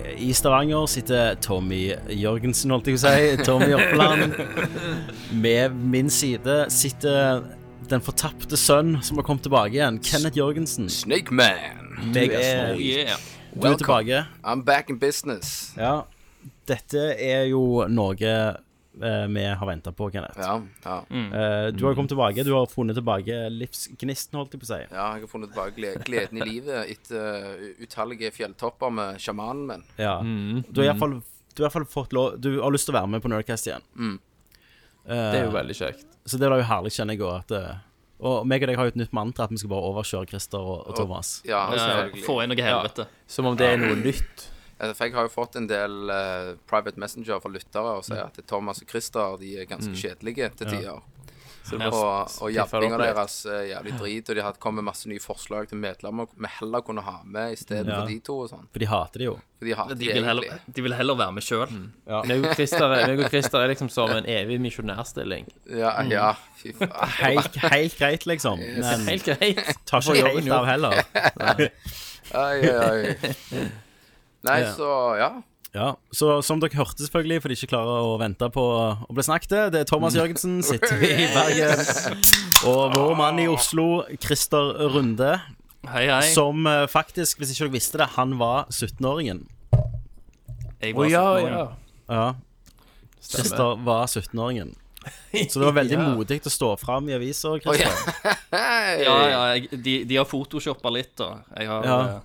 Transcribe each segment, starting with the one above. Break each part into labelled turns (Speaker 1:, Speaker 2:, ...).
Speaker 1: eh, I Stavanger sitter Tommy Jørgensen, holdt jeg på å si. Tommy Jørpeland. Med min side sitter den fortapte sønn som har kommet tilbake igjen. Kenneth Jørgensen.
Speaker 2: Snake Man.
Speaker 1: Du er,
Speaker 2: Yeah.
Speaker 1: du er tilbake.
Speaker 2: I'm back in business.
Speaker 1: Ja. Dette er jo noe eh, vi har venta på, Kenneth.
Speaker 2: Ja, ja.
Speaker 1: Eh, Du har kommet tilbake. Du har funnet tilbake livsgnisten, holdt jeg på å si.
Speaker 2: ja jeg har funnet tilbake gle- gleden i livet etter uh, utallige fjelltopper med sjamanen min.
Speaker 1: Ja. Du har iallfall du har i hvert fall fått lov Du har lyst til å være med på Nerdcast igjen.
Speaker 3: Det er jo veldig kjekt.
Speaker 1: Så det var jo herlig, kjenner jeg òg. At eh, Og meg og deg har jo et nytt mantra at vi skal bare overkjøre Christer og, og Thomas.
Speaker 2: Ja, selvfølgelig.
Speaker 4: Få inn noe helvete.
Speaker 3: Som om det er noe nytt.
Speaker 2: Altså, For jeg har jo fått en del eh, private messenger fra lyttere og sier at Thomas og Christer de er ganske kjedelige til tider.
Speaker 3: Så det
Speaker 2: Og,
Speaker 3: blir
Speaker 2: og jappinga deres er jævlig drit, og de har kommet med masse nye forslag til medlemmer vi heller kunne ha med istedenfor
Speaker 1: Ja.
Speaker 2: for de to og sånn.
Speaker 1: For de hater det jo.
Speaker 2: For de hater
Speaker 4: De vil heller, de vil heller være med sjøl.
Speaker 3: meg og Christer meg og Christer Mm. er liksom som en evig misjonærstilling.
Speaker 2: Ja, ja, fy faen.
Speaker 1: Helt, helt greit, liksom. Men
Speaker 3: Helt greit.
Speaker 1: tar ikke
Speaker 3: gjør
Speaker 1: helt
Speaker 3: hun jo.
Speaker 1: av heller.
Speaker 2: Oi, oi, oi. Nei,
Speaker 1: Ja.
Speaker 2: så ja.
Speaker 1: Ja, Så som dere hørte, selvfølgelig, for de ikke klarer å vente på å bli snakket, det er Thomas Jørgensen, sitter vi i Bergen. Og vår mann i Oslo, Christer Runde,
Speaker 4: Hei, hei.
Speaker 1: som eh, faktisk, hvis ikke dere visste det, han var 17-åringen.
Speaker 4: Jeg
Speaker 3: Å
Speaker 4: var
Speaker 3: ja,
Speaker 4: 17 år.
Speaker 3: ja.
Speaker 1: Ja. Christer var 17-åringen. Så det var veldig modig å stå fram i avisa, Christer.
Speaker 4: ja, ja jeg, de, de har photoshoppa litt, da. Jeg har,
Speaker 1: Ja.
Speaker 4: eh,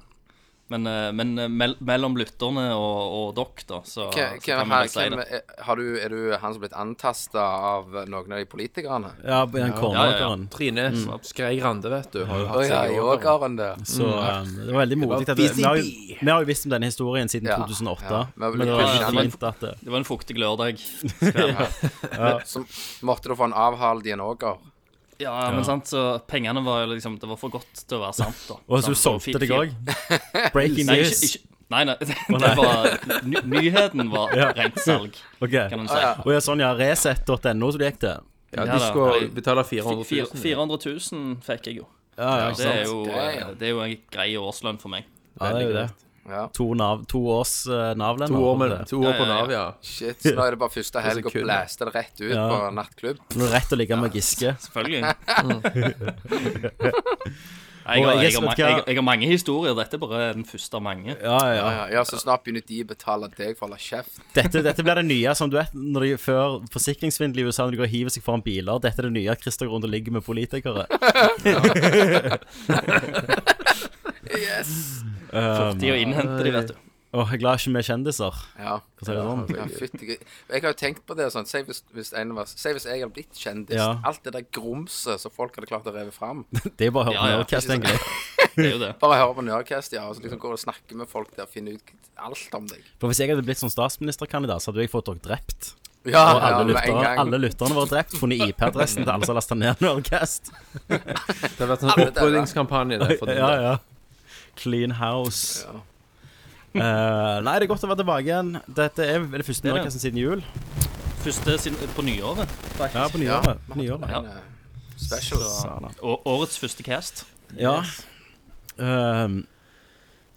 Speaker 4: Men, eh, men eh, mell mellom lytterne og, og dere, da, så,
Speaker 2: Hvem,
Speaker 4: så
Speaker 2: hvem,
Speaker 4: kan
Speaker 2: her,
Speaker 4: man vel si
Speaker 2: hvem,
Speaker 4: det.
Speaker 2: er- har du, er du han som er blitt antasta av noen av de politikerne?
Speaker 1: Ja, på den kornåkeren.
Speaker 3: Trine Skrei Grande, vet du, har jo
Speaker 2: Å
Speaker 3: hatt
Speaker 2: ja,
Speaker 3: seg i år.
Speaker 2: yogaren der.
Speaker 1: Så eh, det var veldig modig. at- Vi har jo, vi har jo visst om denne historien siden
Speaker 2: Ja,
Speaker 1: 2008.
Speaker 2: ja. Men
Speaker 1: Men det
Speaker 2: vi
Speaker 1: var
Speaker 4: pusher
Speaker 1: veldig
Speaker 4: den.
Speaker 1: fint at det-
Speaker 4: Det var en fuktig lørdag.
Speaker 2: Så måtte du få en avhalt i en åker.
Speaker 4: Ja, men sant, så pengene var jo liksom Det var for godt til å være sant, da.
Speaker 1: Og så du
Speaker 4: Sant,
Speaker 1: solgte deg
Speaker 4: fire-
Speaker 1: òg. Breaking
Speaker 4: Nei, ikke,
Speaker 1: news.
Speaker 4: ikke, nei, nei, det var ny, Nyheten var rent salg,
Speaker 1: Ok.
Speaker 4: kan man
Speaker 1: Og
Speaker 4: si.
Speaker 1: ja, sånn, ja. Resett.no, som du gikk til.
Speaker 3: Ja,
Speaker 4: Ja,
Speaker 3: de
Speaker 4: da.
Speaker 3: skulle
Speaker 4: Nei.
Speaker 3: betale
Speaker 4: Fi-
Speaker 3: 400
Speaker 4: fire-
Speaker 3: 000.
Speaker 4: 400 000 fikk jeg jo.
Speaker 1: Ja, ja, ikke
Speaker 4: Det er
Speaker 1: sant?
Speaker 4: jo, eh, det er jo en grei årslønn for meg.
Speaker 1: Ja, det er jo det.
Speaker 2: Ja.
Speaker 1: To, nav, to års uh, Nav-lønn.
Speaker 3: To år, med, to
Speaker 4: Ja,
Speaker 3: år på
Speaker 4: ja, ja.
Speaker 3: Nav, ja.
Speaker 2: Shit, så nå er det bare første helg og
Speaker 3: sekunder.
Speaker 2: blæste det rett ut
Speaker 1: Ja.
Speaker 2: på en nattklubb.
Speaker 1: Rett å ligge med Giske.
Speaker 4: Selvfølgelig. Nei, jeg, har,
Speaker 1: Og
Speaker 4: jeg,
Speaker 1: jeg
Speaker 4: har,
Speaker 1: vet
Speaker 4: ma-
Speaker 1: hva-
Speaker 4: jeg, jeg har mange historier. Dette er bare den første av mange.
Speaker 1: Ja, ja, ja.
Speaker 2: Ja, ja, så snart begynner de å betale deg for å holde kjeft.
Speaker 1: Dette, dette blir det nye som du vet når de før forsikringssvindel i USA når de går og hiver seg foran biler. Dette er det nye at Christer går rundt og ligger med politikere.
Speaker 2: Yes!
Speaker 4: De å innhente de, vet du.
Speaker 1: Og jeg er glad ikke vi er kjendiser.
Speaker 2: Ja.
Speaker 1: Hva sier du sånn?
Speaker 2: Ja, fytti gri- Jeg har jo tenkt på det sånn, si hvis, hvis, en av oss- si hvis jeg hadde blitt kjendis.
Speaker 1: Ja.
Speaker 2: Alt det der grumset som folk hadde klart å reve fram.
Speaker 1: Det er bare å høre
Speaker 4: Ja,
Speaker 1: på
Speaker 4: ja.
Speaker 1: Nerdcast, egentlig.
Speaker 4: Det er jo det.
Speaker 2: Bare høre på Nerdcast, ja, og så liksom går og snakker med folk der og finner ut alt om deg.
Speaker 1: For hvis jeg hadde blitt sånn statsministerkandidat, så hadde jeg fått dere drept.
Speaker 2: Ah,
Speaker 1: Og
Speaker 2: Ja,
Speaker 1: alle,
Speaker 2: med en
Speaker 1: lytterne,
Speaker 2: gang.
Speaker 1: alle lytterne våre drept. Funnet IP-adressen til alle som har lasta ned Nerdcast.
Speaker 3: Det har vært en sånn
Speaker 2: Alle deler.
Speaker 3: opprydningskampanje der. For
Speaker 1: Ja, ja. Clean house.
Speaker 2: Ja.
Speaker 1: Eh, nei, det er godt å være tilbake igjen. Dette er vel den første
Speaker 4: er det.
Speaker 1: Nerdcasten siden jul.
Speaker 4: Første siden, på nyåret.
Speaker 1: Ja, på nyåret. På nyåret.
Speaker 4: Ja.
Speaker 2: Special.
Speaker 4: Å- årets første cast.
Speaker 1: Ja. Ehm,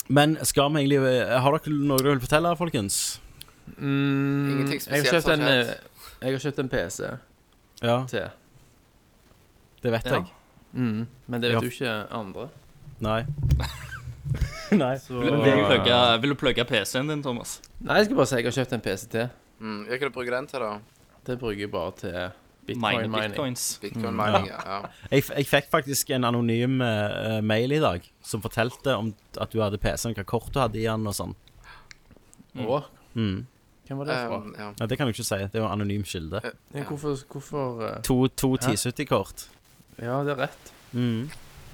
Speaker 1: men skal vi egentlig eh, Har dere noe dere vil fortelle, folkens?
Speaker 3: Mm,
Speaker 2: Ingenting
Speaker 3: jeg, har
Speaker 2: spesielt
Speaker 3: kjøpt en,
Speaker 2: som har
Speaker 3: eh, jeg har kjøpt en PC
Speaker 1: Ja,
Speaker 3: til,
Speaker 1: det vet
Speaker 4: Ja.
Speaker 1: jeg.
Speaker 3: mm, men det
Speaker 1: Ja.
Speaker 3: vet jo ikke andre.
Speaker 1: Nei. Nei.
Speaker 4: Vil du plugge- Vil du plugge PC-en din, Thomas?
Speaker 3: Nei, jeg skal bare si jeg har kjøpt en PC til.
Speaker 2: Mm, hva kan du bruke den til, da?
Speaker 3: Det bruker jeg bare til
Speaker 4: Mine
Speaker 3: bitcoin mining.
Speaker 4: bitcoins.
Speaker 1: Mm.
Speaker 2: Bitcoin mining, ja. ja.
Speaker 1: Jeg, f- jeg fikk faktisk en anonym eh, mail i dag som fortalte om at du hadde PC-en, hva kort du hadde i den og sånn.
Speaker 3: Å,
Speaker 1: Mm.
Speaker 3: hvem var det fra?
Speaker 2: Um, ja.
Speaker 1: Ja, det kan du ikke si. Det er jo en anonym kilde.
Speaker 3: Ja, hvorfor, hvorfor eh,
Speaker 1: To, to 1070-kort.
Speaker 3: Ja, det er rett.
Speaker 1: Mm.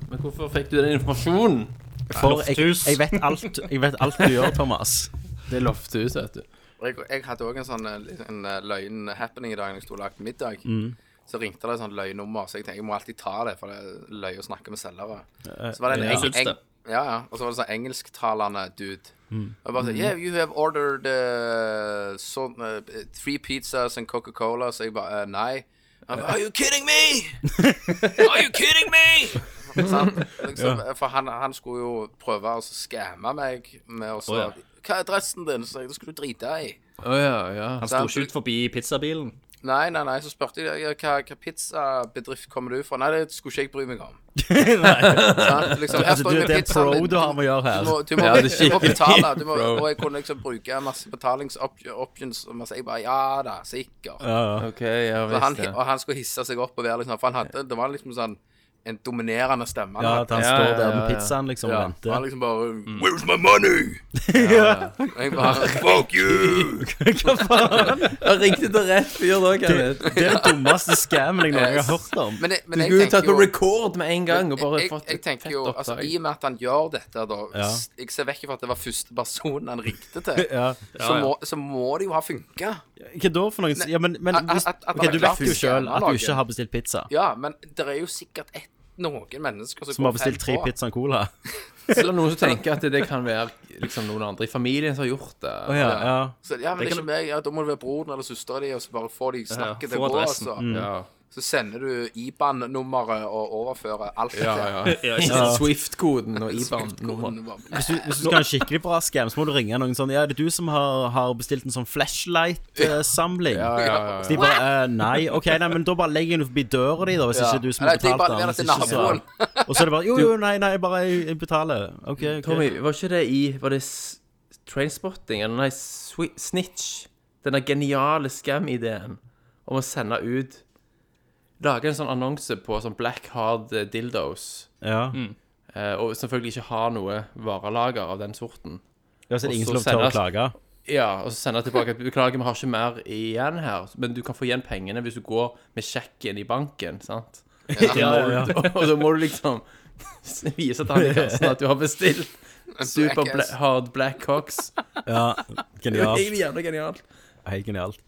Speaker 3: Men hvorfor fikk du den informasjonen?
Speaker 1: For jeg, jeg, vet alt, jeg vet alt du gjør, Thomas.
Speaker 3: Det er lofthuset, vet du.
Speaker 2: Og jeg, jeg hadde òg en sånn eh, li- en eh, løgn happening i dag når jeg sto og lagde middag. Så ringte det et sånt løgnummer, så jeg tenkte jeg må alltid ta det, for det er løye å snakke med selgere. Så var det en,
Speaker 4: ja.
Speaker 2: eng,
Speaker 4: Syns
Speaker 2: eng,
Speaker 4: det.
Speaker 2: ja, ja. Og så var det sånn engelsktalende dude. Og jeg bare sånn Yeah, you have ordered eh, so, eh, three pizzas and Coca-Cola. Så jeg bare eh, Nei. Han bare, Are you kidding me? Are you kidding me? Sant? Liksom, For han, han skulle jo prøve å skamme meg med å så
Speaker 4: Å, ja.
Speaker 2: Hva er adressen din? Så jeg, det skulle du drite i.
Speaker 3: Å ja, ja.
Speaker 4: Han sto ikke ut forbi pizzabilen.
Speaker 2: Nei, nei, nei, så spurte jeg ja, hva, hva pizzabedrift kommer du fra. Nei, det skulle ikke jeg bry meg om. Sant? Liksom, her
Speaker 1: Altså,
Speaker 2: står
Speaker 1: du-
Speaker 2: jeg med
Speaker 1: det er
Speaker 2: pizzaen
Speaker 1: pro
Speaker 2: min.
Speaker 1: du har med å gjøre her.
Speaker 2: Du må, du må,
Speaker 3: Ja, det er
Speaker 2: du må
Speaker 3: skikkelig
Speaker 2: betale. Du må,
Speaker 3: pro.
Speaker 2: og jeg kunne liksom bruke masse betalingsoptions. Og masse, jeg bare ja da, sikkert.
Speaker 3: OK, ja
Speaker 2: Så han,
Speaker 3: visst, ja.
Speaker 2: og han skulle hisse seg opp og være liksom For han hadde, det var liksom sånn en dominerende stemme.
Speaker 1: Ja,
Speaker 2: han
Speaker 1: at han
Speaker 3: Ja,
Speaker 1: står
Speaker 3: ja,
Speaker 1: der
Speaker 3: ja,
Speaker 1: med
Speaker 3: ja.
Speaker 1: pizzaen liksom og
Speaker 2: ja,
Speaker 1: venter.
Speaker 2: han liksom bare Where's my money? Og jeg bare Fuck you!
Speaker 3: Han ringte til rett fyr da, Kenneth.
Speaker 1: Det er den dummeste scammen jeg noen gang har hørt om.
Speaker 2: Men, jeg- men
Speaker 3: Du
Speaker 2: jeg
Speaker 3: skulle jo
Speaker 2: tenker
Speaker 3: tatt
Speaker 2: jo-
Speaker 3: på record med en gang og bare
Speaker 2: jeg,
Speaker 3: fått
Speaker 2: jeg
Speaker 3: et
Speaker 2: tenker
Speaker 3: fett
Speaker 2: jo, altså,
Speaker 3: oppdrag.
Speaker 2: I og med at han gjør dette, da
Speaker 1: Ja.
Speaker 2: s- Jeg ser vekk fra at det var første personen han ringte til.
Speaker 1: Ja.
Speaker 2: så, Må, så må det jo ha funka.
Speaker 1: Hva da for noe? Ja, men, men
Speaker 2: At-
Speaker 1: hvis,
Speaker 2: at- at
Speaker 1: Ok, du
Speaker 2: han har
Speaker 1: vet jo
Speaker 2: klart
Speaker 1: sjøl at du
Speaker 2: skjemaet.
Speaker 1: ikke har bestilt pizza.
Speaker 2: Ja, men det er jo sikkert et, noen mennesker
Speaker 1: Som har bestilt tre pizzaer og cola.
Speaker 3: Eller noen som tenker at det kan være liksom, noen andre i familien som har gjort det.
Speaker 1: Å ja, ja.
Speaker 2: Så, ja, men det er ikke meg. Ja, da må det være broren eller søstera di, og så bare får de snakke
Speaker 4: Ja,
Speaker 2: til
Speaker 4: få
Speaker 2: å gå,
Speaker 4: adressen. Mm.
Speaker 2: altså.
Speaker 3: ja.
Speaker 2: Så sender du IBAN-nummeret og overfører alt.
Speaker 3: ja, ja. Swift-koden og IBAN-nummeret.
Speaker 2: Nummeret.
Speaker 1: Hvis du, hvis du skal ha en skikkelig bra scam, så må du ringe noen sånn Ja, er det du som har, har bestilt en sånn flashlight-samling?
Speaker 3: Ja, ja, ja.
Speaker 1: Så de bare eh, Nei, ok, nei, men da bare legger jeg den forbi døra di, da, hvis
Speaker 2: Ja.
Speaker 1: ikke du som
Speaker 2: Nei,
Speaker 1: har
Speaker 2: de bare
Speaker 1: betalt den.
Speaker 2: leverer
Speaker 1: hvis
Speaker 2: til
Speaker 1: ikke så-
Speaker 2: naboen.
Speaker 1: Og så er det bare Jo, jo, nei, nei, bare jeg, jeg betaler. OK. ok.
Speaker 3: Tommy, var ikke det i Var det s- Trainspotting? Eller nei, swi Snitch? Denne geniale scam-ideen om å sende ut Lage en sånn annonse på sånn black hard eh, dildos,
Speaker 1: Ja.
Speaker 3: eh, og selvfølgelig ikke har noe varelager av den sorten.
Speaker 1: Ja, så er det ingen
Speaker 3: Og
Speaker 1: som
Speaker 3: så
Speaker 1: tør å
Speaker 3: sendes-
Speaker 1: klage.
Speaker 3: Ja, og så sender jeg tilbake at Beklager, vi har ikke mer igjen her, men du kan få igjen pengene hvis du går med sjekken i banken, sant?
Speaker 1: Ja, ja, ja.
Speaker 3: og da må du liksom vise til han i kassen at du har bestilt Super
Speaker 2: Black
Speaker 3: bla
Speaker 2: ass.
Speaker 3: Hard Black Cox.
Speaker 1: ja.
Speaker 3: Det er jo
Speaker 1: Genialt.
Speaker 3: egentlig jævla genialt.
Speaker 1: Helt genialt.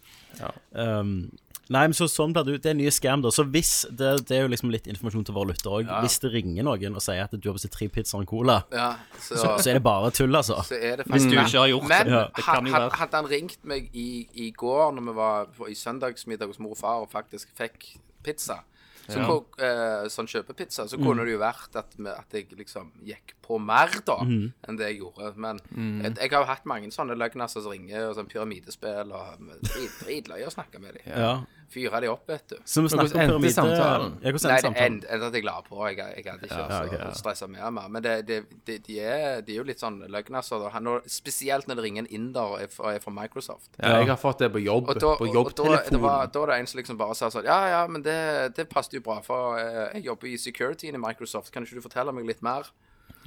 Speaker 1: Um, nei, men så sånn blir det ut. Det er en ny scam, da. Så hvis det, det er jo liksom litt informasjon til våre lyttere òg. Hvis det ringer noen og sier at du har bestilt tre pizzaer og en cola,
Speaker 2: Ja, så,
Speaker 1: så er det bare tull, altså.
Speaker 2: så er det
Speaker 4: Hvis
Speaker 2: faktisk
Speaker 4: du ikke har gjort
Speaker 2: Men
Speaker 4: det. Det
Speaker 2: ha-
Speaker 4: kan jo
Speaker 2: ha-
Speaker 4: være.
Speaker 2: hadde han ringt meg i, i går når vi var på, i søndagsmiddag hos mor og far og faktisk fikk pizza, så kok- eh, sånn kjøpepizza, så kunne
Speaker 4: Mm.
Speaker 2: det jo vært at, vi- at jeg liksom gikk på mer da
Speaker 4: Mm.
Speaker 2: enn det jeg gjorde. Men jeg, jeg har jo hatt mange sånne løgnaser som ringer, og sånn pyramidespill og men drit- dritløye å snakke med dem.
Speaker 1: Ja.
Speaker 2: Fyre de opp, vet du.
Speaker 1: Så vi snakker
Speaker 3: hvordan
Speaker 1: om
Speaker 3: endte
Speaker 1: pyramide...
Speaker 3: samtalen?
Speaker 1: Ja, hvordan endte
Speaker 2: Nei, det
Speaker 1: samtalen?
Speaker 2: endte at jeg la på. Jeg, jeg hadde ikke ja, stressa mer. mer. Men det, det, det, de, er, de er jo litt sånn løgnaser. da. Han- når- Spesielt når det ringer en inder og er fra, er fra Microsoft.
Speaker 3: Ja, jeg har fått det på jobb.
Speaker 2: Og da, og, og da,
Speaker 3: på
Speaker 2: det var,
Speaker 3: jobbtelefonen.
Speaker 2: da er det en som liksom bare sa sånn Ja, ja, men det, det passet jo bra, for eh, jeg jobber i securityen i Microsoft. Kan ikke du fortelle meg litt mer?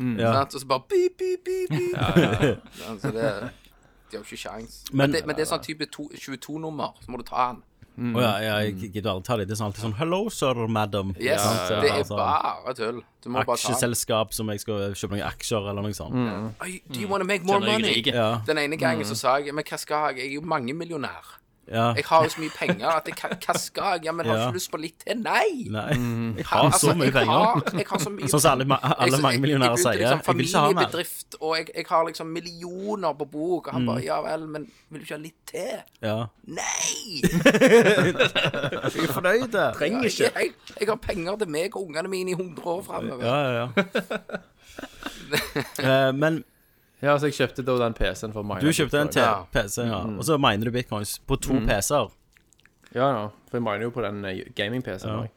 Speaker 1: Ja.
Speaker 2: Sant? Og så bare beep, beep, beep, beep. Ja, Så det De har jo ikke kjangs. Men,
Speaker 1: Men-
Speaker 2: det- men det er sånn type to- 22-nummer, så må du ta den.
Speaker 1: Å ja, ja, jeg gidder aldri ta det. Det er sånn alltid sånn Hello, sir, madam.
Speaker 2: Yes,
Speaker 1: Sant?
Speaker 2: det er
Speaker 1: Altså,
Speaker 2: bare sånn. tull. Du må bare ta den.
Speaker 1: Aksjeselskap som jeg skal kjøpe noen aksjer eller noe sånt.
Speaker 2: Are you- Do you want to make more
Speaker 4: Skjønner jeg
Speaker 2: money?
Speaker 4: ikke.
Speaker 1: Ja,
Speaker 2: Den ene gangen så sa jeg Men hva skal jeg? Jeg er jo mangemillionær.
Speaker 1: ja.
Speaker 2: Jeg har jo så mye penger at jeg, hva- hva skal jeg? Ja, men har du
Speaker 1: Ja.
Speaker 2: ikke lyst på litt til? Nei!
Speaker 1: Nei. Jeg har så
Speaker 2: Altså,
Speaker 1: mye
Speaker 2: jeg
Speaker 1: penger.
Speaker 2: har- Jeg har så mye
Speaker 1: Sånn som alle, ma-
Speaker 2: Jeg-
Speaker 1: alle
Speaker 2: jeg-
Speaker 1: mangemillionærer
Speaker 2: jeg begynte liksom
Speaker 1: sier. Jeg vil ikke ha mer.
Speaker 2: familiebedrift, og jeg, jeg har liksom millioner på bok,
Speaker 1: Mm.
Speaker 2: og han bare Ja vel, men vil du ikke ha litt til?
Speaker 1: Ja.
Speaker 2: Nei!
Speaker 1: Jeg er fornøyd. Trenger
Speaker 2: Jeg, jeg, jeg har penger til meg og ungene mine i 100 år framover.
Speaker 1: Ja, ja, ja. Eh, Men
Speaker 3: Ja, så jeg kjøpte da den PC-en for Minor.
Speaker 1: du kjøpte en til
Speaker 2: Ja.
Speaker 1: PC, ja.
Speaker 2: Mm.
Speaker 1: Og så miner du bitcoins på to PC-er.
Speaker 3: Ja, ja. For jeg miner jo på den eh, gaming-PC-en òg.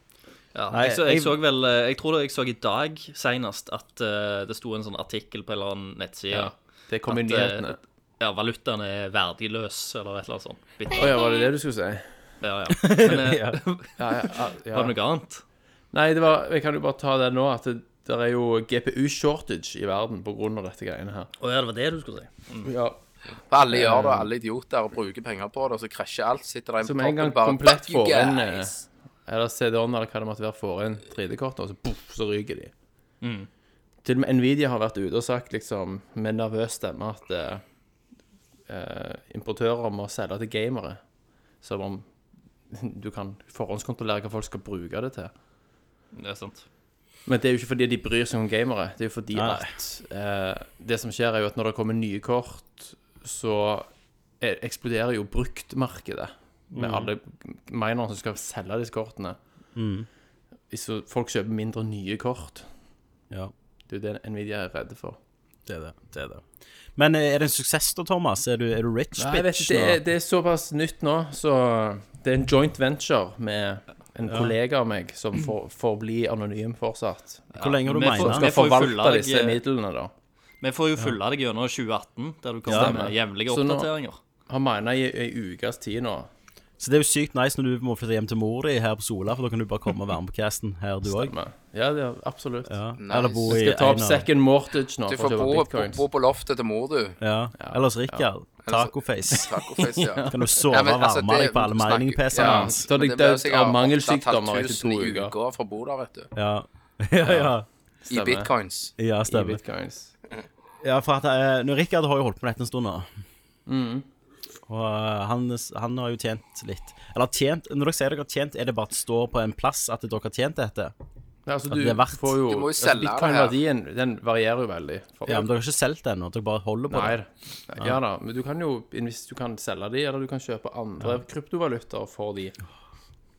Speaker 4: Ja,
Speaker 1: Nei,
Speaker 4: jeg, så, jeg
Speaker 1: jeg-
Speaker 4: så vel eh, Jeg tror det jeg så i dag senest at eh, det sto en sånn artikkel på en eller annen nettside.
Speaker 3: Ja. Det kom i
Speaker 4: At, eh,
Speaker 3: nyhetene.
Speaker 4: Ja, valutaen er verdiløs, eller et eller annet sånt. Bit-
Speaker 3: Å ja, var det det du skulle si?
Speaker 4: Ja, ja. Men eh,
Speaker 1: Ja.
Speaker 3: Ja, ja, ja.
Speaker 4: var det noe annet?
Speaker 3: Nei, det var Jeg kan jo bare ta det nå, at det der er jo GPU-shortage i verden på grunn av dette greiene her.
Speaker 4: Å ja, det var det du skulle si.
Speaker 3: Ja.
Speaker 2: For alle gjør det, alle idioter, og bruker penger på det, og så krasjer alt. Sitter der en
Speaker 3: Som
Speaker 2: på
Speaker 3: en gang
Speaker 2: toppen bare,
Speaker 3: komplett
Speaker 2: "Fuck you
Speaker 3: får en, eh,
Speaker 2: guys."
Speaker 3: Eller CD-on, eller hva det måtte være, får inn 3D-kortene, og så boff, så ryker de. Til og med Nvidia har vært ute og sagt, liksom, med nervøs stemme, at eh, eh, importører må selge til gamere. Som om du kan forhåndskontrollere hva folk skal bruke det til.
Speaker 4: Det er sant.
Speaker 3: Men det er jo ikke fordi de bryr seg om gamere. Det er jo fordi
Speaker 1: Nei.
Speaker 3: at eh, Det som skjer, er jo at når det kommer nye kort, så eh, eksploderer jo bruktmarkedet. Med
Speaker 4: Mm.
Speaker 3: alle minerne som skal selge disse kortene.
Speaker 4: Mm.
Speaker 3: Hvis så folk kjøper mindre nye kort.
Speaker 1: Ja,
Speaker 3: Det er jo det Nvidia er redde for.
Speaker 1: det er det. det, er det. Men eh, er det en suksess da, Thomas? Er du, er du rich
Speaker 3: Nei, jeg vet,
Speaker 1: bitch
Speaker 3: ikke, det,
Speaker 1: nå?
Speaker 3: er, det er såpass nytt nå, så det er en joint venture med en kollega av meg som får, får bli anonym fortsatt.
Speaker 1: Hvor lenge har du
Speaker 4: Vi får-
Speaker 1: meina?
Speaker 3: Skal
Speaker 4: vi får jo
Speaker 3: forvalte
Speaker 4: følge deg,
Speaker 3: disse
Speaker 4: eh,
Speaker 3: midlene, da.
Speaker 4: Vi får jo følge deg gjennom 2018, der du kan
Speaker 3: Ja,
Speaker 4: stemme
Speaker 3: men-
Speaker 4: jevnlige
Speaker 3: Så nå-
Speaker 4: oppdateringer.
Speaker 3: Har mina i ei ukes tid nå.
Speaker 1: Så det er jo sykt nice når du må flytte hjem til mor di her på Sola, for da kan du bare komme og være med på casten her, du òg.
Speaker 3: Men- Ja, det er, absolutt.
Speaker 1: Ja.
Speaker 2: Nice.
Speaker 1: Eller bo i
Speaker 3: Jeg skal ta opp
Speaker 1: en av-
Speaker 3: second mortgage nå
Speaker 2: Du
Speaker 3: for
Speaker 2: får
Speaker 3: å
Speaker 2: bo,
Speaker 3: kjøpe
Speaker 2: bo,
Speaker 3: bitcoins.
Speaker 2: bo på loftet til mor, du.
Speaker 1: Ja. Ellers Rikard. Tacoface.
Speaker 2: Tacoface, ja.
Speaker 1: Kan du sove
Speaker 2: Ja,
Speaker 1: og
Speaker 2: men, altså,
Speaker 1: varme
Speaker 2: det-
Speaker 1: deg på alle
Speaker 2: snakker-
Speaker 1: mining-PC-ene
Speaker 2: ja,
Speaker 1: hans?
Speaker 3: Da er
Speaker 2: men
Speaker 3: det
Speaker 2: blir jo
Speaker 3: dødt av
Speaker 2: sikkert
Speaker 3: mangelsykdommer
Speaker 2: opptatt
Speaker 3: etter to
Speaker 2: 1000 i
Speaker 3: uker.
Speaker 2: uka for å bo der, vet du.
Speaker 1: Ja. ja, ja.
Speaker 2: I
Speaker 3: Stemmer.
Speaker 2: bitcoins.
Speaker 1: Ja,
Speaker 3: I
Speaker 1: stemmer.
Speaker 3: bitcoins.
Speaker 1: Ja, for at eh, nå, Rikard har jo holdt på med dette en stund nå. Og eh, han, han har jo tjent litt. Eller tjent Når dere sier dere har tjent, er det bare at det står på en plass at dere har tjent dette?
Speaker 3: Ja, altså, du,
Speaker 1: det er verdt-
Speaker 3: får jo,
Speaker 2: Du må jo
Speaker 3: altså,
Speaker 2: selge det her.
Speaker 3: Bitcoin-verdien den varierer jo veldig. For,
Speaker 1: Ja, men dere har ikke solgt det ennå? Dere bare holder på
Speaker 3: Nei,
Speaker 1: det?
Speaker 3: da. ja da, men du kan jo invest, du kan selge de, eller du kan kjøpe andre kryptovalutaer for de.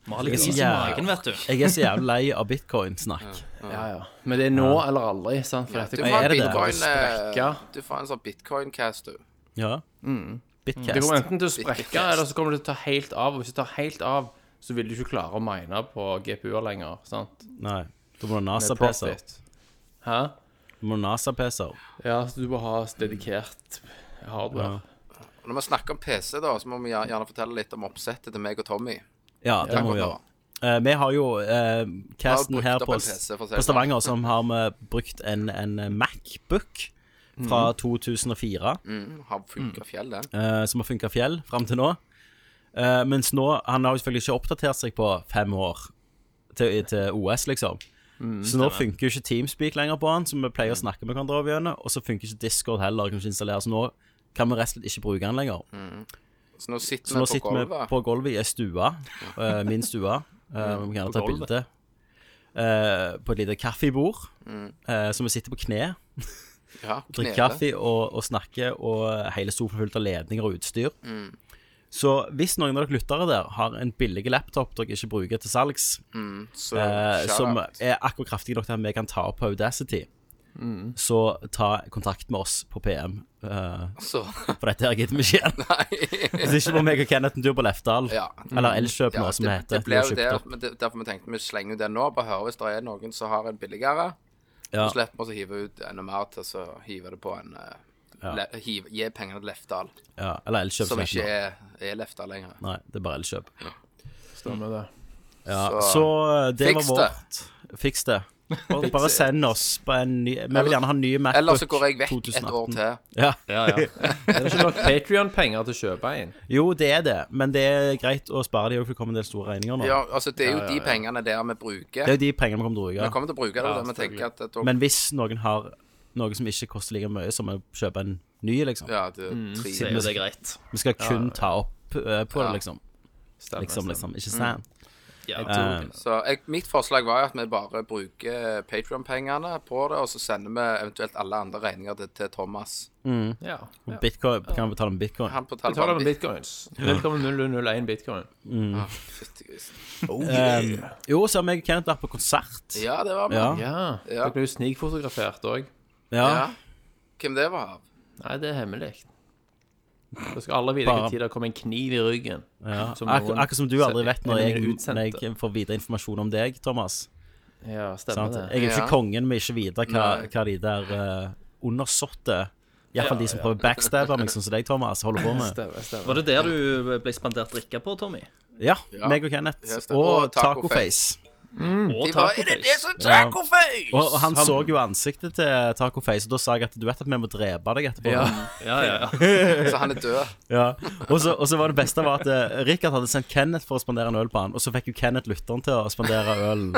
Speaker 4: Vi har litt
Speaker 1: så
Speaker 4: is i
Speaker 1: jævlig-
Speaker 4: magen, vet du.
Speaker 1: Jeg er så jævlig lei av bitcoin-snakk.
Speaker 3: Ja, ja. Men det er nå eller aldri, sant? For dette
Speaker 2: Du
Speaker 3: kommer-
Speaker 2: får
Speaker 1: er
Speaker 2: en
Speaker 1: det det?
Speaker 2: bitcoin eh,
Speaker 3: Sprekker.
Speaker 2: Du får en sånn bitcoin-cast, du.
Speaker 1: Ja.
Speaker 2: Mm.
Speaker 3: Det kommer
Speaker 1: Bitcast.
Speaker 3: enten til å sprekke, eller så kommer det til å ta helt av. Og hvis det tar helt av, så vil du ikke klare å mine på GPU-er lenger. sant?
Speaker 1: Nei. Da må du ha
Speaker 3: Med
Speaker 1: NASA-PC-er.
Speaker 3: profit. Hæ?
Speaker 1: Du må ha NASA-PC-er.
Speaker 3: Ja, så du må ha dedikert hardware.
Speaker 2: Og Når vi snakker om PC, da, så må vi gjer- gjerne fortelle litt om oppsettet til meg og Tommy.
Speaker 1: Ja, det må vi gjøre. Eh, vi har jo eh, casten
Speaker 2: brukt
Speaker 1: her
Speaker 2: opp
Speaker 1: på,
Speaker 2: en PC, for å si det
Speaker 1: på Stavanger som har vi brukt en, en Macbook fra 2004,
Speaker 2: Mm, har funka fjell, den.
Speaker 1: eh, som har funka fjell fram til nå. Eh, mens nå Han har jo selvfølgelig ikke oppdatert seg på fem år til, til OS, liksom.
Speaker 2: Mm,
Speaker 1: så nå funker jo ikke Teamspeak lenger på han, som vi pleier å snakke med hverandre over gjennom. Og så funker ikke Discord heller, kan ikke installere. Så nå kan vi rett og slett ikke bruke han lenger.
Speaker 2: Så nå sitter
Speaker 1: Så nå
Speaker 2: vi Mm. på
Speaker 1: sitter vi
Speaker 2: gulvet.
Speaker 1: på gulvet i ei stue. eh, min stue. eh, vi kan gjerne ta et
Speaker 4: gulvet.
Speaker 1: bilde. eh, på et lite kaffebord.
Speaker 2: Mm.
Speaker 1: eh, så vi sitter på kne,
Speaker 2: Ja,
Speaker 1: drikker
Speaker 2: knele.
Speaker 1: kaffe og, og snakker, og hele sofaen er fullt av ledninger og utstyr.
Speaker 2: Mm.
Speaker 1: Så hvis noen av dere lyttere der har en billig laptop dere ikke bruker til salgs,
Speaker 2: Så,
Speaker 1: eh,
Speaker 2: shout
Speaker 1: som
Speaker 2: out.
Speaker 1: er akkurat kraftig nok til at vi kan ta opp på Audacity, så ta kontakt med oss på PM. eh,
Speaker 2: Så
Speaker 1: for dette her gidder vi ikke igjen.
Speaker 2: Nei.
Speaker 1: Hvis ikke må meg og Kenneth en tur på Lefdal.
Speaker 2: Ja.
Speaker 1: Eller Elkjøp, nå,
Speaker 2: Ja,
Speaker 1: som det heter.
Speaker 2: Det ble jo
Speaker 1: Vi
Speaker 2: det,
Speaker 1: har kjøpt opp.
Speaker 2: men det, derfor vi tenkte vi slenger jo det nå. Bare høre hvis det er noen som har en billigere.
Speaker 1: Ja.
Speaker 2: Så slipper vi å hive ut enda mer til så hiver det på en eh, le, hive, Gi pengene til Lefdal,
Speaker 1: Ja, eller Elkjøp,
Speaker 2: som
Speaker 1: som
Speaker 2: ikke
Speaker 1: heter det.
Speaker 2: er, er Lefdal lenger.
Speaker 1: Nei, det er bare Elkjøp.
Speaker 3: Stemmer det.
Speaker 1: Ja,
Speaker 2: Så-
Speaker 1: så, eh, det
Speaker 2: Fiks
Speaker 1: var vårt. Fiks det. Bare, bare send oss på en ny Vi
Speaker 2: Eller-
Speaker 1: vil gjerne ha en ny Macbook
Speaker 2: Eller så går jeg vekk et år til.
Speaker 1: Ja.
Speaker 4: Ja, ja.
Speaker 3: Er det ikke nok Patrion-penger til å kjøpe en?
Speaker 1: Jo, det er det, men det er greit å spare de òg, for det kommer en del store regninger nå.
Speaker 2: Ja, altså Det er jo de pengene der vi bruker.
Speaker 1: Det er jo de pengene vi kommer til å bruke.
Speaker 2: Vi kommer til å bruke det, og vi tenker at at-
Speaker 1: Men hvis noen har noe som ikke koster like mye, så må vi kjøpe en ny, liksom.
Speaker 2: ja, det er tre
Speaker 4: Så er jo det greit.
Speaker 1: Vi skal kun ta opp eh, på
Speaker 2: Ja. Mm.
Speaker 1: det, liksom.
Speaker 3: Stemmer,
Speaker 1: Liksom,
Speaker 3: stemmer.
Speaker 1: liksom. Ikke sant?
Speaker 4: Ja,
Speaker 1: Eh,
Speaker 2: Så jeg, mitt forslag var jo at vi bare bruker Patrion-pengene på det, og så sender vi eventuelt alle andre regninger til, til Thomas.
Speaker 3: Ja. ja.
Speaker 1: Bitcoin, kan vi betale med bitcoin?
Speaker 2: Han betaler
Speaker 3: Betaler
Speaker 2: bare
Speaker 3: med
Speaker 2: litt.
Speaker 3: bitcoins. 0,0001 bitcoin.
Speaker 2: Ah, fytti grisen.
Speaker 1: Ehm, jo, så har meg og Kenneth vært på konsert.
Speaker 2: Ja, det var vi.
Speaker 1: Ja.
Speaker 3: Ja.
Speaker 2: Ja.
Speaker 3: Dere ble jo snikfotografert òg.
Speaker 1: Ja.
Speaker 2: Ja. Hvem det var av?
Speaker 3: Nei, det er hemmelig. Da skal alle vite
Speaker 1: Bare-
Speaker 3: hvilken tid det kom en kniv i ryggen.
Speaker 1: Ja.
Speaker 3: Som
Speaker 1: Akkur
Speaker 3: noen-
Speaker 1: akkurat som du aldri vet når
Speaker 3: en
Speaker 1: jeg,
Speaker 3: utsendte.
Speaker 1: når jeg får videre informasjon om deg, Thomas.
Speaker 3: Ja, stemmer
Speaker 1: Sant?
Speaker 3: det.
Speaker 1: Jeg er jo
Speaker 2: Ja.
Speaker 1: ikke kongen med ikke vite hva,
Speaker 2: Nei.
Speaker 1: hva de der uh, undersåtte Iallfall de som prøver å backstabbe meg, sånn som deg, Thomas, holder på med.
Speaker 3: Stemmer, stemmer.
Speaker 4: Var det der du ble spandert drikke på, Tommy?
Speaker 1: Ja, meg og Kenneth.
Speaker 2: Ja, stemmer.
Speaker 1: Og
Speaker 2: Og Taco
Speaker 1: Tacoface.
Speaker 4: Og
Speaker 2: De var, er det det
Speaker 4: tacoface?
Speaker 2: som Tacoface?
Speaker 1: Og, og han så jo ansiktet til Tacoface, og da sa jeg at du vet at vi må drepe deg etterpå.
Speaker 3: Ja.
Speaker 4: Ja, ja, ja.
Speaker 2: Så han er død.
Speaker 1: Ja, og så, og så var det beste var at eh, Rikard hadde sendt Kenneth for å spandere en øl på han, og så fikk jo Kenneth lytteren til å spandere ølen.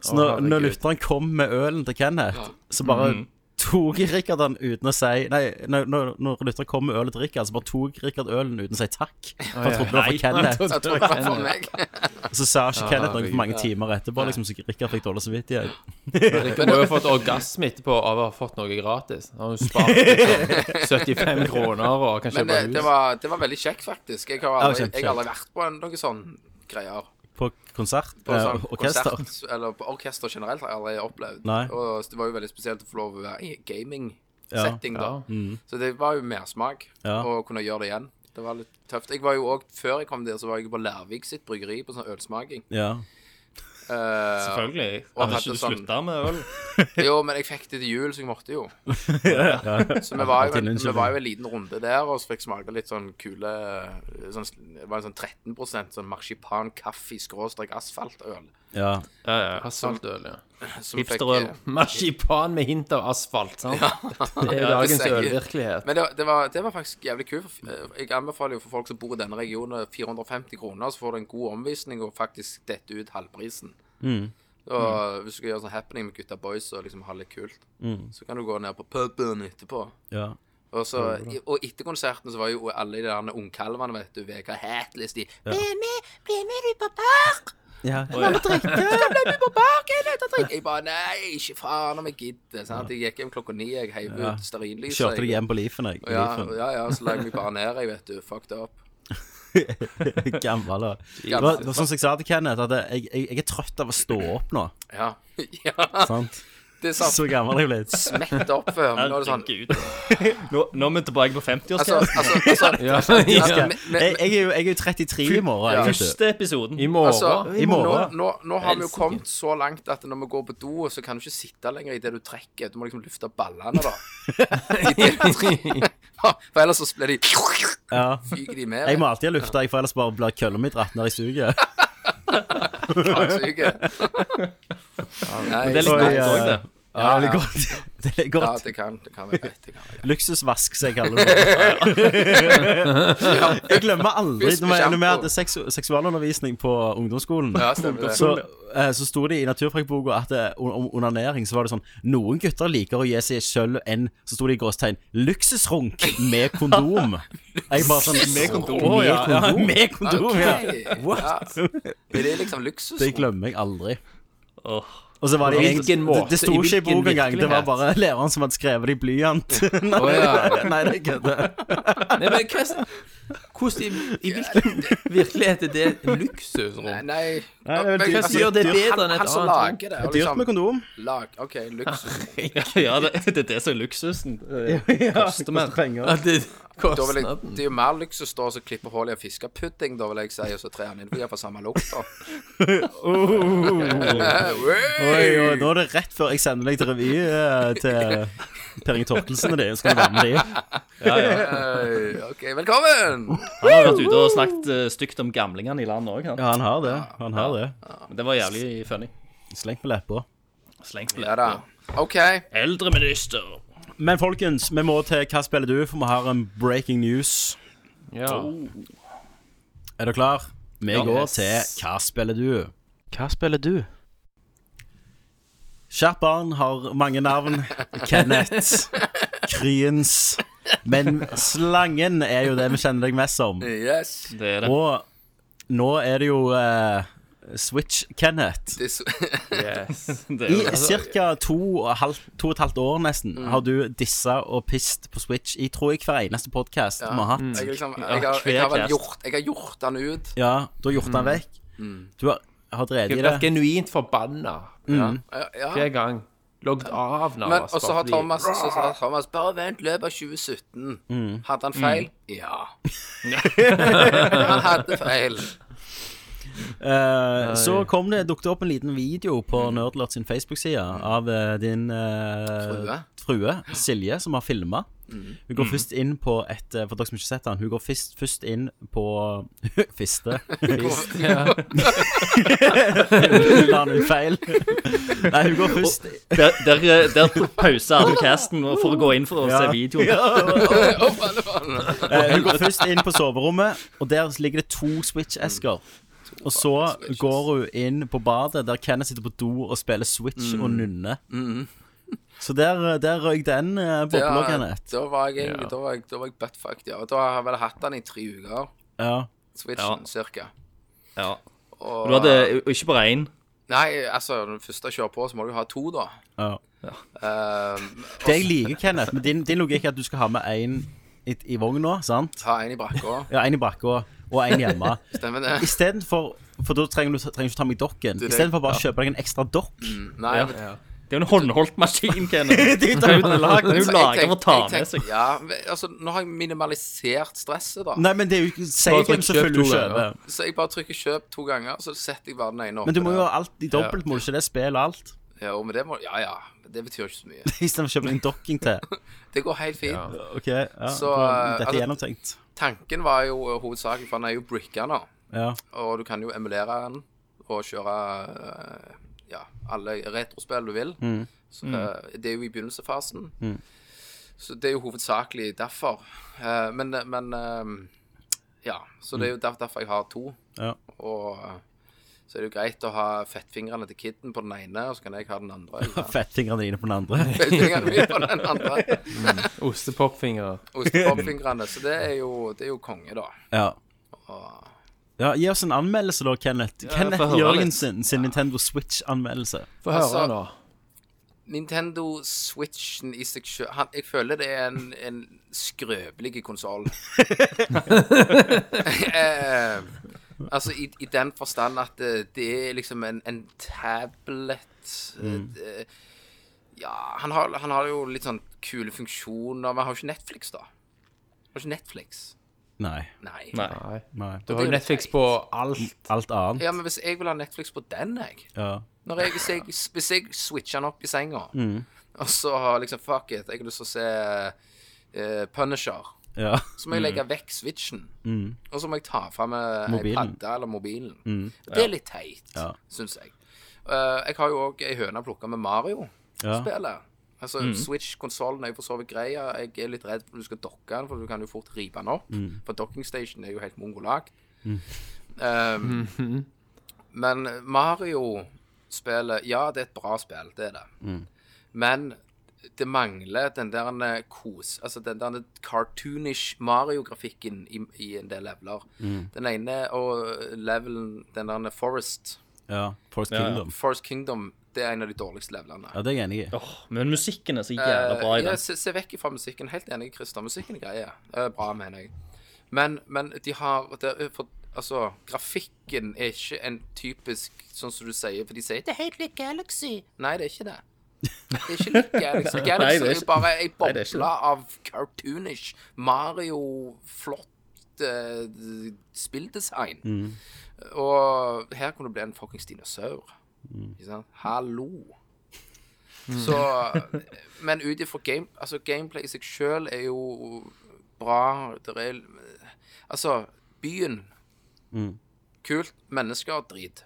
Speaker 1: Så når,
Speaker 3: herregud.
Speaker 1: når lytteren kom med ølen til Kenneth, så bare tok Rikard den uten å si Nei, når, når- når lytter kom med ølet til Rikard, så bare tok Rikard ølen uten å si takk. For han trodde det var for Kenneth.
Speaker 2: Jeg tror det var for meg.
Speaker 1: Og så sa ikke Kenneth noe for mange
Speaker 3: herregud.
Speaker 1: timer etterpå, liksom, så Rikard fikk dårlig samvittighet.
Speaker 3: Rikard må jo ha fått orgasme etterpå av å ha fått noe gratis. Han har jo spart liksom, 75 kroner og kan
Speaker 2: Men
Speaker 3: kjøpe
Speaker 2: det, det,
Speaker 3: hus.
Speaker 2: var, det var veldig kjekt, faktisk. Jeg har aldri,
Speaker 1: kjempekjekt.
Speaker 2: jeg har aldri vært på en, noen sånne greier.
Speaker 1: På konsert?
Speaker 2: På
Speaker 1: eh,
Speaker 2: sånn
Speaker 1: orkester?
Speaker 2: konsert, eller på orkester generelt har jeg aldri opplevd.
Speaker 1: Nei.
Speaker 2: Og det var jo veldig spesielt å få lov å være i en
Speaker 1: Ja,
Speaker 2: gaming-setting, da.
Speaker 3: ja.
Speaker 2: Så det var jo mersmak
Speaker 1: Ja.
Speaker 2: å kunne gjøre det igjen. Det var litt tøft. Jeg var jo også, Før jeg kom der, så var jeg på Lærvik sitt bryggeri på sånn ølsmaking.
Speaker 1: Ja.
Speaker 2: Eh,
Speaker 4: Selvfølgelig.
Speaker 2: Og
Speaker 4: Hadde
Speaker 2: hadde
Speaker 4: ikke du
Speaker 2: sånn-
Speaker 4: slutta med øl?
Speaker 2: jo, men jeg fikk det til jul, så jeg måtte jo. Så vi var jo,
Speaker 1: Alltid en
Speaker 2: en, vi
Speaker 1: unnskyldning.
Speaker 2: var jo en liten runde der, og så fikk smake litt sånn kule sånn, Det var en sånn 13 sånn marsipan, kaffe, skråstrek, asfaltøl.
Speaker 1: ja.
Speaker 3: Ja, ja. sånn. Asfaltøl, ja.
Speaker 2: som fikk- eh,
Speaker 4: Hipsterøl.
Speaker 3: Marsipan med hint av asfalt, sant? Det er jo
Speaker 2: Ja, det
Speaker 3: dagens
Speaker 2: sier-
Speaker 3: ølvirkelighet.
Speaker 2: Men det, var- det, var, det var faktisk jævlig kult. for- eh, Jeg anbefaler jo for folk som bor i denne regionen, 450 kroner, så får du en god omvisning og faktisk dette ut halvprisen. Og hvis du skal gjøre sånn happening med gutta boys og liksom ha litt kult, så kan du gå ned på puben etterpå.
Speaker 1: ja.
Speaker 2: Og, så, og etter konserten så var jo alle de der ungkalvene, vet du, VK Hatlist, de Bli med, bli med ut på park!
Speaker 1: ja.
Speaker 2: Jeg bare nei, ikke faen om jeg gidder. Sant? Jeg gikk hjem klokka ni, jeg heiv ut stearinlyset.
Speaker 1: Kjørte deg
Speaker 2: jeg-
Speaker 1: hjem på Leafen, jeg.
Speaker 2: Ja,
Speaker 1: Leafen.
Speaker 2: ja, ja, så la jeg meg bare ned, jeg, vet du. Fucked up.
Speaker 1: Gammel, da. Det
Speaker 2: Gammel.
Speaker 1: var, det var sånn som jeg sa til Kenneth, at jeg, jeg, jeg er trøtt av å stå opp nå.
Speaker 2: Ja. ja.
Speaker 1: Sant?
Speaker 2: Det er sant.
Speaker 1: Så gammel jeg er blitt.
Speaker 2: Smett opp før, men nå er det sånn
Speaker 4: Herregud. Nå, nå er vi tilbake på 50-årsgrensen.
Speaker 2: Altså, altså, altså, altså,
Speaker 1: Jeg,
Speaker 2: men- men-
Speaker 1: jeg, er jo, jeg er jo 33 i morgen.
Speaker 2: Ja.
Speaker 1: Jeg, vet du.
Speaker 4: Første episoden.
Speaker 3: I morgen
Speaker 2: altså,
Speaker 1: I morgen.
Speaker 2: Nå, nå, nå har vi jo
Speaker 4: Helsike.
Speaker 2: kommet så langt at når vi går på do, så kan du ikke sitte lenger i det du trekker. Du må liksom lufte ballene, da. I det du trekker. For ellers så blir de
Speaker 1: Ja.
Speaker 2: Fyker de med.
Speaker 1: Jeg må alltid ha lufta, jeg, for ellers bare blir kølla mi dratt ned i suget.
Speaker 2: Taksyke. Nei,
Speaker 4: Det er litt
Speaker 1: Oi,
Speaker 4: godt
Speaker 1: ja.
Speaker 4: òg, det.
Speaker 1: eh, Ja, det
Speaker 2: ja.
Speaker 1: er godt. Det er
Speaker 2: Ja,
Speaker 1: godt.
Speaker 2: det kan, det kan være greit. Det kan være greit.
Speaker 1: Luksusvask, som jeg kaller det. Jeg glemmer aldri
Speaker 2: Hvis vi
Speaker 1: Når jeg-
Speaker 2: kommer
Speaker 1: når vi
Speaker 2: på-
Speaker 1: hadde seksu seksualundervisning på ungdomsskolen.
Speaker 2: Ja, stemmer det.
Speaker 1: så, eh, så sto det i naturfagboka at eh, om om onanering så var det sånn Noen gutter liker å gi seg sjøl en Så sto det i gåstegn 'luksusrunk med kondom'. Jeg bare sånn Med kondom?
Speaker 4: Å,
Speaker 1: ja,
Speaker 4: ja,
Speaker 1: ja, med kondom ja.
Speaker 2: Ok,
Speaker 1: What?
Speaker 2: Ja. Er det liksom luksus?
Speaker 1: Det glemmer jeg aldri.
Speaker 4: Åh.
Speaker 1: Og så var det,
Speaker 3: På
Speaker 1: egentlig-
Speaker 3: hvilken måte?
Speaker 1: det, det sto
Speaker 3: I
Speaker 1: ikke i
Speaker 3: hvilken
Speaker 1: boka engang. Det var
Speaker 3: virkelighet?
Speaker 1: bare læreren som hadde skrevet det i blyant. Nei,
Speaker 3: ja.
Speaker 1: nei, det er ikke det.
Speaker 3: Nei, men hva Hvordan i, i hvilken virkelighet er det
Speaker 2: Nei,
Speaker 3: luksusrom?
Speaker 2: nei.
Speaker 1: det er vel
Speaker 2: Men,
Speaker 1: dyrt.
Speaker 2: altså,
Speaker 3: Det gjør det bedre enn
Speaker 2: Han
Speaker 3: et
Speaker 2: som
Speaker 3: annet.
Speaker 2: lager det, og
Speaker 1: Dyrt
Speaker 2: liksom
Speaker 1: med kondom.
Speaker 2: lag, OK, luksus.
Speaker 4: Ja, det, det er det som er luksusen.
Speaker 1: Koster mer penger.
Speaker 3: At det
Speaker 2: Da vil jeg,
Speaker 3: kostnaden
Speaker 2: det er jo mer luksus da å klippe hull i en fiskepudding, da vil jeg si, og så tre han inn for å få samme lukt, da.
Speaker 1: Oi, oi, nå er det rett før jeg sender deg til revy eh, til Per Inge Torkelsen og de. Skal du være med de?
Speaker 2: Hey, OK, velkommen!
Speaker 4: Han har vært ute og snakket eh, stygt om gamlingene i landet òg, han.
Speaker 1: Ja, han har det. Han har det.
Speaker 4: Men Det var jævlig funny.
Speaker 1: Slengt med leppa.
Speaker 4: Slengt
Speaker 2: Ja
Speaker 4: med
Speaker 2: da. OK.
Speaker 4: Eldreminister.
Speaker 1: Men folkens, vi må til Hva spiller du? For vi har en breaking news.
Speaker 3: Ja.
Speaker 1: Er dere klar? Vi går
Speaker 3: Yes.
Speaker 1: til Hva spiller du? Hva spiller du? Kjært barn har mange navn. Kenneth. Kryens. Men Slangen er jo det vi kjenner deg mest som.
Speaker 2: Yes.
Speaker 4: Det er det.
Speaker 1: Og nå er det jo eh, Switch-Kenneth.
Speaker 2: Det er så-
Speaker 3: Yes.
Speaker 4: det,
Speaker 1: I
Speaker 4: er det.
Speaker 1: ca. to, og halv- to og et halvt år nesten har du dissa og pist på Switch i tror jeg hver eneste podkast vi har hatt.
Speaker 2: Jeg, liksom, jeg, har, jeg, har vel gjort, jeg har gjort den ut.
Speaker 1: Ja, du har gjort den vekk. Du har, har drevet
Speaker 3: Jeg
Speaker 1: i
Speaker 3: blir
Speaker 1: det.
Speaker 3: genuint forbanna
Speaker 2: Ja, ja.
Speaker 3: hver gang. Logget av nå.
Speaker 2: Men, og så har Thomas, så sa Thomas Bare vent, løpet av 2017 Hadde han feil? Ja Han hadde feil
Speaker 1: Eh, så kom det dukket opp en liten video på Nerdlert sin Facebook-side av eh, din eh, frue, Silje, som har filma. Hun går først inn på et eh, For dere som ikke har sett den, hun går først, først inn på Fiste. La han ut feil. Nei, hun går først
Speaker 4: Der, der, eh, der pauser alle casten for å gå inn for å se videoen.
Speaker 1: Eh, Hun går først inn på soverommet, og der ligger det to Switch-esker. Og så går hun inn på badet, der Kenneth sitter på do og spiller Switch og nunner. Så der, der røyk den eh, bobla,
Speaker 2: Da,
Speaker 1: Kenneth.
Speaker 2: da var jeg egentlig Da var jeg, da var jeg buttfucked, ja. Og da har jeg vel hatt den i tre uker.
Speaker 1: Ja.
Speaker 4: Ja.
Speaker 2: Switchen, cirka.
Speaker 4: Ja.
Speaker 2: Og,
Speaker 4: Du hadde og ikke bare én.
Speaker 2: Nei, altså, når du først kjører på, så må du ha to, da.
Speaker 1: ja.
Speaker 2: Ehm,
Speaker 1: Det jeg liker, Kenneth, med din, din logikk er at du skal ha med én i, i vogna, sant?
Speaker 2: ta en i brakka.
Speaker 1: Ja, én i brakka og én hjemme.
Speaker 2: Stemmer det?
Speaker 1: Istedenfor For da trenger du trenger du ikke ta med dokken.
Speaker 2: det-
Speaker 1: Istedenfor bare å kjøpe deg en ekstra dokk.
Speaker 2: Nei,
Speaker 4: Ja.
Speaker 2: men
Speaker 4: Det er jo en håndholdt maskin, Kenneth.
Speaker 1: Det er jo
Speaker 4: Den er jo
Speaker 2: Så jeg
Speaker 4: laget for å
Speaker 2: tenk-
Speaker 4: ta
Speaker 2: jeg
Speaker 4: med
Speaker 2: tenk-
Speaker 4: seg.
Speaker 2: Ja, men, altså, nå har jeg minimalisert stresset, da.
Speaker 1: Nei, men det er jo ikke Si
Speaker 3: Bare
Speaker 1: hvem
Speaker 3: trykk
Speaker 1: som
Speaker 3: kjøp
Speaker 1: følger du
Speaker 3: to ganger.
Speaker 1: kjøper.
Speaker 2: Så jeg bare trykker 'kjøp' to ganger, så setter jeg bare den ene opp.
Speaker 1: Men du må jo ha alt i dobbelt, må du ikke det? Spill og alt.
Speaker 2: Ja, og med det må... ja, ja. men Det betyr jo ikke så mye.
Speaker 1: Istedenfor å kjøpe en dokking til.
Speaker 2: Det går helt fint.
Speaker 1: Ok, ja.
Speaker 2: Så,
Speaker 1: da-
Speaker 2: eh,
Speaker 1: Dette er
Speaker 2: altså-
Speaker 1: gjennomtenkt.
Speaker 2: Tanken var jo eh, hovedsakelig, for den er jo bricka nå.
Speaker 1: Ja.
Speaker 2: Og du kan jo emulere den og kjøre eh, ja, alle retrospill du vil. Så, eh, det er jo i begynnelsefasen. Så det er jo hovedsakelig derfor. Eh, men men eh, ja. Så det er jo der, derfor jeg har to.
Speaker 1: Ja.
Speaker 2: Og eh, så er det jo greit å ha fettfingrene til kiden på den ene, og så kan jeg ha den andre. eller
Speaker 1: Fettfingrene dine på den andre.
Speaker 2: Fettfingrene mine på den andre.
Speaker 3: Ostepopfingre.
Speaker 2: Ostepopfingrene. Så det er, jo, det er jo konge, da.
Speaker 1: Ja. Ja, Gi oss en anmeldelse, da, Kenneth.
Speaker 4: få
Speaker 1: Kenneth
Speaker 4: høre
Speaker 1: Jørgensen sin Nintendo Switch-anmeldelse.
Speaker 3: Få høre
Speaker 2: Altså-
Speaker 3: nå.
Speaker 2: Nintendo Switchen i seg sjøl Jeg føler det er en, en skrøpelig konsoll. eh, altså i, i den forstand at det, det er liksom en, en tablet eh, Ja, han har, han har jo litt sånn kule funksjoner, men han har jo ikke Netflix, da. Han har ikke Netflix.
Speaker 1: Nei.
Speaker 2: Nei.
Speaker 4: Nei.
Speaker 3: Nei.
Speaker 1: nei.
Speaker 3: Du
Speaker 2: Det
Speaker 3: har jo
Speaker 2: er litt
Speaker 3: Netflix
Speaker 2: teit.
Speaker 3: på alt.
Speaker 1: Alt annet.
Speaker 2: Ja, men hvis jeg vil ha Netflix på den, jeg
Speaker 1: Ja.
Speaker 2: Når jeg, hvis, jeg, hvis jeg switcher den opp i senga, og så har liksom Fuck it, jeg har lyst til å se eh, Punisher.
Speaker 1: ja.
Speaker 2: Så må jeg legge vekk switchen. Og så må jeg ta fram eh,
Speaker 1: Mm.
Speaker 2: ei
Speaker 1: Mobilen. Mm.
Speaker 2: padde eller mobilen. Og det er litt teit,
Speaker 1: Ja.
Speaker 2: syns jeg. Eh, jeg har jo òg ei høne plukka med Mario-spillet. Altså,
Speaker 1: Mm.
Speaker 2: Switch-konsollen er jo for så vidt greia. Jeg er litt redd for at du skal dokke den, for du kan jo fort rive den opp.
Speaker 1: Mm.
Speaker 2: For docking station er jo helt mongolagt. Um, men Mario-spillet Ja, det er et bra spill, det er det. Men det mangler den der kos Altså den der cartoonish Mario-grafikken i, i en del leveler.
Speaker 4: Mm.
Speaker 2: Den ene og levelen, den der Forest,
Speaker 1: ja. Force
Speaker 4: ja.
Speaker 1: Kingdom.
Speaker 2: Forest Kingdom, det er en av de dårligste levelene.
Speaker 1: Ja, det er jeg enig i.
Speaker 4: Åh, men musikken er så jævla bra i
Speaker 2: Eh, ja,
Speaker 4: den.
Speaker 2: se, se vekk fra musikken. Helt enig, Christer. Musikken er greie. Eh, bra, mener jeg. Men, men de har det, er for, Altså, grafikken er ikke en typisk sånn som du sier, for de sier 'Det er helt lik Galaxy'. Nei, det er ikke det. Det er ikke lik Galaxy.
Speaker 4: Nei, det
Speaker 2: Galaxy
Speaker 4: er
Speaker 2: er jo
Speaker 4: ikke-
Speaker 2: bare ei
Speaker 4: Nei, det er ikke
Speaker 2: boble av cartoonish Mario-flott eh, spilldesign.
Speaker 4: Mm.
Speaker 2: Og her kunne det bli en fuckings dinosaur.
Speaker 4: Mm.
Speaker 2: Ikke sant? Hallo. Så eh, Men ut ifra game, altså gameplay i seg sjøl er jo bra. Det er Altså, byen Kult. Mennesker drit.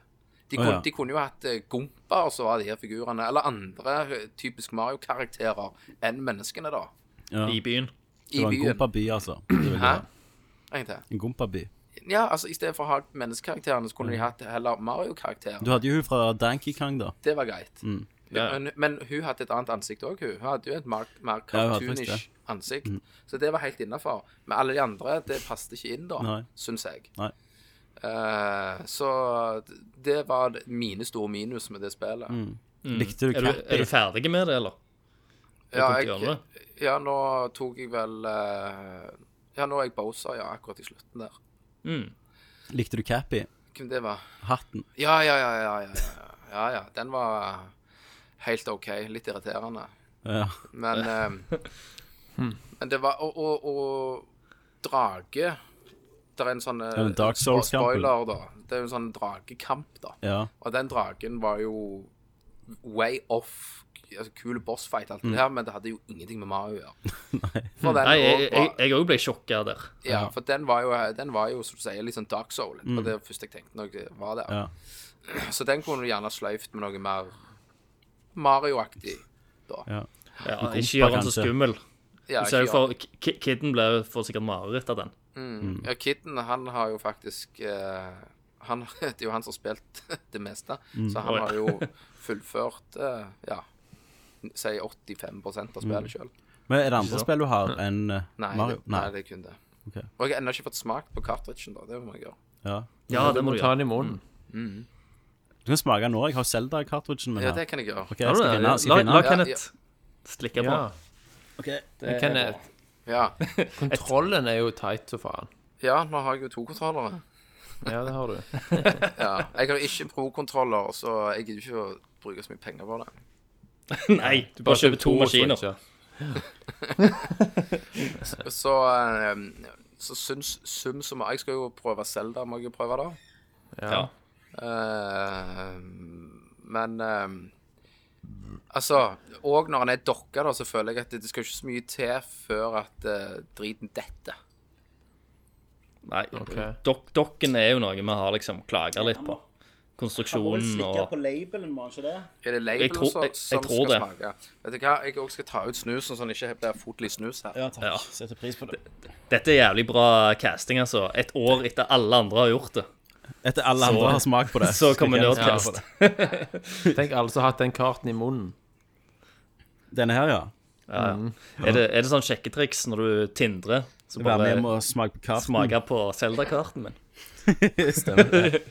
Speaker 2: De,
Speaker 1: Mm. Å,
Speaker 2: kunne-
Speaker 1: ja.
Speaker 2: de kunne jo hatt eh, Gompa og så var de her figurene. Eller andre eh, typisk Mario-karakterer enn menneskene, da.
Speaker 1: Ja.
Speaker 4: I byen.
Speaker 1: Det
Speaker 2: I
Speaker 1: var en
Speaker 2: byen.
Speaker 1: gompa by, altså. Det vil jeg
Speaker 2: Hæ?
Speaker 1: ha.
Speaker 2: En til.
Speaker 1: En gompa by.
Speaker 2: Ja, altså, i stedet for å ha menneskekarakterene, så kunne de hatt heller Mario-karakterer.
Speaker 1: Mm. Du Mm. hadde jo hun fra Danky Kang, da.
Speaker 2: Det var greit.
Speaker 4: Ja.
Speaker 2: Men, men hun hadde et annet ansikt òg, hun. Hun hadde jo et mer, mer
Speaker 1: Ja, hun hadde faktisk Mm.
Speaker 2: cartoonish ansikt. Så det var helt innafor. Men alle de andre, det passet ikke inn, da,
Speaker 1: Nei.
Speaker 2: syns jeg.
Speaker 1: Nei.
Speaker 2: Eh, så det var det- mine store minus med det spillet.
Speaker 1: Mm. Likte du
Speaker 4: Er du, er du
Speaker 1: Krabby?
Speaker 4: ferdig med det, eller?
Speaker 2: Ja,
Speaker 4: kom til
Speaker 2: jeg,
Speaker 4: hjørnet.
Speaker 2: ja, nå tok jeg vel eh, Ja, nå er jeg Bowser, ja, akkurat i slutten der.
Speaker 1: Likte du Cappy?
Speaker 2: Hvem det var?
Speaker 1: Hatten?
Speaker 2: Ja, ja, ja, ja, ja, ja. ja, ja. Den var helt OK. Litt irriterende.
Speaker 1: Ja.
Speaker 2: Men, eh, men det var Og, og, og drage Det er en sånn eh,
Speaker 1: Ja, men Dark Souls-kampen.
Speaker 2: Spoiler, da. Det er jo en sånn dragekamp, da.
Speaker 1: ja.
Speaker 2: Og den dragen var jo way off. Altså, Kule bossfight, alt det her, men det hadde jo ingenting med Mario å gjøre. For den
Speaker 4: Nei,
Speaker 2: også
Speaker 4: jeg-
Speaker 2: var-
Speaker 4: jeg jeg òg ble sjokka der.
Speaker 2: ja, for den var jo, den var jo som du sier, litt sånn dark soul. Det var det første jeg tenkte når jeg var der. Så den kunne du gjerne sløyft med noe mer Mario-aktig.
Speaker 4: Ja, ikke gjør han så
Speaker 1: kanskje.
Speaker 4: skummel.
Speaker 2: Ja,
Speaker 4: Du ser jo
Speaker 2: ikke-
Speaker 4: for, ki- ki- Kidden ble jo for sikkert mareritt av den.
Speaker 2: Ja, Kidden, han har jo faktisk eh, han, Det
Speaker 1: Mm.
Speaker 2: er jo han som har spilt det meste, så han
Speaker 4: Oi.
Speaker 2: har jo fullført eh, ja, si 85 av spillet sjøl.
Speaker 1: Men er det andre spill du har enn eh,
Speaker 2: Nei,
Speaker 1: Mm. Mario?
Speaker 2: det- nei, det er kun det.
Speaker 1: Ok.
Speaker 2: Og jeg har ennå ikke fått smakt på cartridgen, da. Det må jeg gjøre.
Speaker 1: Ja.
Speaker 4: Ja, det må du
Speaker 3: ta
Speaker 4: gjøre.
Speaker 3: den i munnen.
Speaker 1: Du kan smake nå. Jeg har Zelda-kartridgen min
Speaker 2: Ja,
Speaker 1: her.
Speaker 2: det kan jeg gjøre.
Speaker 1: Ok, jeg
Speaker 4: Har du
Speaker 1: skal
Speaker 4: det?
Speaker 1: finne, jeg
Speaker 4: La,
Speaker 1: skal finne
Speaker 4: la
Speaker 1: den.
Speaker 2: Ja,
Speaker 4: Kenneth slikke på.
Speaker 3: Ja. Men Kenneth,
Speaker 2: Ja.
Speaker 3: kontrollen er jo tight så faen.
Speaker 2: ja, nå har jeg jo to kontrollere.
Speaker 3: Ja, det har du.
Speaker 2: Ja. Jeg har ikke pro-kontroller, så jeg gidder ikke å bruke så mye penger på det.
Speaker 4: Nei, du bare kjøper to maskiner.
Speaker 3: switcher.
Speaker 2: Så, eh, så syns sum som Jeg skal jo prøve Selda, må jeg jo prøve da.
Speaker 4: Ja.
Speaker 2: Eh, men eh, Altså, òg når han er dokka, da, så føler jeg at det, det skal ikke så mye til før at eh, driten detter.
Speaker 4: Nei, dok dokken er jo noe vi har liksom klaga litt på. Konstruksjonen og
Speaker 1: labelen, må han ikke det?
Speaker 2: Er det labelen
Speaker 4: tror-
Speaker 2: som,
Speaker 4: jeg- jeg
Speaker 2: som
Speaker 4: tror
Speaker 2: skal
Speaker 4: det.
Speaker 2: smake? Vet du hva, jeg også skal ta ut snusen, sånn at det ikke blir fotlig snus her.
Speaker 1: Ja, takk.
Speaker 4: Ja.
Speaker 1: Setter pris på det.
Speaker 4: Dette er jævlig bra casting, altså. Et år etter alle andre har gjort det.
Speaker 1: Etter alle
Speaker 4: Så-
Speaker 1: andre har smakt på det.
Speaker 4: Så kommer
Speaker 1: skal jeg-
Speaker 4: Nerdcast.
Speaker 3: Tenk alle som har hatt den karten i munnen.
Speaker 1: Denne her, ja.
Speaker 4: Ja, ja. Er, det, er det sånn sjekketriks når du tindrer? Så
Speaker 1: Vær med hjem
Speaker 4: bare
Speaker 1: og smake på karten.
Speaker 4: smake på Zelda-karten min.
Speaker 1: Stemmer det.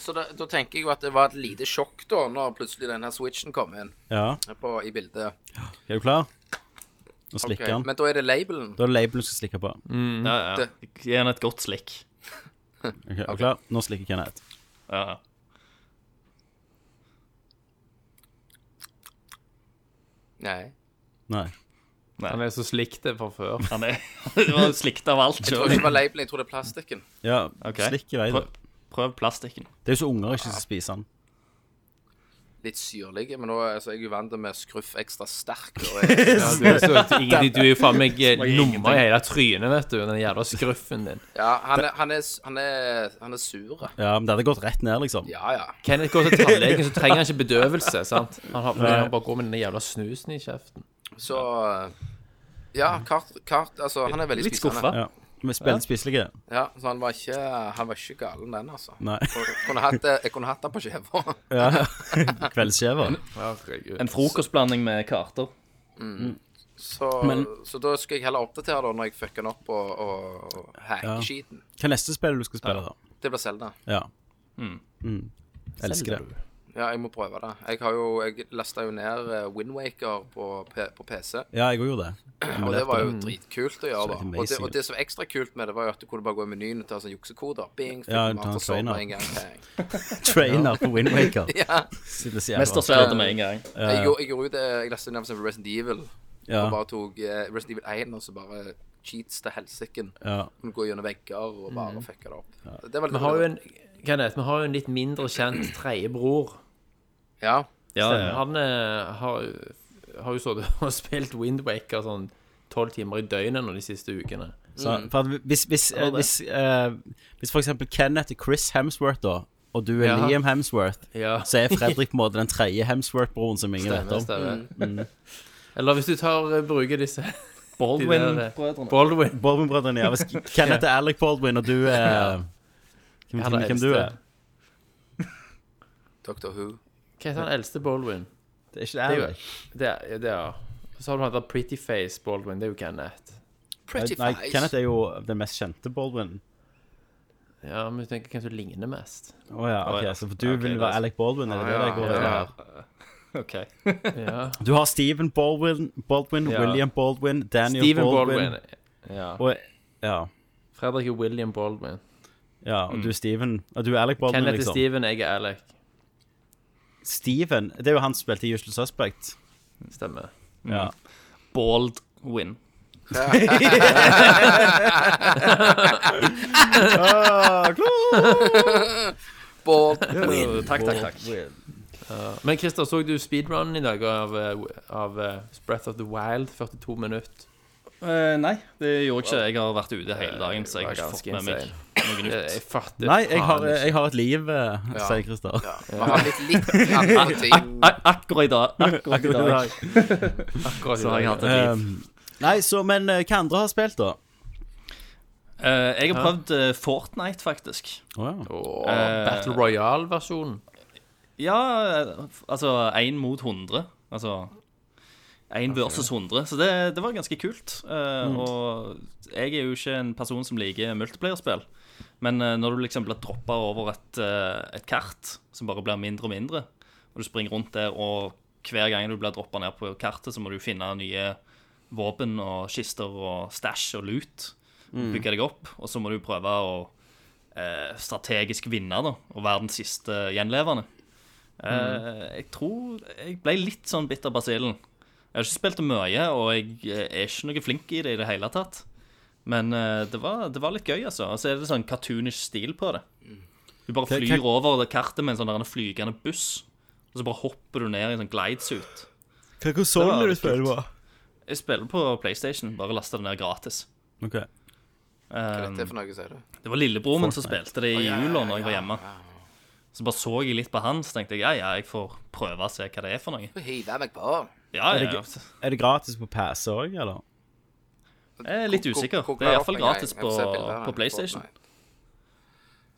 Speaker 2: Så da, da tenker jeg jo at det var et lite sjokk da, når plutselig denne switchen kom inn
Speaker 1: Ja.
Speaker 2: på, i bildet.
Speaker 1: Er du klar? Nå
Speaker 2: Ok,
Speaker 1: slikker han.
Speaker 2: Men da er det labelen.
Speaker 1: Da er det labelen du skal slikke på.
Speaker 4: Ja, ja. Gi henne et godt slikk.
Speaker 1: Ok, er du klar? Nå slikker Kenneth.
Speaker 4: Ja, ja.
Speaker 2: Nei.
Speaker 1: Nei.
Speaker 3: Han er så slik det fra før.
Speaker 4: Han er Du var slikt av alt.
Speaker 2: Jeg tror ikke det var labelen, jeg tror det er plastikken.
Speaker 1: Ja,
Speaker 4: Ok.
Speaker 1: slikk i vei.
Speaker 4: Prøv,
Speaker 1: du.
Speaker 4: prøv plastikken.
Speaker 1: Det er jo så unger ikke som spiser den.
Speaker 2: Litt syrlig, men nå altså, jeg er jo vant med skruff ekstra sterk. Og jeg,
Speaker 3: Ja, du, er så, ingenting, du er jo faen meg eh, nummer i hele trynet, vet du. Den jævla skruffen din.
Speaker 2: ja, han er, han er, han er, han er sure.
Speaker 1: Ja, men det hadde gått rett ned, liksom.
Speaker 2: Ja, ja.
Speaker 3: Kenneth går til tannlegen, så trenger han ikke bedøvelse. sant? Han, har, han bare går med den jævla snusen i kjeften.
Speaker 2: Så Ja, kart, kart Altså, han er veldig
Speaker 4: Litt
Speaker 2: spisende.
Speaker 4: skuffa.
Speaker 1: Ja. Vi spiller spiselige.
Speaker 2: Ja, så han var ikke, han var ikke galen, den, altså.
Speaker 1: Nei.
Speaker 2: Jeg kunne hatt, det- jeg kunne hatt den på skjeva.
Speaker 1: Ja. Kveldsskjever.
Speaker 3: Herregud.
Speaker 4: En frokostblanding med karter.
Speaker 2: Så, så da skal jeg heller oppdatere da når jeg fucker den opp og, og, og hacker
Speaker 1: Ja.
Speaker 2: skiten.
Speaker 1: Hva er neste spill du skal spille, da?
Speaker 2: Det blir Selda.
Speaker 1: Ja. Mm. Elsker det.
Speaker 2: Ja, jeg må prøve det. Jeg har jo, jeg lasta jo ned Windwaker på, P- på PC,
Speaker 1: Ja, jeg òg gjorde det.
Speaker 2: og det var jo dritkult å gjøre. da.
Speaker 1: amazing,
Speaker 2: Og det,
Speaker 1: ja.
Speaker 2: og det som var ekstra kult med det, var jo at du kunne bare gå i menyen og ta sånne juksekoder. Bing,
Speaker 1: Ja, ta en
Speaker 2: fikk mat og sånn
Speaker 1: trainer.
Speaker 2: med en gang. Bang.
Speaker 1: Trainer på Windwaker.
Speaker 2: Ja.
Speaker 4: Mestersverdet med en gang.
Speaker 2: Jeg, gjorde- jeg gjorde jo det, jeg leste jo ned for eksempel Resident Evil,
Speaker 1: Ja.
Speaker 2: og bare tok eh, Resident Evil 1, og så bare cheats til helsiken.
Speaker 1: Ja.
Speaker 2: Kunne gå gjennom vegger og bare fucka det opp. Det var
Speaker 3: Vi
Speaker 2: litt
Speaker 3: har jo en Kenneth, vi har jo en litt mindre kjent tredjebror.
Speaker 2: Ja.
Speaker 4: Ja, ja.
Speaker 3: Han eh, har, har jo sittet og spilt Windwaker sånn tolv timer i døgnet nå de siste ukene.
Speaker 1: Så, for at hvis, hvis, eh, hvis, eh, hvis for eksempel Kenneth er Chris Hemsworth, da, og du er
Speaker 3: Ja.
Speaker 1: Liam Hemsworth,
Speaker 3: Ja.
Speaker 1: så er Fredrik på en måte den tredje Hemsworth-broren som ingen vet
Speaker 3: Stemmer,
Speaker 1: om.
Speaker 4: Mm.
Speaker 3: stemmer. Eller hvis du tar eh, bruker disse
Speaker 4: Baldwin-brødrene.
Speaker 3: Baldwin.
Speaker 1: Baldwin-brødrene, ja. Hvis Kenneth er Alec Baldwin, og du er Hvem,
Speaker 3: Han
Speaker 1: hvem,
Speaker 3: er
Speaker 1: hvem
Speaker 3: eldste.
Speaker 1: du er?
Speaker 2: Doctor Who.
Speaker 3: Hva heter han eldste Baldwin?
Speaker 1: Det er ikke
Speaker 3: Det er jo det, er, det er. Så har du han der Pretty Face Baldwin. Det er jo Kenneth.
Speaker 2: Pretty
Speaker 1: Nei,
Speaker 2: face.
Speaker 1: Kenneth er jo den mest kjente Baldwin.
Speaker 3: Ja, men du tenker hvem som ligner mest.
Speaker 1: Å ja, ok,
Speaker 4: ja.
Speaker 1: så for du
Speaker 4: Ok, det
Speaker 1: vil
Speaker 4: er
Speaker 1: være
Speaker 4: sant.
Speaker 1: Alec Baldwin, er det det det går i?
Speaker 3: Ja.
Speaker 4: OK.
Speaker 3: ja.
Speaker 1: Du har Stephen Baldwin, Baldwin
Speaker 3: Ja.
Speaker 1: William Baldwin, Daniel
Speaker 3: Stephen
Speaker 1: Baldwin,
Speaker 3: Baldwin. Ja.
Speaker 1: Og, ja,
Speaker 3: Fredrik er William Baldwin.
Speaker 1: ja, og du er Stephen. Og du er Alec Baldwin,
Speaker 3: Mm. Kenneth er
Speaker 1: liksom.
Speaker 3: Steven, jeg er Alec.
Speaker 1: Steven, det er jo han som spilte i Usual Suspect.
Speaker 3: Mm. Stemmer.
Speaker 1: Ja.
Speaker 4: Baldwin.
Speaker 2: Bald.
Speaker 4: Eh, Takk, takk, takk.
Speaker 3: Men Christer, så du speedrunnen i dag av, eh, av eh, Breath of the Wild? 42 minutter.
Speaker 4: Eh, nei, det gjorde jeg ikke. Jeg har vært ute hele dagen, så jeg har
Speaker 3: Eh, Det var
Speaker 4: ikke fått
Speaker 3: ganske
Speaker 4: med meg
Speaker 3: insane.
Speaker 4: noe
Speaker 3: Jeg,
Speaker 4: nytt.
Speaker 3: jeg fatter
Speaker 1: Nei, jeg
Speaker 3: faen
Speaker 1: har,
Speaker 3: ikke.
Speaker 1: jeg har et liv, eh, sier Christer.
Speaker 2: Ja. Vi har litt, litt andre ting.
Speaker 4: Ak akkurat i dag. Akkurat i dag.
Speaker 3: akkurat i
Speaker 4: Så har jeg
Speaker 3: dag.
Speaker 4: hatt et liv.
Speaker 1: Um, nei, så, men eh, hva andre har spilt, da?
Speaker 4: Eh, jeg har prøvd eh, Fortnite, faktisk.
Speaker 3: Åh,
Speaker 4: eh,
Speaker 3: Battle Royale-versjonen.
Speaker 4: Ja, altså én mot 100. Altså én versus 100. Så det, det var ganske kult. Eh, Og jeg er jo ikke en person som liker multiplayerspill. Men eh, når du liksom blir droppa over et, eh, et kart som bare blir mindre og mindre, og du springer rundt der, og hver gang du blir droppa ned på kartet, så må du finne nye våpen og kister og stæsj og loot. Bygge deg opp, og så må du prøve å eh, strategisk vinne da, og være den siste gjenlevende. Eh, jeg tror jeg ble litt sånn bitt av basillen. Jeg har ikke spilt det mye, og jeg eh, er ikke noe flink i det i det hele tatt. Men eh, det, var, det var litt gøy, altså. Og så er det sånn cartoonish stil på det. Du bare
Speaker 1: Hva- hva-
Speaker 4: flyr over det kartet med en sånn der en flygende buss, og så bare hopper du ned i en sånn glidesuit.
Speaker 1: Hva
Speaker 4: Det var
Speaker 1: konsoll
Speaker 4: litt kult.
Speaker 1: på?
Speaker 4: Jeg spiller på PlayStation, bare lasta det ned gratis.
Speaker 1: Ok.
Speaker 2: Hva er
Speaker 4: Um,
Speaker 2: dette for noe, sier du?
Speaker 4: det var lillebroren min som spilte det i jula når jeg var hjemme. Så bare så jeg litt på han, så tenkte jeg ja, ja, jeg får prøve å se hva det er for noe.
Speaker 2: Du hiver meg på.
Speaker 4: Ja,
Speaker 1: Er det
Speaker 4: ja, altså. ja.
Speaker 1: Er det gratis på pass òg, eller?
Speaker 4: Jeg er litt
Speaker 2: Hvor- hvor-
Speaker 4: usikker.
Speaker 2: hvor- hvor
Speaker 4: Det er
Speaker 2: er
Speaker 4: iallfall
Speaker 2: opplegget?
Speaker 4: gratis
Speaker 2: Jeg
Speaker 4: på,
Speaker 2: får se bildene.
Speaker 4: på PlayStation.
Speaker 2: Nei.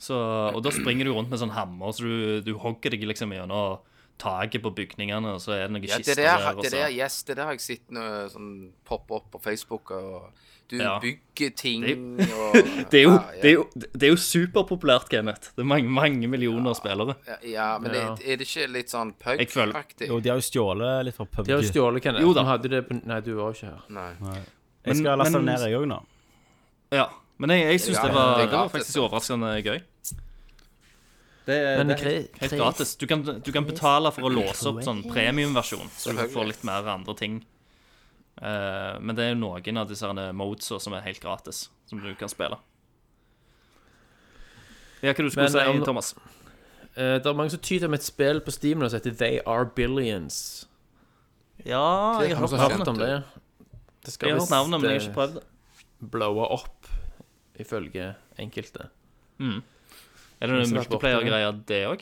Speaker 4: Så, og da springer du rundt med sånn hammer, så du, du hogger deg liksom gjennom taket på bygningene, og så er det noen
Speaker 2: Ja, det
Speaker 4: kister
Speaker 2: der,
Speaker 4: der. Og
Speaker 2: det der,
Speaker 4: så.
Speaker 2: yes, det der har jeg sett noe sånn poppe opp på Facebook. og Du
Speaker 4: Ja.
Speaker 2: bygger ting
Speaker 4: Det
Speaker 2: og
Speaker 4: Det er jo,
Speaker 2: Ja, ja.
Speaker 4: det er jo, det er jo superpopulært, Kenneth. Det er mange, mange millioner spillere.
Speaker 2: Ja, Ja, men det, er det ikke litt sånn
Speaker 4: Jeg føler-
Speaker 2: pug-aktig?
Speaker 1: Jo, de har jo stjålet litt fra PubG.
Speaker 3: De har jo stjålet Kenneth.
Speaker 4: Jo da.
Speaker 3: Vi hadde det på Nei, du var jo ikke
Speaker 1: Eh,
Speaker 3: her.
Speaker 2: Nei.
Speaker 1: Jeg skal
Speaker 4: Men-
Speaker 1: laste den
Speaker 4: men-
Speaker 1: ned, jeg òg, nå.
Speaker 4: Ja. Men jeg, jeg syns
Speaker 2: Ja,
Speaker 4: det, var-
Speaker 2: det er
Speaker 4: det var
Speaker 2: gratis,
Speaker 4: faktisk
Speaker 2: da.
Speaker 4: overraskende gøy. Det,
Speaker 3: Men
Speaker 4: det er helt,
Speaker 3: Chris-
Speaker 4: helt gratis. Du kan, du kan betale for å låse opp sånn premiumversjon, så du får litt mer andre ting. Eh, men det er jo noen av disse herne modesa som er helt gratis, som du kan spille. Ja, hva du skulle
Speaker 3: Men, eh,
Speaker 4: si,
Speaker 3: om-
Speaker 4: Thomas?
Speaker 3: Eh, det er mange som tyder med et spill på Steam nå som heter They Are Billions.
Speaker 4: Ja, jeg
Speaker 3: Har
Speaker 4: har
Speaker 3: noen som
Speaker 4: hørt
Speaker 3: har hørt om
Speaker 4: navnet.
Speaker 3: det? Det skal
Speaker 4: Jeg har hørt navnet, men jeg har
Speaker 3: eh,
Speaker 4: ikke prøvd det.
Speaker 3: blowe opp, ifølge enkelte.
Speaker 4: Er det
Speaker 3: Hvis
Speaker 4: noen
Speaker 3: det er borte,
Speaker 4: multiplayer-greier, det òg?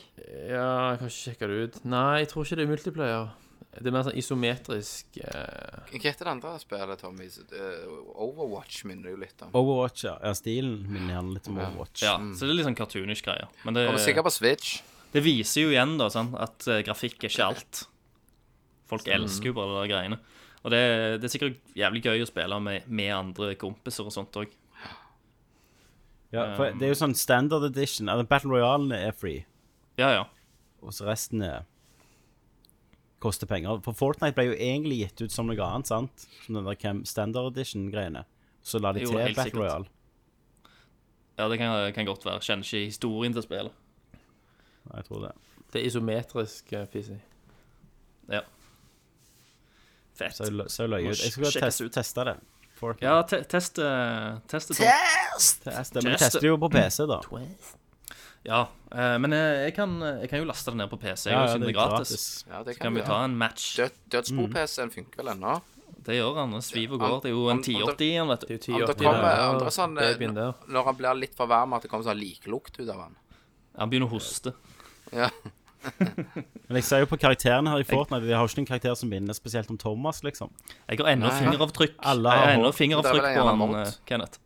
Speaker 3: Ja, jeg kan ikke sjekke det ut. Nei, jeg tror ikke det er multiplayer. Det er mer sånn isometrisk eh,
Speaker 2: Hva heter det andre spillet, Tommy? Eh, Overwatch minner det jo litt om.
Speaker 1: Overwatch, ja. ja. Stilen minner gjerne litt om Overwatch.
Speaker 4: Ja, så det er litt sånn cartoonish greier. Men det,
Speaker 2: Mm. Kommer sikkert på Switch.
Speaker 4: det viser jo igjen da, sånn, at eh, grafikk er ikke alt. Folk elsker jo bare de der greiene. Og det, det er sikkert jævlig gøy å spille med, med andre kompiser og sånt òg.
Speaker 1: Ja,
Speaker 4: Um,
Speaker 1: for det er jo sånn standard edition. Eller Battle Royale er free,
Speaker 4: Ja, ja.
Speaker 1: og så resten er koster penger. For Fortnite ble jo egentlig gitt ut som noe annet, sant? Som den der Cam standard edition-greiene. Så la de
Speaker 4: Jo,
Speaker 1: til
Speaker 4: helt
Speaker 1: Battle
Speaker 4: sikkert.
Speaker 1: Royale.
Speaker 4: ja det kan, kan godt være. Kjenner ikke historien til spillet.
Speaker 1: Ja, Jeg tror det.
Speaker 3: Det er isometrisk eh, fisi.
Speaker 4: Ja. Fett.
Speaker 1: Så jeg lø- så jeg løy
Speaker 4: Må
Speaker 1: ut. Jeg skal
Speaker 4: sjekkes
Speaker 1: teste,
Speaker 4: ut.
Speaker 1: teste det. Fortnite.
Speaker 4: Ja, te test eh, Test det. Tom.
Speaker 1: Test det. Men jeg
Speaker 4: test
Speaker 1: tester jo på PC, da.
Speaker 4: Ja, eh, men eh, jeg kan, jeg kan jo laste det ned på PC,
Speaker 1: Ja,
Speaker 4: og
Speaker 1: ja,
Speaker 4: siden det er gratis.
Speaker 2: Ja, det
Speaker 4: Kan vi ta en Mm. match?
Speaker 2: Død, Dødsbo-PC-en funker vel ennå?
Speaker 4: Det gjør han. Det sviver og
Speaker 2: Ja,
Speaker 4: går. Det er jo en
Speaker 2: om- om det-
Speaker 4: 1080 igjen, vet du.
Speaker 3: Det er jo
Speaker 2: Om
Speaker 3: 1080
Speaker 2: det kommer
Speaker 3: der.
Speaker 2: om det er sånn,
Speaker 3: Babyen der.
Speaker 2: eh, Når han blir litt for varm, at det kommer sånn liklukt ut av han.
Speaker 4: Han begynner å hoste.
Speaker 2: Ja.
Speaker 1: Men jeg ser jo på karakterene her i Fortnite. De har jo ikke noen karakter som minner spesielt om Thomas, liksom.
Speaker 4: Jeg har ennå
Speaker 2: Nei.
Speaker 4: fingeravtrykk
Speaker 1: Alle
Speaker 4: Jeg har
Speaker 1: har
Speaker 4: ennå
Speaker 1: hår.
Speaker 4: fingeravtrykk
Speaker 2: Det er vel
Speaker 4: på
Speaker 2: en
Speaker 4: han,
Speaker 2: gjerne
Speaker 4: eh, Kenneth.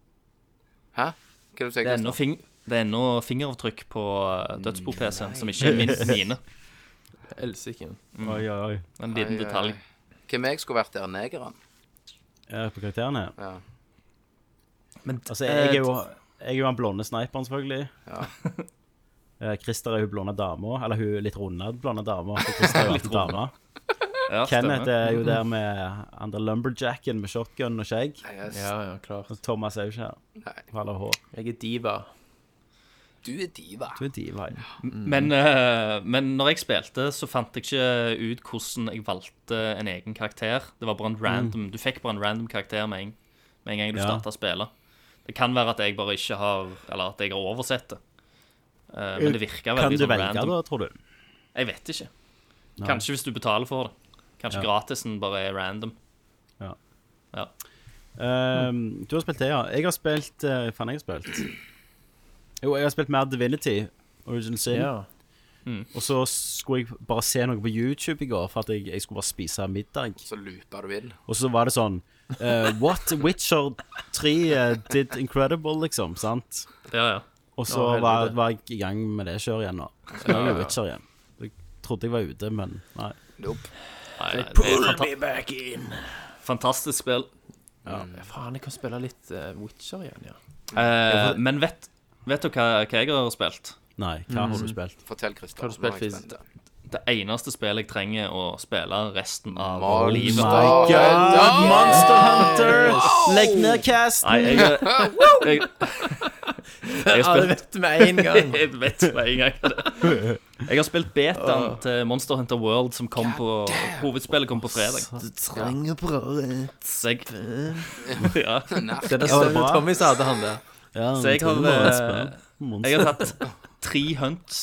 Speaker 2: Hæ? Hva er det du sier
Speaker 4: Det er ennå
Speaker 2: Kristian?
Speaker 4: fing det er ennå fingeravtrykk på eh, dødsbo-PC-en, som ikke er min, mine.
Speaker 3: Elsiken.
Speaker 4: Mm.
Speaker 1: Oi, oi, oi.
Speaker 4: En liten
Speaker 2: Ai, ai,
Speaker 4: detalj.
Speaker 2: eh, Hvem jeg skulle vært der? Negeren?
Speaker 1: Er på karakterene?
Speaker 2: Ja.
Speaker 4: Men
Speaker 1: Altså, jeg
Speaker 4: Eh,
Speaker 1: er jo, jeg er jo han blonde sniperen, selvfølgelig. Eh, Christer er hun blonde dama, eller hun litt runde blonde dama. for Christer er jo alltid dama.
Speaker 4: ja,
Speaker 1: Kenneth
Speaker 4: stemmer.
Speaker 1: eh, er jo der med han der lumberjacken med shotgun og skjegg.
Speaker 2: Yes.
Speaker 3: Ja, ja, klart.
Speaker 1: Og Thomas er jo ikke her.
Speaker 2: Nei.
Speaker 1: Hun har hår.
Speaker 3: Jeg er diva.
Speaker 2: Du er diva.
Speaker 1: Du er diva. jeg.
Speaker 2: Mm.
Speaker 4: Men, eh, men når jeg spilte, så fant jeg ikke ut hvordan jeg valgte en egen karakter. Det var bare en random Du fikk bare en random karakter med en, med en gang du
Speaker 1: Mm. Ja.
Speaker 4: starta å spille. Det kan være at jeg bare ikke har Eller at jeg har oversett det. Eh, men det virka
Speaker 1: Kan
Speaker 4: veldig
Speaker 1: du
Speaker 4: sånn
Speaker 1: velge,
Speaker 4: random.
Speaker 1: da, tror du?
Speaker 4: Jeg vet ikke. Kanskje hvis du betaler for det. Kanskje
Speaker 1: Ja.
Speaker 4: gratisen bare er random.
Speaker 1: Ehm, du har spilt det, ja. Jeg har spilt eh, Hva faen jeg har spilt? Jo, jeg har spilt mer Divinity. Origin Sin.
Speaker 3: Ja.
Speaker 1: Og så skulle jeg bare se noe på YouTube i går, for at jeg, jeg skulle bare spise middag.
Speaker 2: Så looper du inn.
Speaker 1: Og så var det sånn eh, What Witcher 3 eh, did incredible, liksom. sant?
Speaker 4: Ja, ja.
Speaker 1: Og så
Speaker 3: Å, helvete.
Speaker 1: var, var jeg i gang med det kjøret igjen nå. Så nå er jeg Witcher igjen. Jeg trodde jeg var ute, men nei.
Speaker 2: Nope.
Speaker 3: Nei, nei, det er
Speaker 4: Pull
Speaker 3: fanta-
Speaker 4: me back in. Fantastisk spill.
Speaker 3: Faen, jeg kan spille litt eh, Witcher igjen, ja.
Speaker 4: Eh, men vet, vet du hva, hva jeg har spilt?
Speaker 1: Nei, hva
Speaker 4: Mm.
Speaker 1: har du spilt?
Speaker 2: Fortell, Christer.
Speaker 3: Har du spilt
Speaker 2: nå er jeg
Speaker 3: Fizz?
Speaker 2: spent.
Speaker 4: Det eneste spillet jeg trenger å spille resten av livet.
Speaker 2: Monster Hunter.
Speaker 1: Monster Hunter! Legg ned casten!
Speaker 4: Nei, jeg Jeg, jeg, jeg har
Speaker 3: Ja, det
Speaker 4: spilt
Speaker 3: vet du med en gang.
Speaker 4: Jeg vet med en gang Jeg har spilt betaen til Monster Hunter World Som kom på Hovedspillet kom på fredag
Speaker 3: Du trenger bare
Speaker 4: Så jeg ja.
Speaker 3: Det er den
Speaker 1: var det
Speaker 3: større
Speaker 1: bra?
Speaker 3: Tommy sa hadde han der.
Speaker 1: Ja,
Speaker 4: Så jeg har
Speaker 1: tror det var et
Speaker 4: eh,
Speaker 1: spill. Monster.
Speaker 4: Jeg har tatt tre hunts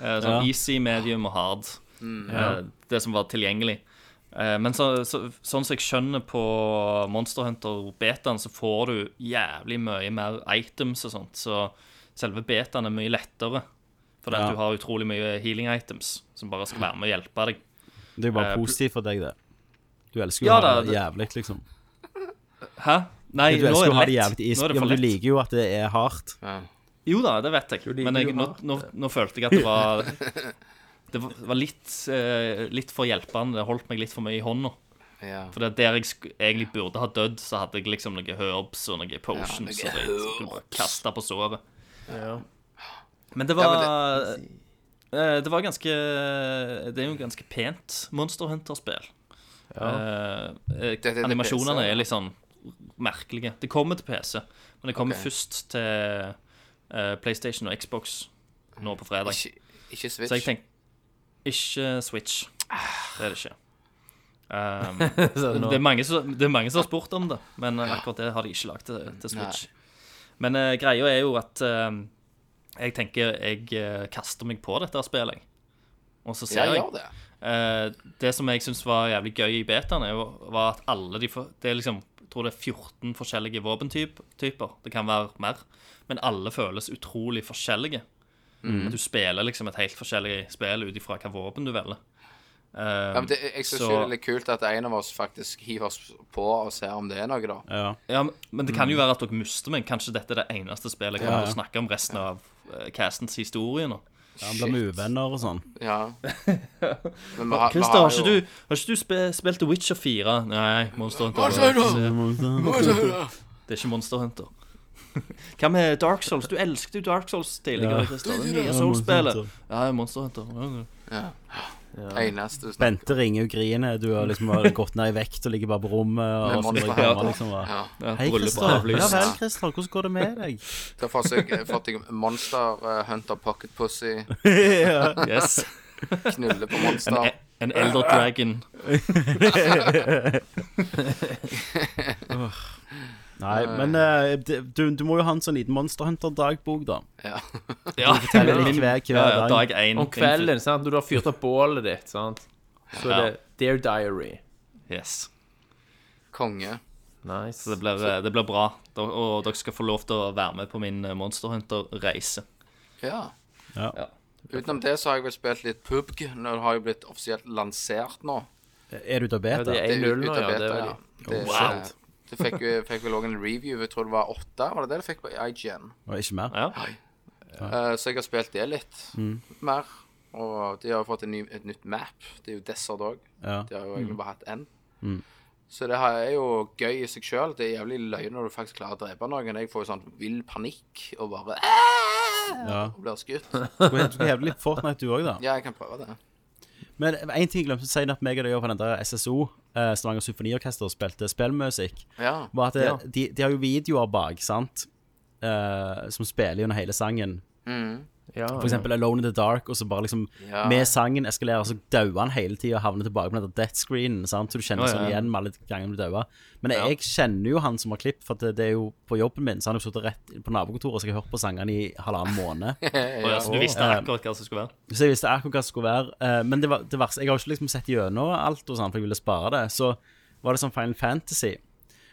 Speaker 4: eh, Sånn
Speaker 1: Ja.
Speaker 4: easy, medium og hard eh, Det som var tilgjengelig Eh, Men så, så, sånn som jeg skjønner på Monster Hunter betaen Så får du jævlig mye mer items og sånt Så selve betaen er mye lettere Fordi
Speaker 1: Ja.
Speaker 4: at du har utrolig mye healing items Som bare skal være med å hjelpe deg
Speaker 1: Det er jo bare
Speaker 4: Eh,
Speaker 1: positivt for deg, det. Du elsker jo
Speaker 4: Ja,
Speaker 1: å ha
Speaker 4: da,
Speaker 1: det jævlig, liksom.
Speaker 4: Hæ? Nei,
Speaker 1: Du
Speaker 4: nå
Speaker 1: elsker
Speaker 4: er
Speaker 1: jo å ha det
Speaker 4: det lett.
Speaker 1: jævlig
Speaker 4: Nå er
Speaker 1: is,
Speaker 4: det
Speaker 1: ja,
Speaker 4: for
Speaker 1: men du
Speaker 4: lett.
Speaker 1: liker jo at det er hardt.
Speaker 4: Jo da, det vet jeg.
Speaker 3: liker
Speaker 4: Men jeg,
Speaker 3: jo
Speaker 4: nå,
Speaker 3: hardt.
Speaker 4: nå, nå følte jeg at det var Det var var litt, eh, litt for hjelpende. Det holdt meg litt for mye i hånda.
Speaker 2: Ja.
Speaker 4: For det er der jeg sk- egentlig burde ha dødd, så hadde jeg liksom noen herbs og noen potions
Speaker 2: noen
Speaker 4: og dritt som kunne bare kaste på såret.
Speaker 3: Ja.
Speaker 4: Men det var eh, Det var ganske Det er jo ganske pent Monster Hunter-spill. Eh, eh,
Speaker 2: det til
Speaker 4: animasjonene
Speaker 2: PC, ja.
Speaker 4: er litt sånn merkelige. Det kommer til PC, men det kommer
Speaker 2: Ok.
Speaker 4: først til eh, PlayStation og Xbox nå på fredag.
Speaker 2: Ikke, ikke
Speaker 4: Så jeg
Speaker 2: Switch.
Speaker 4: tenker Ikke Switch. Det er det ikke. Um,
Speaker 3: Så nå-
Speaker 4: det, er mange som, det er mange som har spurt om det, men eh, akkurat det har de ikke lagd til, til Switch. Men eh, greia er jo at eh, jeg tenker jeg eh, kaster meg på dette spillet. jeg. Og så
Speaker 2: Ja,
Speaker 4: ser jeg.
Speaker 2: gjør det.
Speaker 4: Eh, det som jeg syns var jævlig gøy i betaen, er jo- var at alle de for, Det er liksom jeg tror det er 14 forskjellige våpentyper. Det kan være mer. Men alle føles utrolig forskjellige.
Speaker 2: Mm.
Speaker 4: At du spiller liksom et helt forskjellig spill ut ifra hva våpen du velger. Eh,
Speaker 2: Ja, men det, jeg syns
Speaker 4: så-
Speaker 2: det er litt kult at en av oss faktisk hiver oss på og ser om det er noe, da.
Speaker 1: Ja.
Speaker 4: ja, men- men det kan jo være at dere mister meg. Kanskje dette er det eneste spillet jeg kommer til å snakke om resten av eh, castens historie nå.
Speaker 1: Han blir med uvenner og sånn.
Speaker 2: Ja. Men vi har,
Speaker 4: Christer, har ikke du, har ikke du spe, spilt The Witcher 4? Nei, Monster Hunter. Det er ikke Monster Hunter. Hva med Dark Souls? Du elsket jo Dark Souls tidligere.
Speaker 1: Ja.
Speaker 4: Christer. Det nye Souls-spillet.
Speaker 1: Monster
Speaker 4: Ja, ja, Monster Hunter. Ja, ja.
Speaker 2: eneste du snakker
Speaker 1: Bente ringer og griner. Du har liksom har gått ned i vekt og ligger bare på rommet.
Speaker 2: Med
Speaker 1: Og så
Speaker 2: Monster
Speaker 1: ligger hjemme,
Speaker 2: Hunter.
Speaker 1: liksom, og,
Speaker 2: Ja.
Speaker 4: Ja,
Speaker 1: Hei,
Speaker 4: bryllup
Speaker 1: Christer.
Speaker 4: avlyst.
Speaker 1: Ja vel, Christer. Hvordan går det med deg?
Speaker 2: Da får jeg eh, fått deg Monster eh, Hunter Pocket Pussy,
Speaker 4: Yes.
Speaker 2: knulle på
Speaker 4: En,
Speaker 2: monster.
Speaker 4: e- en Elder Dragon.
Speaker 1: Nei, men eh, det- du, du må jo ha en sånn liten Monster Hunter-dagbok, da.
Speaker 2: Ja.
Speaker 4: Ja,
Speaker 1: Eller litt hver, hver
Speaker 4: ja, ja,
Speaker 1: dag.
Speaker 4: dag én.
Speaker 3: Om kvelden, sant, når du har fyrt opp bålet ditt, sant, så er
Speaker 4: Ja.
Speaker 3: det Dear Diary.
Speaker 4: Yes.
Speaker 2: Konge.
Speaker 3: Nice.
Speaker 4: Det blir, eh, det blir bra. Da- Og dere skal få lov til å være med på min eh, Monster Hunter-reise.
Speaker 2: Ja.
Speaker 1: Ja.
Speaker 2: Utenom det så har jeg vel spilt litt PUBG. Nå har jeg blitt offisielt lansert nå.
Speaker 1: Er du til
Speaker 3: Ja, det
Speaker 1: beta?
Speaker 3: er
Speaker 2: Det er
Speaker 3: 1-0 nå,
Speaker 2: ut av
Speaker 3: ja. Det
Speaker 2: beta,
Speaker 3: er Oh,
Speaker 2: ja.
Speaker 3: veldig
Speaker 2: Det, eh,
Speaker 4: Wow.
Speaker 2: det fikk, jo- fikk vel òg en review, jeg tror det var åtte. Var det det du fikk på IGN?
Speaker 1: Og ikke mer?
Speaker 4: Ja.
Speaker 2: Eh, så jeg har spilt det litt
Speaker 3: Mm.
Speaker 2: mer. Og de har fått en ny, et nytt map. Det er jo Desert òg.
Speaker 1: Ja.
Speaker 2: De har jo
Speaker 3: Mm.
Speaker 2: egentlig bare hatt én. Så det her er jo gøy i seg sjøl. Det er jævlig løgn når du faktisk klarer å drepe noen. Jeg får jo sånn vill panikk og bare «Æ!»
Speaker 1: Ja.
Speaker 2: og blir skutt.
Speaker 1: Du kan heve litt Fortnite, du òg, da.
Speaker 2: Ja, jeg kan prøve det.
Speaker 1: Men en ting jeg glemte å si når meg og deg var på den der SSO, eh, Stavanger Symfoniorkester, og spilte spillmusikk,
Speaker 2: Ja.
Speaker 1: var at det, de, de har jo videoer bak, sant? Eh, som spiller under hele sangen.
Speaker 3: Ja,
Speaker 1: For eksempel Alone in the Dark, og så bare liksom
Speaker 2: Ja.
Speaker 1: Med sangen eskalerer, så dauer han hele tida og havner tilbake på den der death screenen. Sant? Så du
Speaker 4: Ja,
Speaker 1: kjenner
Speaker 4: ja.
Speaker 1: sånn igjen med alle gangene du dauer. Men jeg kjenner jo han som har klipp, for at det, det er jo på jobben min. Så han har jo sittet rett på nabokontoret, så jeg har hørt på sangene i halvannen måned.
Speaker 4: Og ja, så du visste akkurat hva som skulle være.
Speaker 1: Så jeg visste akkurat hva det skulle være. eh, Men det var, det verste, jeg har jo ikke liksom sett gjennom alt, og sånn, for jeg ville spare det. Så var det sånn Final Fantasy.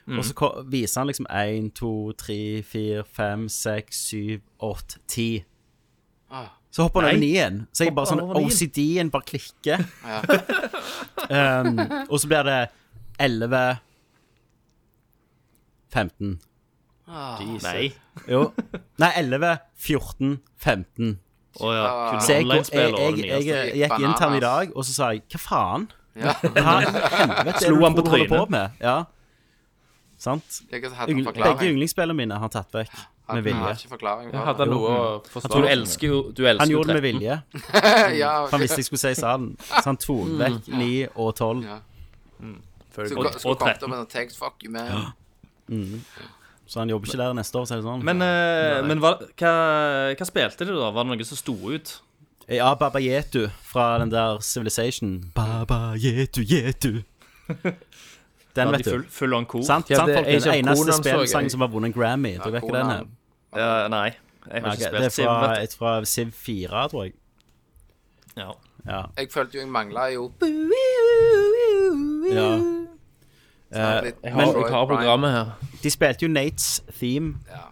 Speaker 1: Og
Speaker 4: Mm.
Speaker 1: så ko- viser han liksom 1, 2, 3, 4, 5, 6, 7, 8, 10. Så hopper han over 9 igjen. Så jeg bare
Speaker 4: Hopper
Speaker 1: sånn
Speaker 4: han over nien?
Speaker 1: OCD-en bare klikker. um, og så blir det 11 15.
Speaker 4: Ah, Nei.
Speaker 1: Jo. Nei, 11, 14, 15.
Speaker 4: Å ja.
Speaker 1: Så jeg,
Speaker 4: Kun
Speaker 1: jeg,
Speaker 4: Ah. online-spill og det
Speaker 1: jeg, jeg,
Speaker 4: nyeste.
Speaker 1: gikk intern i dag, og så sa jeg hva faen? Hva i helvete
Speaker 4: Slo
Speaker 1: er det
Speaker 4: han
Speaker 1: du
Speaker 4: på
Speaker 1: tror du holder på
Speaker 4: trynet?
Speaker 1: med? Ja. Sant?
Speaker 2: Jeg hadde en
Speaker 1: Yngl- Begge
Speaker 2: forklaring.
Speaker 1: yndlingsspillene mine har tatt vekk med
Speaker 2: Han har
Speaker 1: vilje.
Speaker 2: ikke forklaring
Speaker 3: Jeg
Speaker 2: på
Speaker 3: hadde
Speaker 2: det.
Speaker 3: noe å forsvare.
Speaker 4: Du elsker jo du elsker
Speaker 1: Han
Speaker 4: jo
Speaker 1: gjorde det med
Speaker 4: 13.
Speaker 1: vilje.
Speaker 2: Ja,
Speaker 1: Han visste jeg skulle si salen. Så han tok vekk 9 og 12.
Speaker 2: Ja.
Speaker 3: Selvfølgelig.
Speaker 2: Skulle
Speaker 4: Og-
Speaker 2: skulle
Speaker 4: og
Speaker 2: kommet
Speaker 4: 13.
Speaker 2: med noe text fuck you man.
Speaker 1: Så han jobber ikke der neste år, så er det sånn.
Speaker 4: Men, eh, men hva, hva, hva spilte de, da? Var det noe som sto ut?
Speaker 1: Eh, Ja, Baba Yetu fra den der Civilization. Baba Yetu Yetu. Den,
Speaker 4: Var de
Speaker 1: vet
Speaker 4: full,
Speaker 1: du.
Speaker 4: full on kor?
Speaker 1: Sant,
Speaker 3: Ja,
Speaker 1: sant
Speaker 3: det er
Speaker 1: folk, det er
Speaker 3: Age of
Speaker 1: den eneste
Speaker 3: Conan, så jeg.
Speaker 1: spillsangen som har vunnet en Grammy. Dere vet ikke den her?
Speaker 2: Conan.
Speaker 4: Ja, nei. Jeg har
Speaker 1: Ok,
Speaker 4: ikke
Speaker 1: Det er
Speaker 4: spilt Civ.
Speaker 1: fra,
Speaker 4: vet
Speaker 1: et fra Civ 4, tror jeg.
Speaker 4: du. Ja.
Speaker 1: Ja.
Speaker 2: Jeg følte jo jeg mangla jo
Speaker 1: ja.
Speaker 2: Snakk litt
Speaker 3: Jeg
Speaker 2: om
Speaker 3: har,
Speaker 2: Troy
Speaker 3: jeg har
Speaker 2: Bryant.
Speaker 3: programmet her.
Speaker 1: Eh, De spilte jo Nates theme,
Speaker 2: Ja.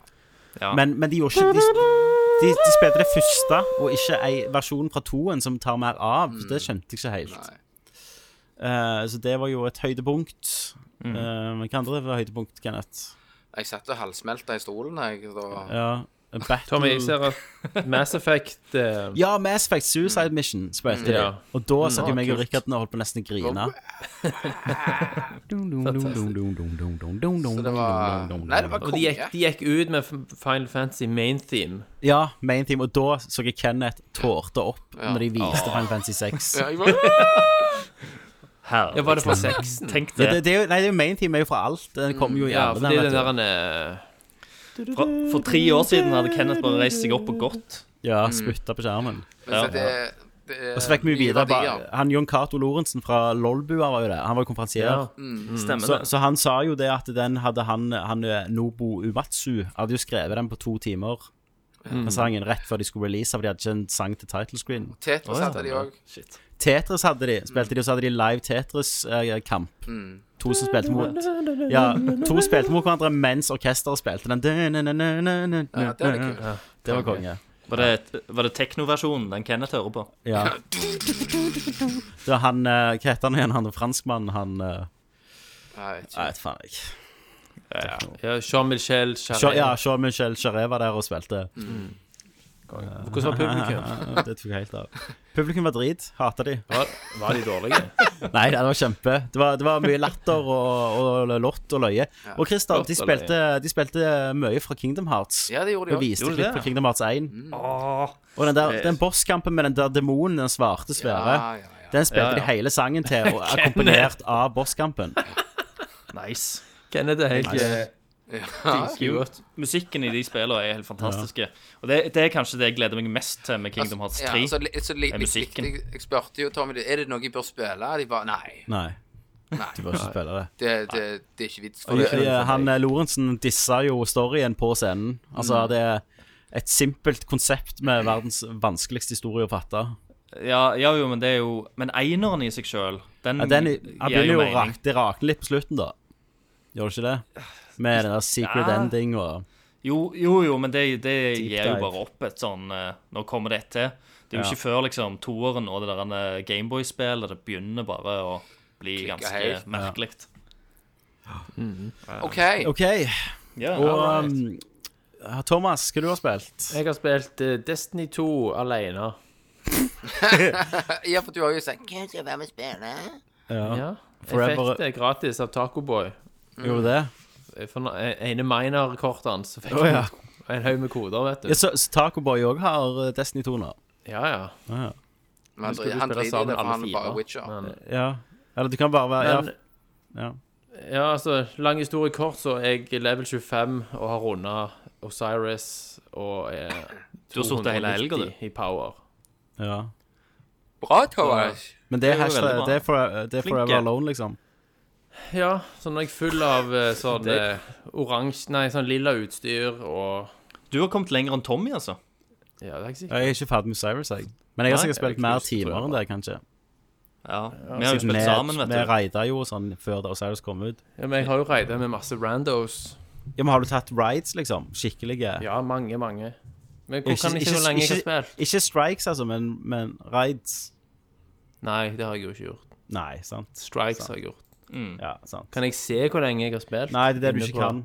Speaker 4: Ja.
Speaker 1: men, men de gjorde ikke de, de, de spilte det første, og ikke ei versjon fra toen som tar mer av. Det skjønte jeg ikke helt.
Speaker 2: Nei.
Speaker 1: Eh, så det var jo et høydepunkt.
Speaker 4: Mm.
Speaker 1: Eh, men hva andre var høydepunkt, Kenneth?
Speaker 2: Jeg satt og halvsmelta i stolen, jeg. Da.
Speaker 1: Ja, Battle
Speaker 3: Tommy, jeg ser at Mass Effect eh,
Speaker 1: Ja, Mass Effect Suicide Mission spilte
Speaker 4: Mm,
Speaker 1: de.
Speaker 3: Ja.
Speaker 1: Og da satt jo
Speaker 3: Ah,
Speaker 1: meg og
Speaker 3: kult.
Speaker 1: Rikard og holdt på nesten å grine.
Speaker 2: Så det var Nei, det var
Speaker 3: Og de gikk,
Speaker 2: konge.
Speaker 3: de gikk ut med Final Fantasy main theme.
Speaker 1: Ja, main theme. Og da så jeg Kenneth tårte opp
Speaker 2: Ja.
Speaker 1: når de viste Final Fantasy 6.
Speaker 2: Ja, jeg var-
Speaker 3: Ja, var det fra sexen?
Speaker 4: Tenk
Speaker 1: Ja,
Speaker 4: det.
Speaker 1: det, det er jo, nei, det er jo main theme er jo fra alt. Den kommer jo i
Speaker 3: Ja,
Speaker 1: alle.
Speaker 3: fordi
Speaker 1: den,
Speaker 3: den der
Speaker 1: vet du.
Speaker 3: han eh,
Speaker 4: Fra, for tre år siden hadde Kenneth bare reist seg opp og gått.
Speaker 1: Ja, spytta på skjermen.
Speaker 2: Men så det- det er
Speaker 1: Og så fikk vi
Speaker 2: nye
Speaker 1: videre
Speaker 2: verdier.
Speaker 1: bare, Han Jon Cato Lorentzen fra Lolbua var jo der. Han var jo konferansier.
Speaker 3: Ja.
Speaker 4: Mm, Stemmer
Speaker 1: Så,
Speaker 4: det.
Speaker 1: så han sa jo det at den hadde han, han eh, Nobu Umatsu hadde jo skrevet den på to timer. Den sangen rett før de skulle release, for de hadde ikke en sang til title screen.
Speaker 2: Tetris hadde de òg.
Speaker 1: Tetris hadde de, spilte de, og så hadde de live Tetris-kamp. To som spilte mot Ja, to spilte mot hverandre mens orkesteret spilte den.
Speaker 2: Ja, det er kult.
Speaker 1: Det var konge.
Speaker 4: Var det, var det teknoversjonen den Kenneth hører på?
Speaker 1: Ja. Det var han eh, Hva heter han igjen, han franskmannen, han eh,
Speaker 2: Nei, ikke-
Speaker 1: Nei, vet faen ikke.
Speaker 3: ja, Jean-Michel
Speaker 1: Sha-
Speaker 3: Charret.
Speaker 1: Ja, Jean-Michel Jarret var der og spilte.
Speaker 3: Hvordan var publikum?
Speaker 1: Ja, det tok jeg helt av. Publikum var drit. Hata de.
Speaker 3: Var, var de dårlige?
Speaker 1: Nei, det var kjempe. Det var, det var mye latter og, og lott og løye. Og Christer,
Speaker 3: Lott
Speaker 1: de
Speaker 3: og
Speaker 1: spilte, de spilte mye fra Kingdom Hearts.
Speaker 2: Ja, det gjorde de Mm.
Speaker 1: Vi
Speaker 2: òg.
Speaker 1: viste
Speaker 4: Gjorde de
Speaker 1: klipp
Speaker 4: det,
Speaker 1: fra Kingdom Hearts 1.
Speaker 4: Åh,
Speaker 1: Og den, der, den bosskampen med den der demonen, den svarte svære,
Speaker 2: Ja, ja, ja.
Speaker 1: den spilte
Speaker 4: Ja, ja.
Speaker 1: de hele sangen til, og akkompagnert av bosskampen.
Speaker 4: nice.
Speaker 3: Kenneth er helt eh,
Speaker 4: Jo, musikken i de spillene er helt fantastiske. Og det, det er kanskje det jeg gleder meg mest til med Kingdom Hearts 3.
Speaker 2: Altså, Ja, så, li- så li,
Speaker 4: er musikken.
Speaker 2: Jeg, jeg spurte jo Tommy er det noe jeg bør spille. De bare nei.
Speaker 1: Nei,
Speaker 2: nei
Speaker 1: du bør ikke spille det.
Speaker 2: det, det, det er ikke vits for
Speaker 1: Og,
Speaker 2: det.
Speaker 1: eh, han eh, Lorentzen dissa jo storyen på scenen. Altså,
Speaker 2: Mm.
Speaker 1: det er et simpelt konsept med verdens vanskeligste historie å fatte.
Speaker 4: Ja, ja jo, men det er jo Men eineren i seg sjøl, den,
Speaker 2: Mm.
Speaker 1: Ja, den, han
Speaker 4: gir
Speaker 1: begynner
Speaker 4: jo
Speaker 1: jo å
Speaker 4: mening.
Speaker 1: rak, det rakner litt på slutten, da. Gjør det ikke det? Med den der secret
Speaker 4: Ja.
Speaker 1: ending og
Speaker 4: Jo, jo, jo, men det, det
Speaker 1: Deep
Speaker 4: gir jo
Speaker 1: dive.
Speaker 4: bare opp et sånn eh, Nå kommer det et til. Det er jo
Speaker 1: Ja.
Speaker 4: ikke før liksom toeren og det der eh, Gameboy-spillet det begynner bare å bli
Speaker 2: Klikker
Speaker 4: ganske
Speaker 2: helt.
Speaker 4: merkelig.
Speaker 2: OK.
Speaker 1: OK.
Speaker 4: Ja,
Speaker 1: Og um, Thomas, hva du har spilt?
Speaker 3: Jeg har spilt eh, Destiny 2 alene.
Speaker 2: Ja, for du har jo sagt Hvem skal være med og spille?
Speaker 3: Ja. Jeg
Speaker 1: Forever-
Speaker 3: fikk det gratis av Tacoboy.
Speaker 1: Gjorde det?
Speaker 3: For den ene minerkortet hans så fikk
Speaker 1: Å, ja.
Speaker 3: jeg en haug med koder, vet
Speaker 1: Ja,
Speaker 3: du.
Speaker 1: så, så Tacoboy òg har eh, Destiny 2 nå?
Speaker 3: Ja, ja.
Speaker 2: Men han
Speaker 3: skulle
Speaker 2: dri- han
Speaker 3: spille
Speaker 2: driter i
Speaker 3: sammen
Speaker 2: det, for
Speaker 3: alle
Speaker 2: han er bare
Speaker 3: fire.
Speaker 2: Witcher.
Speaker 3: Men,
Speaker 1: Ja. Eller du kan bare være
Speaker 3: men
Speaker 1: ja,
Speaker 3: Ja, altså, lang historie kort, så er jeg level 25 og har runda Osiris og eh, er
Speaker 4: Du har sittet hele helga, du.
Speaker 3: 290 i power.
Speaker 1: ja, ja.
Speaker 2: Bra, Thomas.
Speaker 1: Men det
Speaker 4: Det
Speaker 1: er,
Speaker 4: er jo
Speaker 1: hashtag-
Speaker 4: veldig bra.
Speaker 1: det er, for, eh, det er
Speaker 4: Flink,
Speaker 1: Forever
Speaker 4: ja.
Speaker 1: Alone, liksom.
Speaker 3: Ja, så nå er jeg full av eh, sånn eh, oransje Nei, sånn lilla utstyr og
Speaker 4: Du har kommet lenger enn Tommy, altså.
Speaker 3: Ja, det er ikke sikkert.
Speaker 1: Jeg er ikke ferdig med Cyrus, jeg. Men jeg
Speaker 4: Nei,
Speaker 1: har sikkert spilt
Speaker 3: det er
Speaker 1: mer
Speaker 3: kult, tror
Speaker 1: timer
Speaker 3: jeg
Speaker 1: enn det, kanskje.
Speaker 4: Ja, Vi har jo
Speaker 1: Siden
Speaker 4: spilt sammen,
Speaker 1: vi
Speaker 4: vet du.
Speaker 1: raida jo og sånn før da Cyrus kom ut.
Speaker 3: Ja, men jeg har jo raida med masse randos.
Speaker 1: Ja, Men har du tatt rides, liksom? Skikkelige?
Speaker 3: Ja, mange, mange. Men hvor kan jeg ikke så lenge jeg har spilt?
Speaker 1: Ikke strikes, altså, men, men rides.
Speaker 3: Nei, det har jeg jo ikke gjort.
Speaker 1: Nei, sant.
Speaker 3: Strikes har jeg gjort.
Speaker 1: Ja, sant.
Speaker 3: Kan jeg se hvor lenge jeg har spilt?
Speaker 1: Nei, det er det du
Speaker 3: Inne
Speaker 1: ikke
Speaker 3: på-
Speaker 1: kan.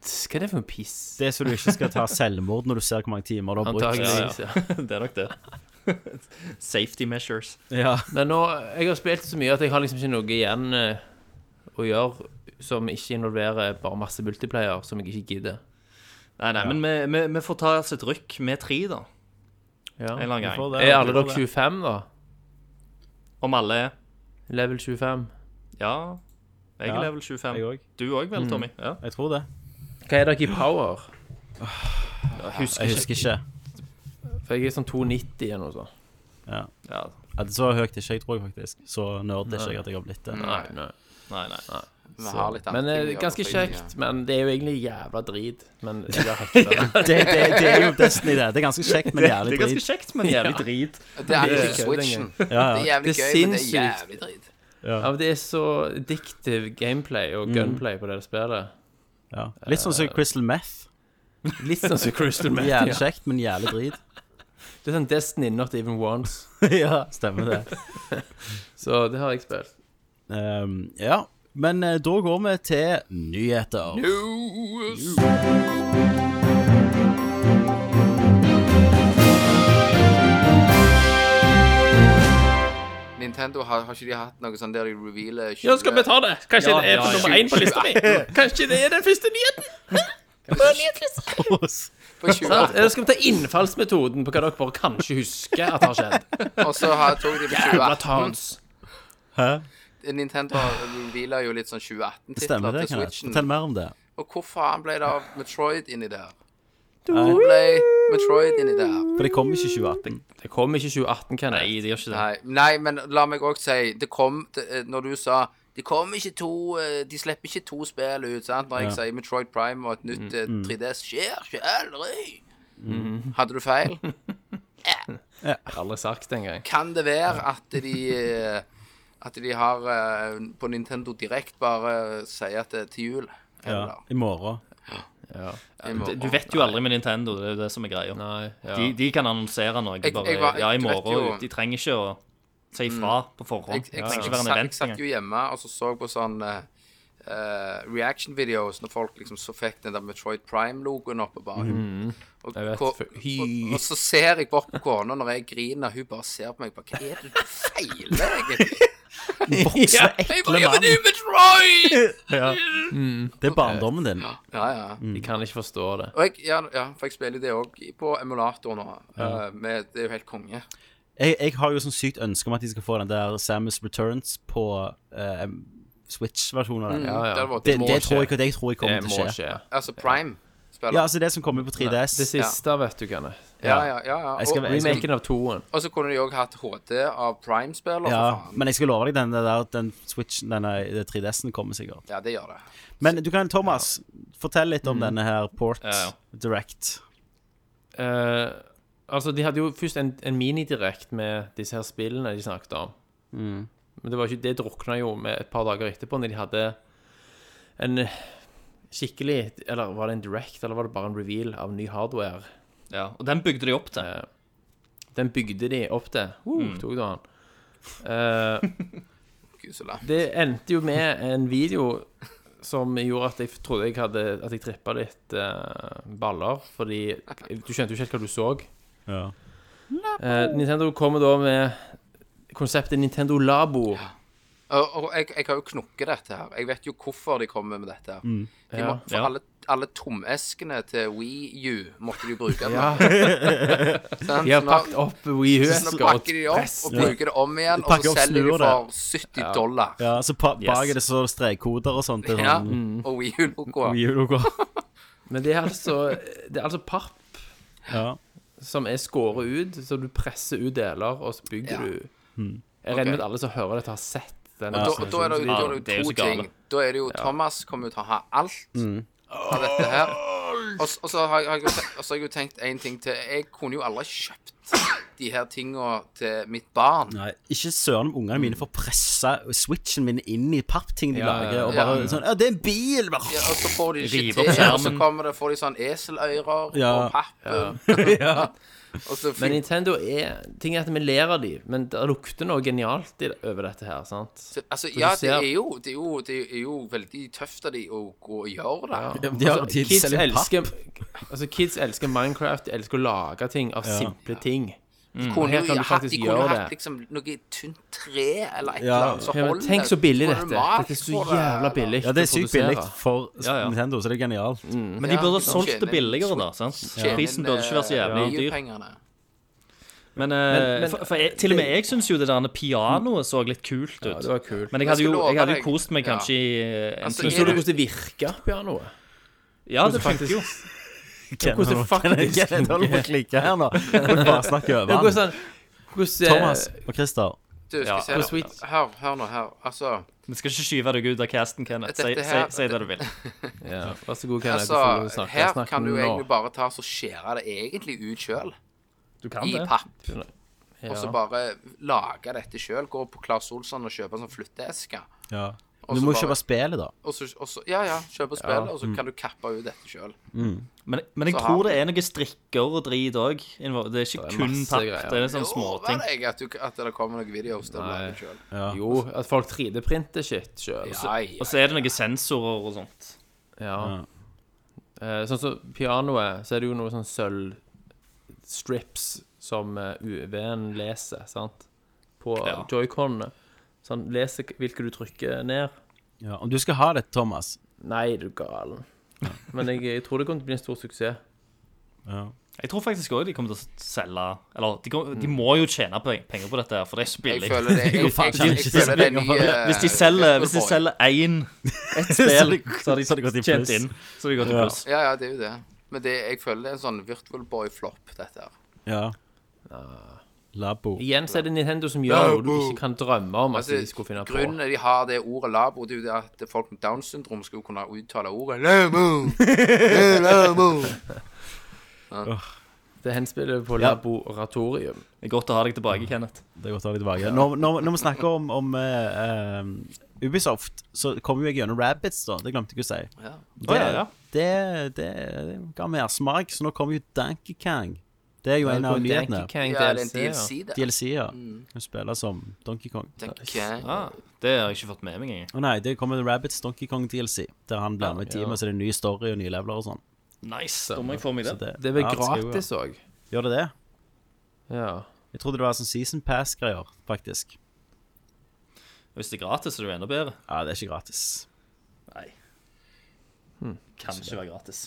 Speaker 3: Hva er det for en piss?
Speaker 1: Det er så du ikke skal ta selvmord når du ser hvor mange timer du har brukt.
Speaker 3: Antakeligvis, ja.
Speaker 4: Det er nok det. Safety measures.
Speaker 1: Ja.
Speaker 3: Men nå, jeg har spilt så mye at jeg har liksom ikke noe igjen eh, å gjøre som ikke involverer bare masse multiplayer som jeg ikke gidder.
Speaker 4: Nei, nei, men vi, vi, vi får ta oss et rykk med tre, da.
Speaker 3: Ja.
Speaker 4: En eller annen gang.
Speaker 3: Er alle dere 25, da?
Speaker 4: Om alle er
Speaker 3: Level 25?
Speaker 4: Ja, jeg er
Speaker 1: Ja,
Speaker 4: level 25.
Speaker 1: Jeg òg.
Speaker 4: Du òg vel, Tommy? Ja.
Speaker 1: Jeg tror det.
Speaker 3: Hva er dere i power?
Speaker 1: Jeg husker ikke.
Speaker 3: For jeg er sånn 290 eller noe sånt.
Speaker 1: Ja.
Speaker 4: ja.
Speaker 1: Ja, det så høyt ikke jeg, tror jeg faktisk. Så nerd er ikke jeg at jeg har blitt det.
Speaker 3: Nei, nei.
Speaker 4: Nei, nei.
Speaker 2: Vi har litt
Speaker 3: Men
Speaker 2: annet
Speaker 3: eh,
Speaker 2: å gjøre
Speaker 3: ganske
Speaker 2: på fritiden,
Speaker 3: kjekt. Men det er jo egentlig jævla drit. Men jeg har hekta det.
Speaker 1: Det, det, det er jo Destiny, det. Det er ganske kjekt, men
Speaker 4: Det
Speaker 1: jævlig
Speaker 4: er ganske
Speaker 1: drit.
Speaker 4: kjekt, men jævlig drit.
Speaker 2: ja. Det er
Speaker 3: Det er
Speaker 2: ikke switchen. Det
Speaker 1: Ja,
Speaker 2: er
Speaker 1: ja.
Speaker 2: jævlig
Speaker 3: Det er
Speaker 2: gøy, men det er
Speaker 3: sinnssykt.
Speaker 2: jævlig drit.
Speaker 3: Ja, men det er så addictive gameplay og gunplay på det spillet.
Speaker 1: ja. Litt sånn som
Speaker 4: Eh.
Speaker 1: Crystal Meth.
Speaker 3: Litt sånn som Crystal Meth.
Speaker 1: Jævlig
Speaker 3: ja.
Speaker 1: kjekt, men jævlig drit.
Speaker 3: Det er sånn Destiny Not Even Once.
Speaker 1: Ja, stemmer det.
Speaker 3: Så det har jeg spilt.
Speaker 1: Ehm, ja, men eh, da går vi til nyheter.
Speaker 2: Nintendo, har, har ikke de hatt noe sånn der de revealer 20
Speaker 3: Ja, skal vi ta det? Kanskje
Speaker 4: Ja,
Speaker 3: det er
Speaker 4: ja,
Speaker 3: på nummer én på lista mi? Kanskje det er den første nyheten?
Speaker 2: på 20
Speaker 3: Sant? Eller skal vi ta innfallsmetoden på hva dere bare kanskje husker at har skjedd?
Speaker 2: Og så har, tok de på
Speaker 3: Jævla
Speaker 2: 2018.
Speaker 3: towns.
Speaker 1: Hæ?
Speaker 2: Nintendo revealer jo litt sånn 2018-titler
Speaker 1: Stemmer det,
Speaker 2: til
Speaker 1: Kenneth?
Speaker 2: Switchen.
Speaker 1: Fortell mer om det.
Speaker 2: Og hvor faen ble det av Metroid inni der? Hvor ble Metroid inni der?
Speaker 1: For det kom ikke
Speaker 2: Mm.
Speaker 1: i 2018.
Speaker 3: Det kom ikke 2018, kan
Speaker 4: Nei,
Speaker 3: jeg.
Speaker 4: det gjør ikke det.
Speaker 2: Nei, nei men la meg òg si Det kom det, eh, Når du sa de kommer ikke to eh, De slipper ikke to spill ut, sant? Når jeg sier Metroid Prime og et
Speaker 4: Mm,
Speaker 2: nytt eh, 3DS skjer ikke aldri. Hadde du feil?
Speaker 3: Jeg har aldri sagt det engang.
Speaker 2: Kan det være at de eh, At de har eh, på Nintendo Direkt bare sier at det er til jul?
Speaker 1: Ja,
Speaker 2: Eller
Speaker 1: I morgen.
Speaker 2: i morgen?
Speaker 4: Du vet jo aldri med Nintendo, det er jo det som er greia.
Speaker 3: Nei, ja.
Speaker 4: De, de kan annonsere noe
Speaker 2: Jeg-
Speaker 4: bare
Speaker 2: jeg var- jeg
Speaker 4: ja, i
Speaker 2: vet
Speaker 4: morgen.
Speaker 2: jo- Mm.
Speaker 4: De trenger ikke å si ifra på forhånd.
Speaker 2: Jeg, jeg,
Speaker 4: det trenger
Speaker 2: jeg,
Speaker 4: ikke være en
Speaker 2: satt- jeg
Speaker 4: event
Speaker 2: satt
Speaker 4: engang.
Speaker 2: jo hjemme og så, så på sånn eh, eh, reaction videos når folk liksom så fikk den der Metroid Prime-logoen oppe bare.
Speaker 1: Mm.
Speaker 2: Og,
Speaker 3: Jeg vet,
Speaker 2: hvor-
Speaker 3: for-
Speaker 2: og, og så ser jeg bort på kona når jeg griner, hun bare ser på meg bare Hva er det du feiler, egentlig?
Speaker 1: Vokse,
Speaker 2: Jeg
Speaker 1: ekle
Speaker 2: bare, ja, men det
Speaker 1: mann!
Speaker 2: er jo Metroid!
Speaker 4: Mm.
Speaker 1: Det er barndommen din.
Speaker 2: Ja, ja.
Speaker 1: Mm.
Speaker 3: De kan ikke forstå det.
Speaker 2: Og jeg, ja, ja, for jeg spiller jo det òg på emulator nå. eh, med, det er jo helt konge.
Speaker 1: Jeg, jeg har jo sånn sykt ønske om at de skal få den der Samus Returns på eh, Switch-versjonen av den.
Speaker 3: Ja, ja.
Speaker 2: Det hadde vært-
Speaker 1: Det,
Speaker 2: må
Speaker 1: det,
Speaker 2: skje.
Speaker 1: tror jeg, det tror jeg
Speaker 3: Det
Speaker 1: kommer til
Speaker 3: må
Speaker 1: å skje.
Speaker 3: skje.
Speaker 2: Altså Prime.
Speaker 1: Ja,
Speaker 2: Spiller.
Speaker 1: altså det som kommer på 3DS.
Speaker 3: Det siste vet du, Kenneth.
Speaker 2: Ja, ja, ja. ja.
Speaker 1: Jeg skal-
Speaker 2: Og,
Speaker 1: jeg skal-
Speaker 3: Remaken av toen.
Speaker 2: og så kunne de òg hatt HD av Prime-spiller,
Speaker 1: Ja,
Speaker 2: for faen.
Speaker 1: men jeg skal love deg, den, der, den eh, Switchen, denne 3DS-en kommer sikkert.
Speaker 2: Ja, det gjør det.
Speaker 1: Men du kan, Thomas, fortell litt om denne her Port
Speaker 4: Ja, ja.
Speaker 1: Direct.
Speaker 3: Eh, altså, de hadde jo først en, en minidirekt med disse her spillene de snakket om. Men det var ikke, det drukna jo med et par dager etterpå, når de hadde en skikkelig Eller var det en direct, eller var det bare en reveal av ny hardware? Eh,
Speaker 4: Ja, og den bygde de opp til.
Speaker 3: Den bygde de opp til. Uh, Tok du den? Eh,
Speaker 2: Gusela.
Speaker 3: det endte jo med en video som gjorde at jeg trodde jeg hadde At jeg trippa litt eh, baller, fordi du skjønte jo ikke helt hva du så.
Speaker 1: Ja. Oh.
Speaker 3: Eh, Nintendo kommer da med konseptet Nintendo Labo.
Speaker 2: Og, og jeg, jeg har jo knukket dette her. Jeg vet jo hvorfor de kommer med dette. her. De må,
Speaker 3: Mm. Ja,
Speaker 2: for
Speaker 3: ja.
Speaker 2: alle, alle tomeskene til Wii U måtte de jo bruke. den. Sant?
Speaker 3: De har
Speaker 2: Så nå-
Speaker 3: pakket opp
Speaker 2: så nå
Speaker 3: Wii U-esker og
Speaker 2: pakker de opp og bruker det om igjen, og
Speaker 1: Pakker
Speaker 2: så
Speaker 1: opp,
Speaker 2: selger de
Speaker 1: snur
Speaker 2: for 70 dollar.
Speaker 1: ja, så pa bak er det så strekkoder og sånt. Det er
Speaker 2: Ja,
Speaker 1: sånn
Speaker 3: Mm.
Speaker 2: Og Wii U-logoer.
Speaker 1: Wii-logo.
Speaker 3: Men det er altså Det er altså papp
Speaker 1: Ja.
Speaker 3: som er skåret ut, så du presser ut deler, og så bygger
Speaker 2: Ja.
Speaker 3: du.
Speaker 1: Hmm.
Speaker 3: Jeg regner
Speaker 2: Ok.
Speaker 3: med at alle som hører dette, har sett den.
Speaker 2: Da, og da er det jo,
Speaker 4: Ja,
Speaker 2: da er det
Speaker 4: det er jo
Speaker 2: jo to
Speaker 4: så gale.
Speaker 2: ting. Da er det jo Thomas kommer jo til å ha alt
Speaker 3: Mm.
Speaker 2: av dette her. Og, s- og så har jeg- har jeg, jo te- og så har jeg jo tenkt én ting til. Jeg kunne jo aldri kjøpt de her tinga til mitt barn.
Speaker 1: Nei, ikke søren om ungene mine får pressa switchen min inn i pappting de
Speaker 3: Ja, ja,
Speaker 1: lager, og
Speaker 2: ja.
Speaker 1: bare sånn Ja, det er en bil! Bare.
Speaker 2: Ja, og så får de det
Speaker 4: Rive
Speaker 2: ikke
Speaker 4: opp
Speaker 2: til, og så
Speaker 4: skjermen.
Speaker 2: kommer det, får de sånn eselører
Speaker 1: Ja.
Speaker 2: og pappen. og så
Speaker 3: Men
Speaker 2: flytter
Speaker 3: Nintendo er Ting er at vi ler av dem, men det lukter noe genialt i, over dette her, sant?
Speaker 2: Altså, ja, det
Speaker 3: ser-
Speaker 2: er, jo, det, er jo, det er jo veldig tøft av de å gå og gjøre det.
Speaker 1: De har de
Speaker 3: Altså, Kids
Speaker 1: selger papp.
Speaker 3: elsker, altså, kids elsker Minecraft, de elsker å lage ting av simple ting.
Speaker 2: Kunne
Speaker 3: Her
Speaker 2: jo
Speaker 3: kan du
Speaker 2: hatt-
Speaker 3: faktisk
Speaker 2: de kunne
Speaker 3: gjøre
Speaker 2: hatt
Speaker 3: det.
Speaker 2: liksom noe tynt tre eller et
Speaker 1: Ja.
Speaker 2: eller annet. som
Speaker 3: Ja, men
Speaker 2: holder.
Speaker 3: tenk så billig
Speaker 2: Får du
Speaker 3: dette.
Speaker 2: mat
Speaker 3: Dette er så
Speaker 2: for det,
Speaker 3: jævla
Speaker 2: eller?
Speaker 3: billig.
Speaker 1: Ja, det er
Speaker 3: å
Speaker 1: sykt
Speaker 3: produsere.
Speaker 1: billig for
Speaker 4: Ja, ja.
Speaker 1: Nintendo, så det er genialt.
Speaker 4: Men de
Speaker 2: Ja,
Speaker 4: burde ha
Speaker 2: liksom
Speaker 4: solgt det
Speaker 2: tjene-
Speaker 4: billigere, da. sant?
Speaker 2: Tjene
Speaker 4: Prisen burde ikke vært
Speaker 2: eh,
Speaker 4: så jævlig
Speaker 2: mye
Speaker 4: dyr.
Speaker 2: pengene.
Speaker 4: Men, eh, for, for jeg, til og med jeg syns jo det der pianoet så litt kult ut.
Speaker 3: Ja, det var kult.
Speaker 4: Men jeg
Speaker 2: Jeg
Speaker 4: hadde jo,
Speaker 2: skal love
Speaker 4: jeg hadde
Speaker 2: deg.
Speaker 4: jo kost meg kanskje i eh, en
Speaker 2: Altså,
Speaker 4: time.
Speaker 3: Men så du hvordan det virka, pianoet?
Speaker 4: Ja, det
Speaker 3: hvordan
Speaker 4: funker jo.
Speaker 3: Hvordan det faktisk
Speaker 1: Jeg holder på å klikke her nå. Jeg må bare snakke
Speaker 3: Ja,
Speaker 1: over han.
Speaker 3: hvordan sånn Hvordan eh,
Speaker 1: Thomas og Christer.
Speaker 2: Du, skal
Speaker 4: Ja,
Speaker 2: se
Speaker 3: og
Speaker 2: nå.
Speaker 3: sweet.
Speaker 2: Hør, hør nå her. Altså,
Speaker 4: Vi skal ikke skyve deg ut av casten, Kenneth. Si,
Speaker 2: Dette
Speaker 4: si,
Speaker 2: her-
Speaker 4: si det du vil.
Speaker 3: ja, Vær så god, Kenneth. du får
Speaker 2: altså
Speaker 3: snakke.
Speaker 2: her
Speaker 3: Snakk
Speaker 2: kan du
Speaker 3: nå.
Speaker 2: egentlig bare ta og skjære det egentlig ut sjøl,
Speaker 4: Du kan
Speaker 2: i
Speaker 4: det.
Speaker 2: papp.
Speaker 3: Ja.
Speaker 2: Og så bare lage dette sjøl. Gå på Claes Olsson og kjøpe en sånn flytteeske.
Speaker 1: Ja.
Speaker 2: Og
Speaker 1: Du
Speaker 2: så
Speaker 1: må
Speaker 2: bare-
Speaker 1: kjøpe spillet, da.
Speaker 2: Og så, og så, ja, ja, kjøpe spillet, og så kan du kappe ut dette sjøl.
Speaker 4: Men, men jeg
Speaker 2: Så
Speaker 4: tror
Speaker 2: har-
Speaker 4: det er noe strikker og drit òg. Det er ikke
Speaker 3: er
Speaker 4: kun
Speaker 3: masse
Speaker 4: papp.
Speaker 3: greier.
Speaker 4: Det er sånn småting.
Speaker 2: Jeg, at, du, at det kommer noen videoer der du lager den sjøl.
Speaker 3: Jo, at folk 3D-printer shit sjøl.
Speaker 2: Ja, ja.
Speaker 4: Og så er det noen sensorer og sånt.
Speaker 3: Ja. Eh, Sånn som pianoet, så er det jo noe sånn sølvstrips som eh, UV-en leser, sant? På
Speaker 4: Ja.
Speaker 3: joyconene. Så han leser k- hvilke du trykker ned.
Speaker 1: Ja. Om du skal ha det, Thomas
Speaker 3: Nei, du galen. Men jeg, jeg tror det kommer til å bli en stor suksess.
Speaker 4: Jeg tror faktisk òg de kommer til å selge Eller de, kom, de må jo tjene pe- penger på dette, her, for det er så
Speaker 2: Mm. Jeg
Speaker 4: billig.
Speaker 2: føler det jeg, jeg, jeg, jeg, føler det er nye
Speaker 4: Hvis de selger Hvis de selger én ett spill, så har de
Speaker 1: så har det gått i
Speaker 4: tjent
Speaker 1: pluss.
Speaker 4: inn. Så har de gått i pluss.
Speaker 2: Ja, ja, det er jo det. Men det, jeg føler det er en sånn Virtual Boy-flopp, dette her.
Speaker 1: Ja. Labo.
Speaker 3: Igjen så er det Nintendo som gjør noe du ikke kan drømme om at
Speaker 2: Altså,
Speaker 3: de skulle finne på.
Speaker 2: grunnen de har det ordet labo, det er jo det at folk med Downs syndrom skulle kunne uttale ordet labo. labo.
Speaker 3: Det henspiller på
Speaker 1: Ja.
Speaker 3: laboratorium.
Speaker 4: Det er godt å ha deg
Speaker 2: Mm.
Speaker 4: tilbake, Kenneth.
Speaker 1: Det er godt å ha litt vage. Når, når, når vi snakker om, om eh, eh, Ubisoft, så kom jo jeg gjennom Rabbits, da. Det glemte jeg å si.
Speaker 2: Ja.
Speaker 1: Det,
Speaker 4: Å, ja, ja.
Speaker 1: det, det, det ga mersmak, så nå kommer jo Donkey Kang. Det er jo en av nyhetene.
Speaker 2: Ja, det er en DLC, det.
Speaker 1: DLC-er. Hun spiller som Donkey Kong. Å
Speaker 2: DLC.
Speaker 4: Ah, det har jeg ikke fått med meg engang.
Speaker 1: nei, det kommer en Rabbits Donkey Kong DLC, der han blir med i teamet, så det er en ny story og nye leveler og sånn.
Speaker 4: Nice. Da må jeg få meg
Speaker 1: Så
Speaker 4: det.
Speaker 3: Det er vel
Speaker 1: ja, det skal jo-
Speaker 3: gratis òg.
Speaker 1: Gjør det det?
Speaker 3: Ja.
Speaker 1: Jeg trodde det var sånn Season Pass-greier, faktisk.
Speaker 4: Hvis det er gratis, så er det jo enda bedre.
Speaker 1: Ja, det er ikke gratis.
Speaker 4: Nei. Kan ikke være gratis.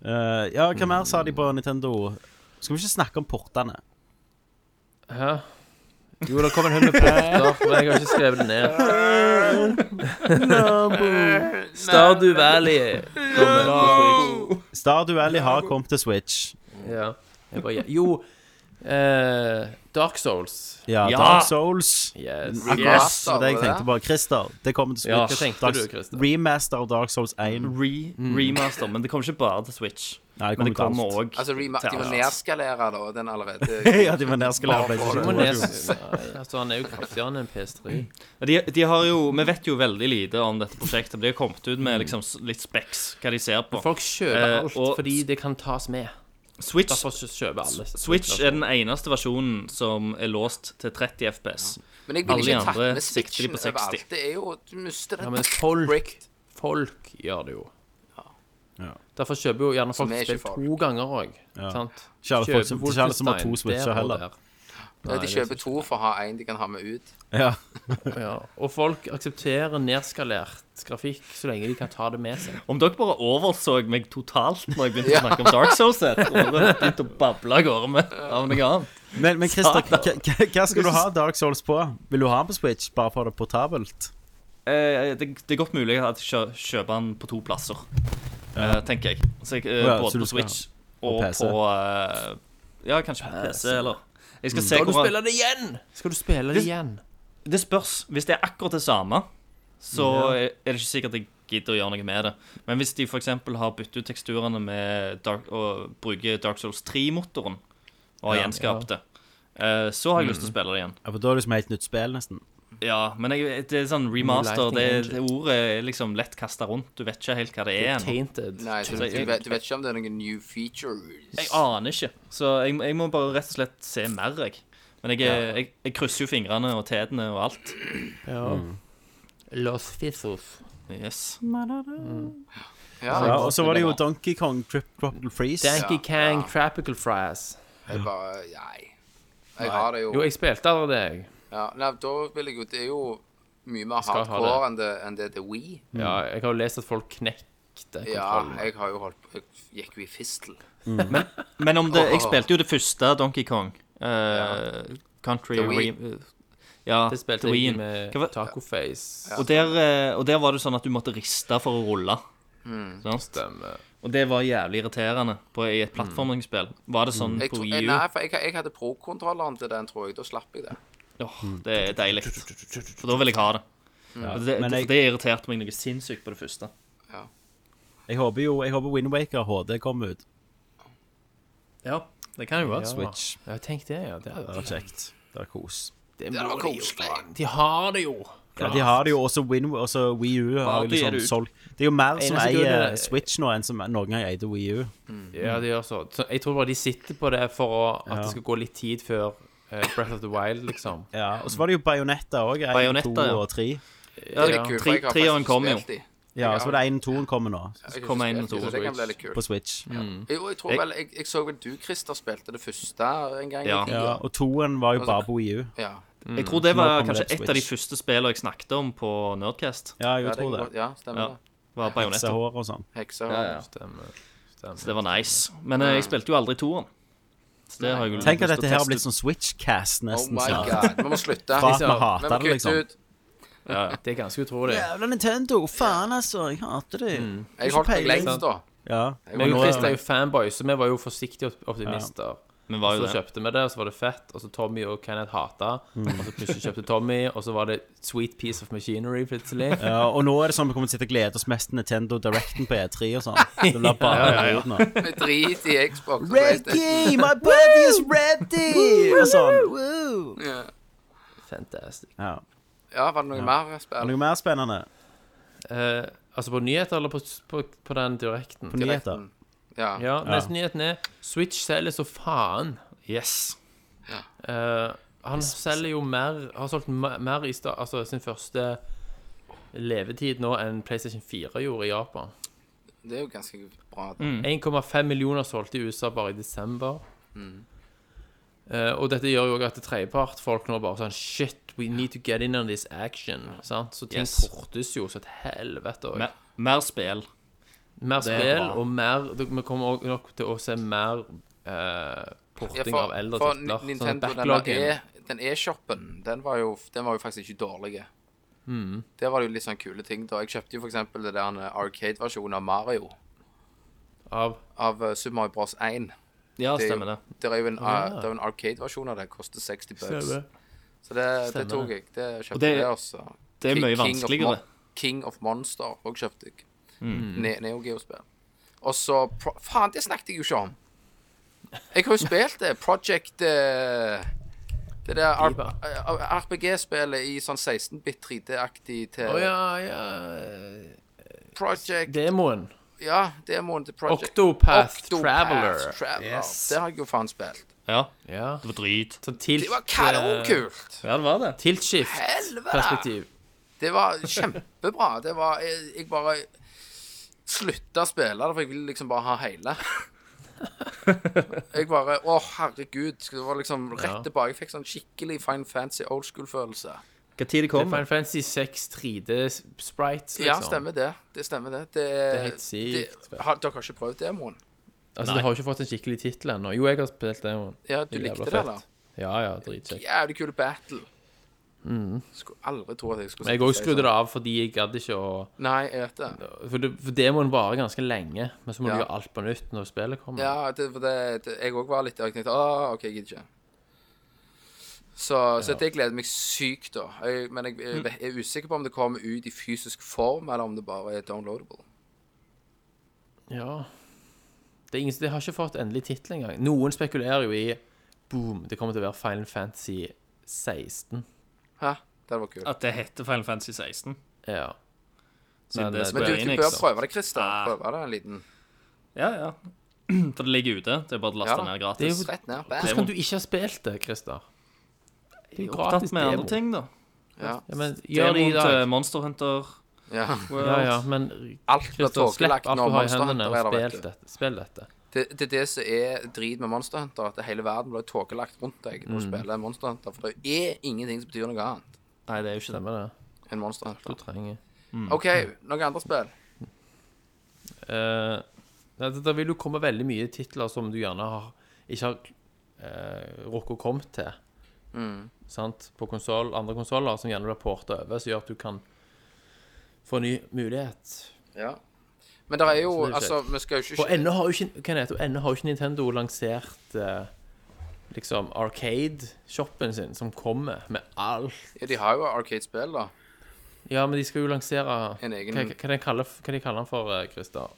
Speaker 1: Eh, ja, hva mer sa de på Nintendo? Skal vi ikke snakke om portene?
Speaker 3: Hæ? Jo, det kom en hund med potter, men jeg har ikke skrevet det ned. Stardew Valley. kommer på Switch.
Speaker 1: Stardew Valley har kommet til Switch.
Speaker 3: Ja. Jeg bare, jo eh, Dark Souls.
Speaker 1: Ja,
Speaker 4: Ja!
Speaker 1: Dark Souls. Ah,
Speaker 3: Yes.
Speaker 1: Yes, det var det jeg
Speaker 2: Remaster,
Speaker 1: tenkte på. Christer, det kommer til Switch.
Speaker 3: Ja, hva tenkte
Speaker 1: Dark-
Speaker 3: du, Christer?
Speaker 1: Remaster av Dark Souls 1.
Speaker 4: Re Remaster, men det kommer ikke bare til Switch.
Speaker 1: Nei, det
Speaker 4: Men Hmm. det
Speaker 1: kommer
Speaker 4: kommer
Speaker 1: til alt.
Speaker 4: òg
Speaker 2: Altså, rema- de må nedskalere da, den allerede.
Speaker 1: Ja, de var nedskalert. ble ikke
Speaker 3: Du
Speaker 1: så
Speaker 3: må
Speaker 1: gode.
Speaker 3: lese Nei, altså, han er jo kraftigere enn en PS3.
Speaker 4: de, de har jo Vi vet jo veldig lite om dette prosjektet. men De har kommet ut med liksom s- litt speks, hva de ser på.
Speaker 3: Folk kjøper
Speaker 4: Eh,
Speaker 3: alt
Speaker 4: og-
Speaker 3: fordi det kan tas med.
Speaker 4: Switch,
Speaker 3: Derfor kjøper alle.
Speaker 4: Switch er den eneste versjonen som er låst til 30 FPS.
Speaker 2: Men jeg ville
Speaker 4: Alle de
Speaker 2: ikke tatt
Speaker 4: andre
Speaker 2: med
Speaker 4: sikter de
Speaker 2: switchen
Speaker 4: på
Speaker 2: overalt.
Speaker 4: 60.
Speaker 2: Det er jo Du mister det.
Speaker 3: Ja, men folk,
Speaker 2: Brick.
Speaker 3: folk gjør det jo.
Speaker 1: Ja.
Speaker 3: Derfor kjøper jo gjerne folk
Speaker 2: er ikke
Speaker 3: spill to ganger òg. Sant?
Speaker 1: Ikke alle folk som-
Speaker 3: Kjøper
Speaker 1: ikke alle som har to
Speaker 3: Wolfenstein
Speaker 1: Switcher
Speaker 3: der og
Speaker 1: heller.
Speaker 3: der.
Speaker 2: de kjøper to for å ha én de kan ha med ut.
Speaker 1: Ja.
Speaker 3: Ja. Og folk aksepterer nedskalert grafikk så lenge de kan ta det med seg.
Speaker 4: Om dere bare overså meg totalt når jeg begynte å snakke om Dark Souls her, og bare begynte å bable av gårde med av noe annet
Speaker 1: Men, men Christer, hva- hva hva skal du ha Dark Souls på? Vil du ha den på Switch bare for det portabelt?
Speaker 4: Eh, det, det er godt mulig at jeg kjø- kjøper den på to plasser, eh, tenker jeg. Så jeg eh,
Speaker 1: Ja, så
Speaker 4: både
Speaker 1: du
Speaker 4: på
Speaker 1: skal
Speaker 4: Switch
Speaker 1: og
Speaker 4: og
Speaker 1: PC.
Speaker 4: på eh, Ja, kanskje på PC, eller Jeg skal se
Speaker 3: Skal du
Speaker 4: hvor
Speaker 3: spille det igjen? Skal du spille det
Speaker 4: Hvis-
Speaker 3: igjen?
Speaker 4: Det spørs. Hvis det er akkurat det samme, så er det ikke sikkert jeg gidder å gjøre noe med det. Men hvis de f.eks. har byttet ut teksturene med Dark, og bruker Dark Souls 3-motoren, og har
Speaker 3: Ja,
Speaker 4: gjenskapt det, eh, så har jeg lyst til å spille det igjen.
Speaker 1: Ja, for Da er det som et helt nytt spill, nesten.
Speaker 4: Ja, men jeg, det er sånn remaster.
Speaker 3: Lighting
Speaker 4: Det,
Speaker 3: Engine.
Speaker 4: det ordet er liksom lett kasta rundt. Du vet ikke helt hva det er ennå.
Speaker 3: Tainted.
Speaker 2: Nei, så du, du, vet, du vet ikke om det er noen new features.
Speaker 4: Jeg aner ikke. Så jeg, jeg må bare rett og slett se mer, jeg. Men jeg, er- jeg, jeg krysser jo fingrene og tærne og alt.
Speaker 3: Ja.
Speaker 1: Mm.
Speaker 3: Los Fizzos.
Speaker 4: Yes.
Speaker 2: Ja.
Speaker 1: Ja, og så var det jo Donkey Kong Trip Tropical Freeze.
Speaker 3: Danky Kang Tropical Fries.
Speaker 2: Jeg bare Nei. Jeg har det jo.
Speaker 3: Jo, jeg spilte allerede, jeg.
Speaker 2: Ja, nei, da vil jeg jo Det er jo mye mer
Speaker 3: skal ha
Speaker 2: hardcore enn det, enn det til We.
Speaker 3: Ja, jeg har jo lest at folk knekte
Speaker 2: Ja,
Speaker 3: kontrollen.
Speaker 2: jeg har jo holdt på Jeg gikk jo i fistel.
Speaker 4: Men om det Jeg spilte jo det første Donkey Kong. eh, Country
Speaker 2: The Wii.
Speaker 4: Re- eh, Ja,
Speaker 3: Det spilte
Speaker 4: The
Speaker 3: jeg
Speaker 4: Wien.
Speaker 3: med
Speaker 4: Hva var-
Speaker 3: Tacoface.
Speaker 4: Og der, eh, og der var det sånn at du måtte riste for å rulle.
Speaker 2: Mm,
Speaker 4: Sant?
Speaker 3: Stemmer.
Speaker 4: Og det var jævlig irriterende på, i et plattformingsspill. Var det sånn
Speaker 2: Mm. Jeg,
Speaker 4: på
Speaker 2: tror-
Speaker 4: Wii U?
Speaker 2: nei, for jeg, jeg hadde pro-kontrolleren til den, tror jeg. Da slapp jeg det.
Speaker 4: Åh, det er deilig.
Speaker 2: Mm.
Speaker 4: For da vil jeg ha det. For det,
Speaker 1: men
Speaker 4: for
Speaker 1: jeg-
Speaker 4: det irriterte meg noe sinnssykt på det første.
Speaker 1: Jeg håper jo jeg håper Windwaker HD kommer ut.
Speaker 4: Ja, det kan jo være.
Speaker 1: Switch.
Speaker 3: Ja, tenk det, ja. Det hadde
Speaker 1: Det var kjekt. Det var kos.
Speaker 3: Det var koselig. De har det jo.
Speaker 1: Ja, de har det jo også Win, også Wii U. Har
Speaker 4: Bare
Speaker 1: jo
Speaker 4: de er
Speaker 1: liksom
Speaker 4: det ut.
Speaker 1: solgt. Det er jo mer som
Speaker 3: Eneste grunnen
Speaker 1: eier
Speaker 3: er-
Speaker 1: Switch nå, enn som noen gang eide Wii U.
Speaker 3: Ja, de gjør så. så. Jeg tror bare de sitter på det for å, at
Speaker 1: Ja.
Speaker 3: det skal gå litt tid før eh, Breath of the Wild, liksom.
Speaker 1: Ja, Og så var det jo Bayonetta òg. Én,
Speaker 4: Bayonetta,
Speaker 1: to
Speaker 4: ja.
Speaker 1: og tre.
Speaker 4: Ja,
Speaker 2: Det er
Speaker 4: ja.
Speaker 2: kult, for
Speaker 4: Tre-
Speaker 2: jeg har
Speaker 4: treeren
Speaker 2: faktisk
Speaker 4: kom jo.
Speaker 2: spilt de.
Speaker 1: Ja, og så var det én, to kommer nå,
Speaker 2: Jeg har
Speaker 4: Kom
Speaker 2: ikke
Speaker 4: en
Speaker 2: spilt de,
Speaker 4: og to.
Speaker 2: så det kan bli litt kult.
Speaker 1: på Switch.
Speaker 2: Jo, jeg tror vel Jeg, jeg så vel du, Christer, spilte det første en gang. i
Speaker 4: Ja.
Speaker 2: tida.
Speaker 1: Ja, og toen var jo bare på Wii U.
Speaker 2: ja.
Speaker 4: Jeg tror det var
Speaker 1: Mm. Nå kommer
Speaker 4: kanskje
Speaker 1: det på
Speaker 4: et av de
Speaker 1: Switch.
Speaker 4: første spillene jeg snakket om på Nerdcast.
Speaker 1: Ja,
Speaker 2: Ja,
Speaker 1: jeg
Speaker 2: det
Speaker 1: tror
Speaker 2: kan
Speaker 1: det.
Speaker 2: godt- ja, stemmer
Speaker 4: Ja.
Speaker 2: det.
Speaker 4: Var Bayonetta.
Speaker 1: Sehår og sånn.
Speaker 2: Heksa.
Speaker 3: Stemmer.
Speaker 4: Så det var nice. Men eh, jeg spilte jo aldri toeren. Så det har jeg jo
Speaker 1: Tenk
Speaker 4: lyst til
Speaker 1: at dette
Speaker 4: å
Speaker 1: her har
Speaker 4: teste.
Speaker 1: blitt sånn Switchcast,
Speaker 2: Oh
Speaker 1: nesten.
Speaker 2: my
Speaker 1: snart.
Speaker 2: god. Vi må slutte.
Speaker 1: Fra at
Speaker 2: Vi
Speaker 1: vi hater
Speaker 2: må
Speaker 1: det,
Speaker 2: kutte
Speaker 1: liksom.
Speaker 2: ut.
Speaker 3: Det er ganske utrolig.
Speaker 1: Jævla Nintendo! Faen, altså! Jeg hater det.
Speaker 2: Jeg holdt meg lengst, da.
Speaker 1: Ja.
Speaker 3: Men
Speaker 1: nå-
Speaker 3: Christer er jo fanboy, så vi var jo forsiktige op- optimister.
Speaker 4: Men var jo
Speaker 3: Så
Speaker 4: det.
Speaker 3: kjøpte vi det, og så var det fett, og så Tommy og Kenneth hata. Og så plutselig kjøpte Tommy, og så var det sweet piece of machinery plutselig.
Speaker 1: Ja, og nå er det sånn vi kommer til å sitte og glede oss mest til Nintendo Directen på E3 og sånn. Det blir bare ja, nå.
Speaker 2: Vi driter i Xbox. og
Speaker 1: Reggie, my body is ready! Og sånn.
Speaker 2: PlayStation. Ja.
Speaker 3: Fantastic.
Speaker 1: Ja.
Speaker 2: Ja, var det noe mer
Speaker 1: Er
Speaker 2: spill?
Speaker 1: det noe mer spennende
Speaker 3: Eh, altså på nyheter eller på, på, på den direkten?
Speaker 1: på nyheter?
Speaker 2: Ja.
Speaker 3: Ja, neste nyheten er Switch selger så faen.
Speaker 4: Yes.
Speaker 3: Eh, han selger jo mer Har solgt me- mer i sta, altså sin første levetid nå enn PlayStation 4 gjorde i Japan.
Speaker 2: Det er jo ganske bra. da.
Speaker 3: 1,5 millioner solgte i USA bare i desember. Eh, og dette gjør jo også at tredjepartfolk nå bare sånn Shit, we need to get in on this action. Sant? Så ting
Speaker 4: Yes.
Speaker 3: kortes jo så et helvete òg.
Speaker 4: Mer, mer spill.
Speaker 3: Mer
Speaker 4: Det er
Speaker 3: spill
Speaker 4: bra.
Speaker 3: og mer det- Vi kommer også nok til å se mer eh,
Speaker 2: Ja,
Speaker 3: porting av
Speaker 2: for,
Speaker 3: eldre
Speaker 2: for
Speaker 3: titler. Sånn
Speaker 2: Nintendo, den
Speaker 3: at backlogen-
Speaker 2: der E- den e-shoppen, den, var jo- den var jo faktisk ikke dårlig. Der var det jo litt sånn kule ting. da Jeg kjøpte jo for eksempel det der eh, Arcade-versjonen av Mario.
Speaker 3: av
Speaker 2: Av eh, Super Mario Bros. 1.
Speaker 4: Ja,
Speaker 2: Det er jo-
Speaker 4: stemmer det.
Speaker 2: Der er jo en, eh, det er jo en Arcade-versjon av det. Koster 60 bucks. Så det, det
Speaker 3: Stemmer
Speaker 2: tok
Speaker 3: det.
Speaker 2: jeg. Det kjøpte
Speaker 4: Og det-
Speaker 2: jeg også.
Speaker 4: det er
Speaker 2: King-
Speaker 4: mye
Speaker 2: King of
Speaker 4: vanskeligere. Mm.
Speaker 2: Mon- King of Monster òg kjøpte jeg.
Speaker 3: Mm.
Speaker 2: Ne Neo Geo-spill. Og så Pro Faen, det snakket jeg jo ikke om! Jeg har jo spilt det. Project eh, Det der R-
Speaker 3: Diva.
Speaker 2: eh, RPG-spillet i sånn 16-bit 3D-aktig til
Speaker 3: Å ja, ja
Speaker 2: Project
Speaker 3: Demoen.
Speaker 2: Ja, demoen til Project
Speaker 3: Octopath
Speaker 2: Octopath
Speaker 3: Traveler.
Speaker 2: Traveler. Det har jeg jo faen spilt.
Speaker 4: Ja,
Speaker 3: Ja.
Speaker 4: det var drit.
Speaker 3: Sånn tilt,
Speaker 2: Det var kanonkult!
Speaker 4: Ja, det var det.
Speaker 2: Helvete!
Speaker 3: Tiltskift-perspektiv.
Speaker 2: Det var kjempebra. Det var Jeg, jeg bare slutta å spille det, for jeg ville liksom bare ha hele. Jeg bare Å, herregud. Det var liksom rett
Speaker 3: Ja.
Speaker 2: tilbake. Jeg fikk sånn skikkelig fine fancy old school-følelse.
Speaker 4: Når det
Speaker 3: Det er
Speaker 4: kom?
Speaker 3: Final Fantasy 6 3D-sprites, liksom.
Speaker 2: Ja, stemmer det. Det stemmer det. Det,
Speaker 3: er helt sykt.
Speaker 2: det- har, dere har ikke prøvd demoen?
Speaker 3: Altså, det har jo ikke fått en skikkelig tittel ennå. Jo, jeg har spilt demoen.
Speaker 2: Ja, du
Speaker 3: er jævla
Speaker 2: likte det,
Speaker 3: fett.
Speaker 2: eller?
Speaker 3: Ja, ja, dritkjekt.
Speaker 2: Jævlig kul battle. Skulle aldri tro at jeg skulle
Speaker 3: Mm. Men jeg òg skrudde det av fordi jeg gadd ikke å
Speaker 2: sånn. Nei, jeg vet det.
Speaker 3: For, det, for demoen varer ganske lenge, men så må
Speaker 2: Ja.
Speaker 3: du gjøre alt på nytt når spillet kommer.
Speaker 2: Ja, det, for det, det, jeg òg var litt der. Jeg tenkte ah, OK, jeg gidder ikke. Så, så det gleder meg sykt, da. Jeg, men jeg,
Speaker 3: Mm.
Speaker 2: jeg, er usikker på om det kommer ut i fysisk form, eller om det bare er downloadable.
Speaker 3: Ja. Det, er ingen, det har ikke fått endelig tittel engang. Noen spekulerer jo i Boom, det kommer til å være Final Fantasy 16.
Speaker 2: Hæ? Det var kult.
Speaker 4: At det heter Final Fantasy 16.
Speaker 3: Ja.
Speaker 4: Siden
Speaker 3: Men,
Speaker 4: det
Speaker 3: eh,
Speaker 4: er
Speaker 2: Men du,
Speaker 4: Square
Speaker 2: du
Speaker 4: Enix.
Speaker 2: bør prøve det, Christer.
Speaker 4: Ah.
Speaker 2: Prøve det en liten
Speaker 4: Ja, ja. For det ligger ute. Det er bare å
Speaker 2: Ja
Speaker 4: laste
Speaker 2: da.
Speaker 4: ned
Speaker 3: Det er
Speaker 4: gratis.
Speaker 3: jo-
Speaker 2: rett ned.
Speaker 3: Hvordan
Speaker 2: Bam.
Speaker 3: kan du ikke ha spilt det, Christer? Det er jo
Speaker 4: Opptatt
Speaker 3: gratis
Speaker 4: med
Speaker 3: demo.
Speaker 4: andre ting, da.
Speaker 2: Ja.
Speaker 3: Ja, men gjør det i
Speaker 4: Demoen til
Speaker 3: dag.
Speaker 4: Monster Hunter
Speaker 2: ja.
Speaker 4: World.
Speaker 3: Ja, ja, men
Speaker 2: Alt blir
Speaker 3: Christer,
Speaker 2: tåkelagt
Speaker 3: slipp alt
Speaker 2: når
Speaker 3: du har i
Speaker 2: Monster
Speaker 3: hendene
Speaker 2: Hunter
Speaker 3: og
Speaker 2: er der, vet
Speaker 3: spill
Speaker 2: du.
Speaker 3: dette. Spill dette.
Speaker 2: Det, det er det som er drit med Monster Hunter, at hele verden blir tåkelagt rundt deg når du
Speaker 3: Mm.
Speaker 2: spiller Monster Hunter. For det er ingenting som betyr noe annet
Speaker 4: Nei, det er jo ikke det.
Speaker 3: Stemmer det.
Speaker 2: enn Monster Hunter.
Speaker 3: Du trenger Mm.
Speaker 2: OK, noen andre spill?
Speaker 3: Eh, nei, det, det vil jo komme veldig mye titler som du gjerne har, ikke har uh, rukket å komme til.
Speaker 2: Mm.
Speaker 3: Sant? På konsol, andre konsoller som gjerne blir porta over, som gjør at du kan få ny mulighet.
Speaker 2: Ja. Men det er jo
Speaker 3: Så det er
Speaker 2: Altså, vi skal jo
Speaker 3: Og
Speaker 2: ikke
Speaker 3: ennå har jo ikke, hva heter det? Og ennå har jo ikke Nintendo lansert eh, liksom Arcade-shoppen sin, som kommer med alt.
Speaker 2: Ja, De har jo Arcade-spill, da.
Speaker 3: Ja, men de skal jo lansere
Speaker 2: En egen-
Speaker 3: Hva, hva, de kaller, hva de kaller den for, eh, Christer?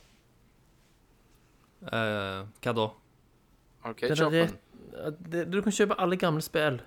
Speaker 4: Eh, hva da?
Speaker 3: Det er det,
Speaker 2: Arcade-shoppen.
Speaker 3: det, du kan kjøpe alle gamle spill.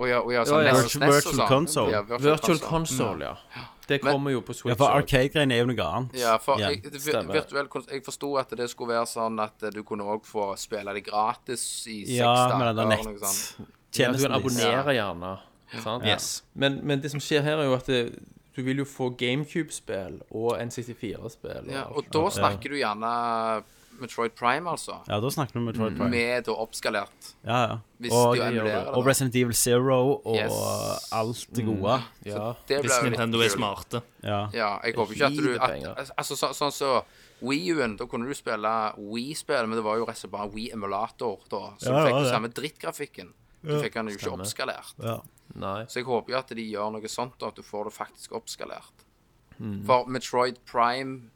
Speaker 2: Og ja, og ja, sånn
Speaker 4: Ja, ja.
Speaker 2: NES og SNES og
Speaker 1: Virtual
Speaker 2: sånn.
Speaker 1: console.
Speaker 2: Ja, virtual,
Speaker 3: Virtual
Speaker 2: console.
Speaker 3: Console, ja. Det
Speaker 2: Men-
Speaker 3: kommer jo på Switch.
Speaker 1: Ja, for
Speaker 3: også.
Speaker 1: arcade-greiene er jo noe annet.
Speaker 2: Ja, for
Speaker 1: Ja,
Speaker 2: jeg, det-
Speaker 3: stemmer.
Speaker 2: virtuell kons- Jeg forsto at det skulle være sånn at eh, du kunne òg få spille det gratis i seks
Speaker 1: Ja,
Speaker 2: dager.
Speaker 1: med den
Speaker 2: eller
Speaker 1: der
Speaker 2: noe sånt.
Speaker 3: ja, du kan
Speaker 1: nettjenesten deres.
Speaker 3: abonnere gjerne. Sant?
Speaker 4: Yes.
Speaker 3: Men, men det som skjer her, er jo at det, du vil jo få GameCube-spill og N64-spill.
Speaker 2: Ja, og da snakker du gjerne Metroid Prime, altså.
Speaker 1: Ja, da snakker vi om Metroid Prime.
Speaker 2: Med da oppskalert.
Speaker 1: Ja, ja.
Speaker 2: Hvis
Speaker 1: Og,
Speaker 2: de jo emulerer det.
Speaker 1: og Resident Evil Zero og
Speaker 2: Yes.
Speaker 1: alt det gode.
Speaker 3: ja.
Speaker 2: Det ble
Speaker 4: Hvis
Speaker 2: jo litt
Speaker 4: Nintendo er
Speaker 2: kult.
Speaker 4: smarte.
Speaker 1: Ja.
Speaker 2: Ja, jeg håper ikke at du
Speaker 3: Hiver penger.
Speaker 2: at, Altså, så, sånn så Wii-en, da kunne du spille Wii-spill, men det var jo rett og slett bare Wii-emulator da, så
Speaker 1: Ja,
Speaker 2: du
Speaker 1: det var
Speaker 2: fikk jo
Speaker 1: det.
Speaker 2: samme drittgrafikken. Du fikk den jo ikke oppskalert.
Speaker 3: Nei.
Speaker 2: Så jeg håper jo at de gjør noe sånt, da, at du får det faktisk oppskalert. For Metroid Prime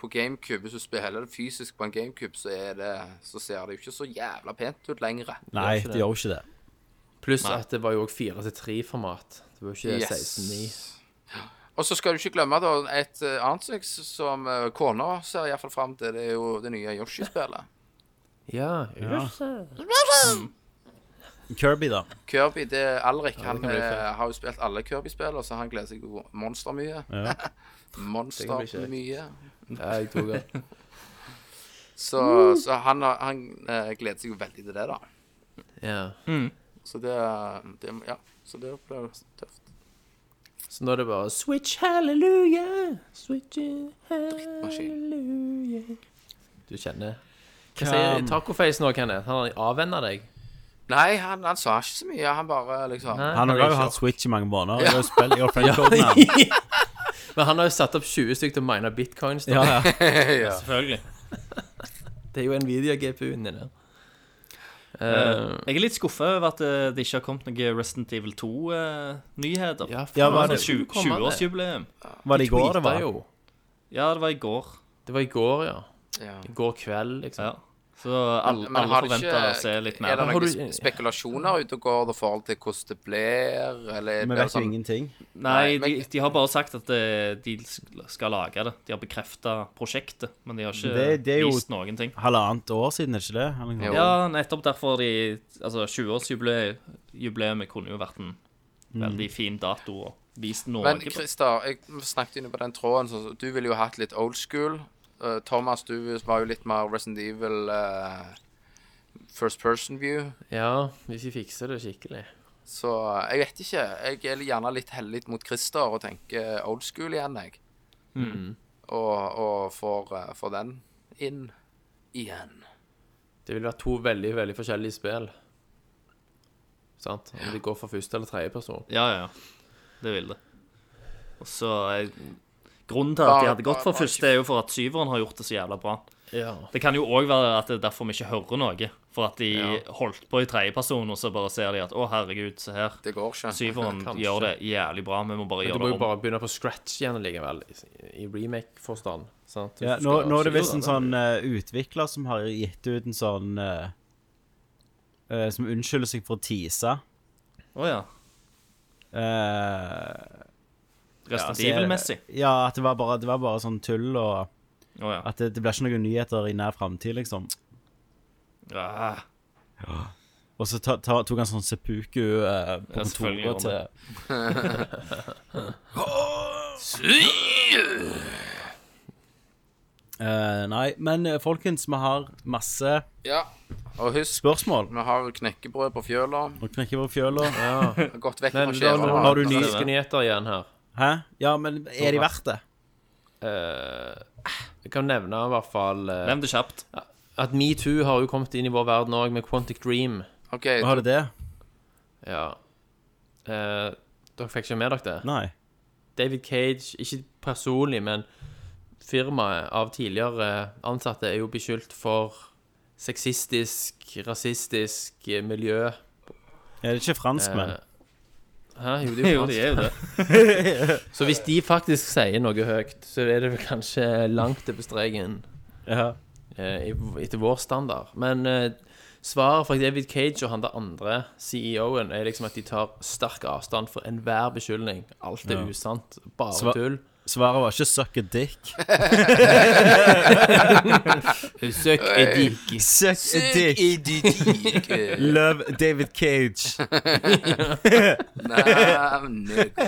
Speaker 2: på GameCube, hvis du spiller det fysisk på en GameCube, så, er det, så ser det jo ikke så jævla pent ut lenger.
Speaker 1: Nei, de gjør jo ikke det.
Speaker 3: Pluss at det var jo også 4-3-format. Det var jo ikke 16-9.
Speaker 2: Og så skal du ikke glemme da, et eh, annet som jeg- som eh, kona ser iallfall fram til, det er jo det nye Yoshi-spillet.
Speaker 3: Ja, ja.
Speaker 1: Kirby, da.
Speaker 2: Kirby, det er Alrik. han
Speaker 3: kan bli
Speaker 2: eh,
Speaker 3: fett.
Speaker 2: har jo spilt alle Kirby-spill, og så han gleder seg jo monster mye.
Speaker 3: kan
Speaker 2: monster
Speaker 3: bli kjekt.
Speaker 2: mye.
Speaker 3: jeg tok den.
Speaker 2: Så, så han, har- han eh, gleder seg jo veldig til det, da.
Speaker 3: Ja.
Speaker 2: Så det, det Ja, så det blir tøft.
Speaker 3: Så nå er det bare Switch hallelujah! Switch hallelujah. Du kjenner Hva sier tacoface nå, Kenneth? Han har avvenna deg?
Speaker 2: Nei, han, han sa ikke så mye. Han bare liksom
Speaker 3: Nei,
Speaker 1: Han har
Speaker 3: er
Speaker 1: jo
Speaker 3: i
Speaker 1: hatt
Speaker 3: sjokk.
Speaker 1: Switch i mange måneder. Jeg har jo spilt i Offline Code med han.
Speaker 3: Men han har jo satt opp 20 stykker til å mine bitcoins. Da.
Speaker 1: Ja, ja.
Speaker 2: ja.
Speaker 4: Selvfølgelig.
Speaker 3: Det er jo Nvidia-GPU-en din.
Speaker 4: Eh, jeg er litt skuffa over at eh, det ikke har kommet noen Resident Evil 2-nyheter.
Speaker 3: Ja,
Speaker 1: Ja,
Speaker 3: faen, altså,
Speaker 1: var
Speaker 4: det sånn
Speaker 1: det
Speaker 4: er
Speaker 3: skulle komme, det.
Speaker 4: 20-årsjubileum.
Speaker 1: Var det i går det
Speaker 3: Tweeta
Speaker 1: var?
Speaker 3: jo.
Speaker 4: Ja, det var i går.
Speaker 3: Det var i går, ja.
Speaker 2: ja.
Speaker 3: I går kveld, liksom.
Speaker 4: Ja. Så alle,
Speaker 2: Men
Speaker 4: alle
Speaker 2: har det
Speaker 4: forventa å se litt
Speaker 2: Er
Speaker 4: mer.
Speaker 2: det
Speaker 3: Har
Speaker 2: noen
Speaker 3: du-
Speaker 2: sp- spekulasjoner ute og går i forhold til hvordan det blir,
Speaker 1: Vi
Speaker 2: eller blir det
Speaker 1: vet jo
Speaker 2: sånn-
Speaker 1: ingenting.
Speaker 4: Nei,
Speaker 2: Nei,
Speaker 4: de,
Speaker 2: men-
Speaker 4: de har bare sagt at eh, de skal lage det. De har bekrefta prosjektet, men de har ikke
Speaker 1: Det- det er jo-
Speaker 4: vist noen ting.
Speaker 1: Halvannet år siden, er ikke det? Eller noe?
Speaker 2: Jo.
Speaker 4: Ja, nettopp derfor de Altså, 20-årsjubileet kunne jo vært en
Speaker 1: Mm.
Speaker 4: veldig fin dato å vise Norge
Speaker 2: Men
Speaker 4: på.
Speaker 2: Christer, jeg snakket inne på den tråden. Så du ville jo hatt litt old school. Eh, Thomas, du var jo litt mer Resident Evil eh, first person view.
Speaker 3: Ja, hvis vi fikser det skikkelig.
Speaker 2: Så jeg vet ikke. Jeg er gjerne litt hellig mot Christer og tenker old school igjen, jeg.
Speaker 4: Mm.
Speaker 2: Og, og får, eh, får den inn igjen.
Speaker 3: Det vil være to veldig, veldig forskjellige spill. Sant? Om de går for første eller tredje person.
Speaker 4: Ja, ja, ja. Det vil det. Og så eh, Grunnen til at de hadde gått for første, er jo for at syveren har gjort det så jævla bra.
Speaker 3: Ja.
Speaker 4: Det kan jo òg være at det er derfor vi ikke hører noe. For at de holdt på i tredjeperson, og så bare ser de at å, herregud, se her.
Speaker 2: Det går ikke.
Speaker 4: Syveren
Speaker 3: Kanskje.
Speaker 4: gjør det jævlig bra, vi må bare
Speaker 3: Men du
Speaker 4: gjøre
Speaker 3: må
Speaker 4: det
Speaker 3: jo
Speaker 4: om.
Speaker 3: bare begynne på scratch igjen likevel, i- i remake-forstand. sant?
Speaker 1: Ja,
Speaker 3: Hvis du
Speaker 1: nå,
Speaker 3: skal
Speaker 1: nå er det
Speaker 3: skikkelig
Speaker 1: visst en
Speaker 3: da.
Speaker 1: sånn eh, utvikler som har gitt ut en sånn eh, eh, Som unnskylder seg for å tease.
Speaker 4: Å ja.
Speaker 1: Eh,
Speaker 4: Resten
Speaker 1: altså, jeg-
Speaker 4: Evil-messig.
Speaker 1: Ja, at det var bare, det var bare sånn tull, og
Speaker 4: Å ja.
Speaker 1: at det, det blir ikke noen nyheter i nær framtid, liksom.
Speaker 4: ja.
Speaker 1: Og så ta, ta, tok han sånn seppuku eh, på
Speaker 4: Ja, selvfølgelig
Speaker 1: kontoret til
Speaker 4: gjorde
Speaker 1: Eh, Nei, men eh, folkens, vi har masse
Speaker 2: Ja. Og husk,
Speaker 1: spørsmål.
Speaker 2: vi har knekkebrød på fjøla.
Speaker 1: Nå knekker vi fjøla.
Speaker 2: Vi har Gått vekk
Speaker 3: Men
Speaker 2: fra
Speaker 3: da nå
Speaker 2: skjevene.
Speaker 1: eh, har
Speaker 3: har
Speaker 1: du
Speaker 3: du
Speaker 1: ny-
Speaker 3: nyske nyheter igjen her.
Speaker 1: Hæ? Ja, men er de verdt det?
Speaker 3: Eh, jeg kan nevne i hvert fall eh,
Speaker 4: Nevn det kjapt.
Speaker 3: at metoo har jo kommet inn i vår verden òg, med Quantic Dream.
Speaker 2: OK,
Speaker 1: Har du det?
Speaker 3: Ja. Eh, dere fikk ikke med dere det?
Speaker 1: Nei.
Speaker 3: David Cage, ikke personlig, men firmaet av tidligere ansatte er jo beskyldt for sexistisk, rasistisk eh, miljø.
Speaker 1: Er det ikke franskmenn?
Speaker 3: Eh, Hæ? Jo, det er jo
Speaker 4: Jo, de
Speaker 3: fransk.
Speaker 4: er jo det.
Speaker 3: Så hvis de faktisk sier noe høyt, så er det vel kanskje langt over streken
Speaker 1: Ja.
Speaker 3: eh, i- etter vår standard. Men eh, svaret fra David Cage og han der andre CEO-en er liksom at de tar sterk avstand for enhver beskyldning. Alt er
Speaker 1: Ja.
Speaker 3: usant. Bare
Speaker 1: Sva-
Speaker 3: tull.
Speaker 1: Svaret var ikke 'suck a dick'.
Speaker 3: Søk edik.
Speaker 1: Suck a dick.
Speaker 2: Idiotik.
Speaker 1: Love David Cage.
Speaker 2: Navnet.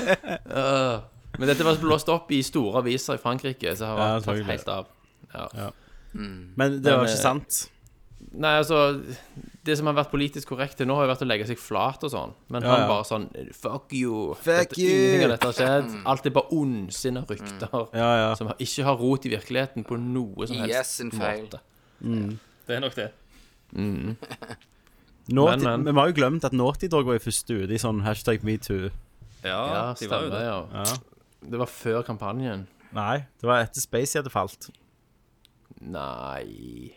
Speaker 3: Men dette var blåst opp i store aviser i Frankrike, så har
Speaker 1: Ja,
Speaker 3: han tatt
Speaker 1: selvfølgelig.
Speaker 3: helt av. Ja.
Speaker 1: Men det var
Speaker 3: Men, eh,
Speaker 1: ikke sant.
Speaker 3: Nei, altså Det som har vært politisk korrekt til nå, har jo vært å legge seg flat og sånn. Men
Speaker 1: Ja,
Speaker 3: han
Speaker 1: ja.
Speaker 3: bare sånn Fuck you.
Speaker 1: Fuck
Speaker 3: dette,
Speaker 1: you. Mm.
Speaker 3: Ingenting av dette har skjedd. Alt er bare ondsinna rykter
Speaker 1: Ja, ja.
Speaker 3: som har- ikke har rot i virkeligheten på noe som helst
Speaker 2: Yes, in fail.
Speaker 3: måte.
Speaker 4: Det er nok det.
Speaker 1: Naughty,
Speaker 3: Men, men.
Speaker 1: Vi har jo glemt at Naughty Dog var jo først ute i sånn hashtag metoo.
Speaker 4: Ja,
Speaker 3: Ja,
Speaker 4: de var jo
Speaker 3: stemmer,
Speaker 4: det.
Speaker 3: ja.
Speaker 1: Ja.
Speaker 3: Det var før kampanjen.
Speaker 1: Nei, det var etter Spacey hadde falt.
Speaker 3: Nei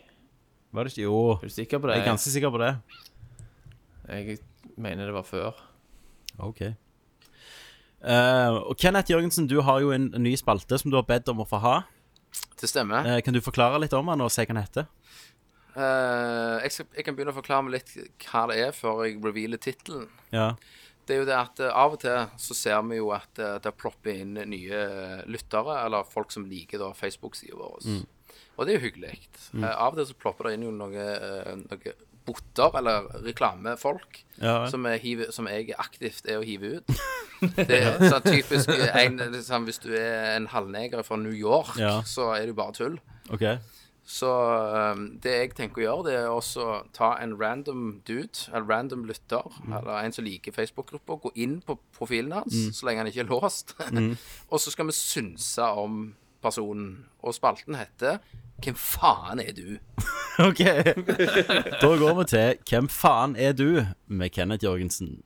Speaker 1: Var det ikke? Jo.
Speaker 3: Er du sikker på det?
Speaker 1: Jeg er ganske sikker på det.
Speaker 3: Jeg mener det var før.
Speaker 1: Ok. Eh, og Kenneth Jørgensen, du har jo en ny spalte som du har bedt om å få ha.
Speaker 2: Det stemmer.
Speaker 1: Eh, kan du forklare litt om den og si hva den heter?
Speaker 2: Eh, jeg, skal, jeg kan begynne å forklare meg litt hva det er, før jeg revealer tittelen.
Speaker 1: Ja.
Speaker 2: Det er jo det at eh, av og til så ser vi jo at eh, det plopper inn nye eh, lyttere, eller folk som liker da Facebook-sida vår.
Speaker 1: Mm.
Speaker 2: Og det er jo hyggelig. Eh, Av og til så plopper det inn jo noe, eh, noe botter, eller reklamefolk,
Speaker 1: Ja.
Speaker 2: som, jeg hiver, som jeg aktivt er å hive ut. Det er sånn typisk eh, en, liksom, Hvis du er en halvneger fra New York,
Speaker 1: Ja.
Speaker 2: så er det jo bare tull.
Speaker 1: Ok.
Speaker 2: Så ehm, det jeg tenker å gjøre, det er også å ta en random dude, en random lytter, eller en som liker Facebook-grupper, gå inn på profilen hans, så lenge han ikke er låst. og så skal vi synse om personen. Og spalten heter 'Hvem faen er du?'
Speaker 1: Ok. da går vi til Hvem faen er du? med Kenneth Jørgensen.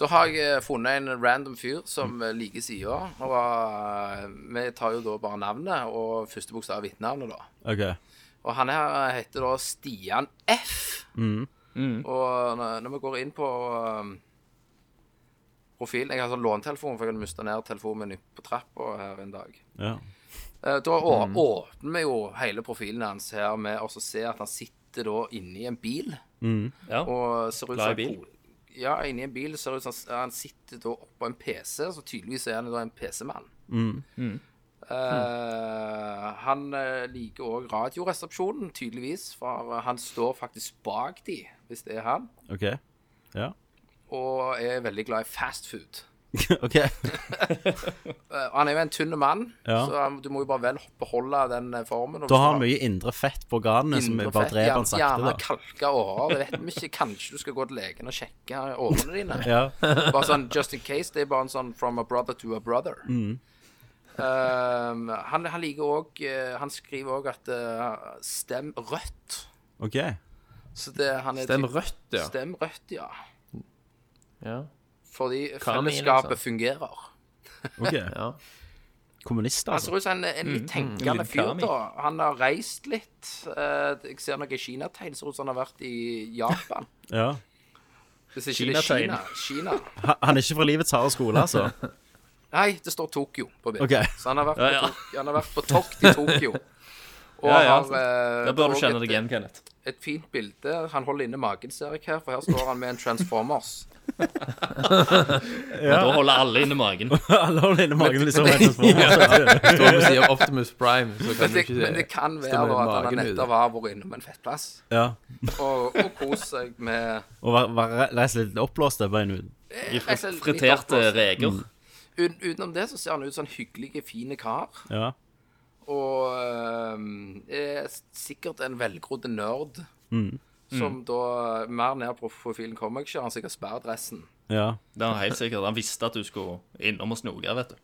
Speaker 2: Da har jeg eh, funnet en random fyr som eh, liker sida, og eh, vi tar jo da bare navnet og første bokstav i etternavnet, da.
Speaker 1: Ok.
Speaker 2: Og han her heter da Stian F. Og når når vi går inn på um, profilen Jeg har sånn låntelefon, for jeg hadde mista ned telefonen min på trappa her en dag.
Speaker 1: Ja.
Speaker 2: Eh, Da å,
Speaker 4: Mhm.
Speaker 2: åpner vi jo hele profilen hans her med å se at han sitter da inni en bil.
Speaker 4: Mm. Ja.
Speaker 2: Og ser ut
Speaker 4: Glad i
Speaker 2: som
Speaker 4: bil?
Speaker 2: Ja, inni en bil ser ut som han- han sitter da oppå en PC, så tydeligvis er han da en PC-mann.
Speaker 4: Mm.
Speaker 2: Eh, han eh, liker òg Radioresepsjonen, tydeligvis, for eh, han står faktisk bak de, hvis det er han,
Speaker 1: Ok. Ja.
Speaker 2: og er veldig glad i fast food.
Speaker 1: ok.
Speaker 2: Eh, han er jo en tynn mann,
Speaker 1: Ja.
Speaker 2: så han, du må jo bare vel beholde den eh, formen. og
Speaker 1: Da
Speaker 2: hvis
Speaker 1: har
Speaker 2: du
Speaker 1: han mye indre fett på organene som
Speaker 2: indre
Speaker 1: bare
Speaker 2: fett,
Speaker 1: dreper han
Speaker 2: gjerne- Gjerne
Speaker 1: sakte,
Speaker 2: kalka årer. Det vet vi ikke. Kanskje du skal gå til legen og sjekke årene dine.
Speaker 1: da. Ja.
Speaker 2: Bare sånn just in case. Det er bare en sånn from a brother to a brother.
Speaker 1: Mm.
Speaker 2: Um, han, han liker òg Han skriver òg at eh, stem rødt.
Speaker 1: Ok.
Speaker 2: Så det, han er
Speaker 3: Stem
Speaker 2: typ-
Speaker 3: rødt, ja.
Speaker 2: Stem rødt, ja.
Speaker 3: ja.
Speaker 2: Fordi
Speaker 3: mener du,
Speaker 2: fellesskapet
Speaker 3: liksom?
Speaker 2: fungerer.
Speaker 1: Ok.
Speaker 3: Ja.
Speaker 1: Kommunister,
Speaker 2: Han ser
Speaker 1: altså.
Speaker 2: ut som en, en litt tenkende
Speaker 4: liten
Speaker 2: fyr,
Speaker 4: kami.
Speaker 2: da. Han har reist litt. Eh, jeg ser noen kinategn. Ser ut som han har vært i Japan.
Speaker 1: Ja.
Speaker 2: Hvis ikke det er Kina.
Speaker 4: Kinategn.
Speaker 2: Kina.
Speaker 1: Ha- Han er ikke fra livets harde skole, altså.
Speaker 2: Nei, det står Tokyo på bildet.
Speaker 1: Ok.
Speaker 2: Så han har vært,
Speaker 4: Ja, ja.
Speaker 2: På, Tok- han har vært på tokt i Tokyo. Og
Speaker 4: Ja, ja.
Speaker 2: har eh,
Speaker 4: Da bør du
Speaker 2: og
Speaker 4: kjenne
Speaker 2: et-
Speaker 4: deg igjen, Kenneth.
Speaker 2: Et fint bilde. Han holder inne magen, ser jeg her, for her står han med en Transformers.
Speaker 4: Men da holder alle inne magen.
Speaker 1: Alle holder inne magen liksom helt til småmål.
Speaker 3: Står vi sier Optimus Prime, så kan
Speaker 2: Men
Speaker 3: du
Speaker 2: det,
Speaker 3: ikke
Speaker 2: men det kan være
Speaker 3: med
Speaker 2: da at han
Speaker 3: magen ute.
Speaker 2: nettopp har vært innom en fettplass
Speaker 1: Ja.
Speaker 2: og, og kost seg med
Speaker 1: Og være- være reise litt oppblåst på en ut.
Speaker 4: I
Speaker 2: Jeg ser litt
Speaker 4: friterte
Speaker 2: oppblåst.
Speaker 4: reker.
Speaker 2: Uten- Utenom det så ser han ut som en hyggelig, fin kar.
Speaker 1: Ja.
Speaker 2: Og ehm, er sikkert en velgrodd nerd.
Speaker 3: Mm.
Speaker 4: Mm.
Speaker 2: Som da Mer ned på profilen kommer jeg ikke. Han har sikkert sperret dressen.
Speaker 1: Ja.
Speaker 4: Det er han helt sikkert. Han visste at du skulle innom og snoke, vet du.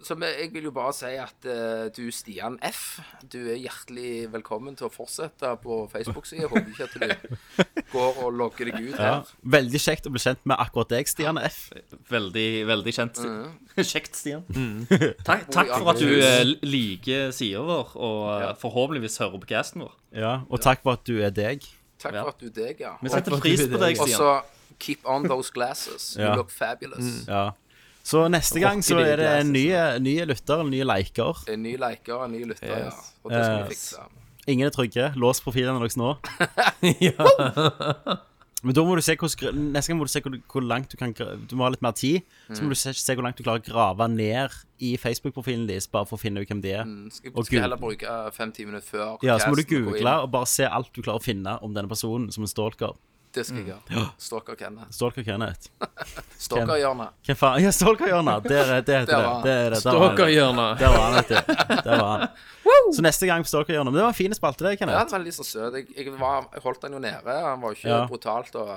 Speaker 2: Så men jeg vil jo bare si at eh, du, Stian F, du er hjertelig velkommen til å fortsette på Facebook-sida. Håper ikke at du går og logger deg ut her.
Speaker 1: Veldig kjekt å bli kjent med akkurat deg, Stian F.
Speaker 4: Veldig, veldig kjent. Kjekt, Stian.
Speaker 1: Mm.
Speaker 4: Takk, takk for at du eh, liker sida vår, og eh, forhåpentligvis hører på casten vår.
Speaker 1: Ja, Og takk for at du er deg.
Speaker 2: Takk
Speaker 4: Ja.
Speaker 2: for at du er deg, ja.
Speaker 4: Vi setter pris på deg,
Speaker 2: Og
Speaker 4: Stian.
Speaker 2: så keep on those glasses. You
Speaker 1: Ja. Mm.
Speaker 2: look fabulous.
Speaker 1: Ja. Så neste gang så er det nye, nye lytter eller nye liker.
Speaker 2: En ny liker og en ny lytter, ja. Og det skal vi fikse.
Speaker 1: Ingen er trygge. Lås profilene deres nå. Men da må du se hvordan, gra- neste gang må du se hvor, hvor langt du kan gra- Du må ha litt mer tid. Så må du se, se hvor langt du klarer å grave ned i Facebook-profilen deres, bare for å finne ut hvem de er.
Speaker 2: Skal,
Speaker 1: Og
Speaker 2: skal
Speaker 1: Gud.
Speaker 2: heller bruke eh, fem-ti minutter før.
Speaker 1: Ja, så må du
Speaker 2: casten og gå
Speaker 1: google
Speaker 2: inn.
Speaker 1: og bare se alt du klarer å finne om denne personen som en stalker.
Speaker 2: Det skal jeg gjøre. Stalker Kenneth.
Speaker 1: Stalker Mm. Kenneth.
Speaker 2: Stalkerhjørnet.
Speaker 1: Hvem faen? Ja, Stalkerhjørnet! Det er- det heter
Speaker 2: Der
Speaker 1: det.
Speaker 2: var han.
Speaker 1: det, er det. Der var han.
Speaker 3: Stalkerhjørnet.
Speaker 1: Der var han, vet du. Der var han. Så neste gang på Stalkerhjørnet. Men det var en fin spalte, det,
Speaker 2: Ja,
Speaker 1: Kenneth.
Speaker 2: han var litt sånn søt. Jeg, jeg, var, jeg holdt han jo nede. Han var jo ikke
Speaker 1: Ja.
Speaker 2: brutalt. og...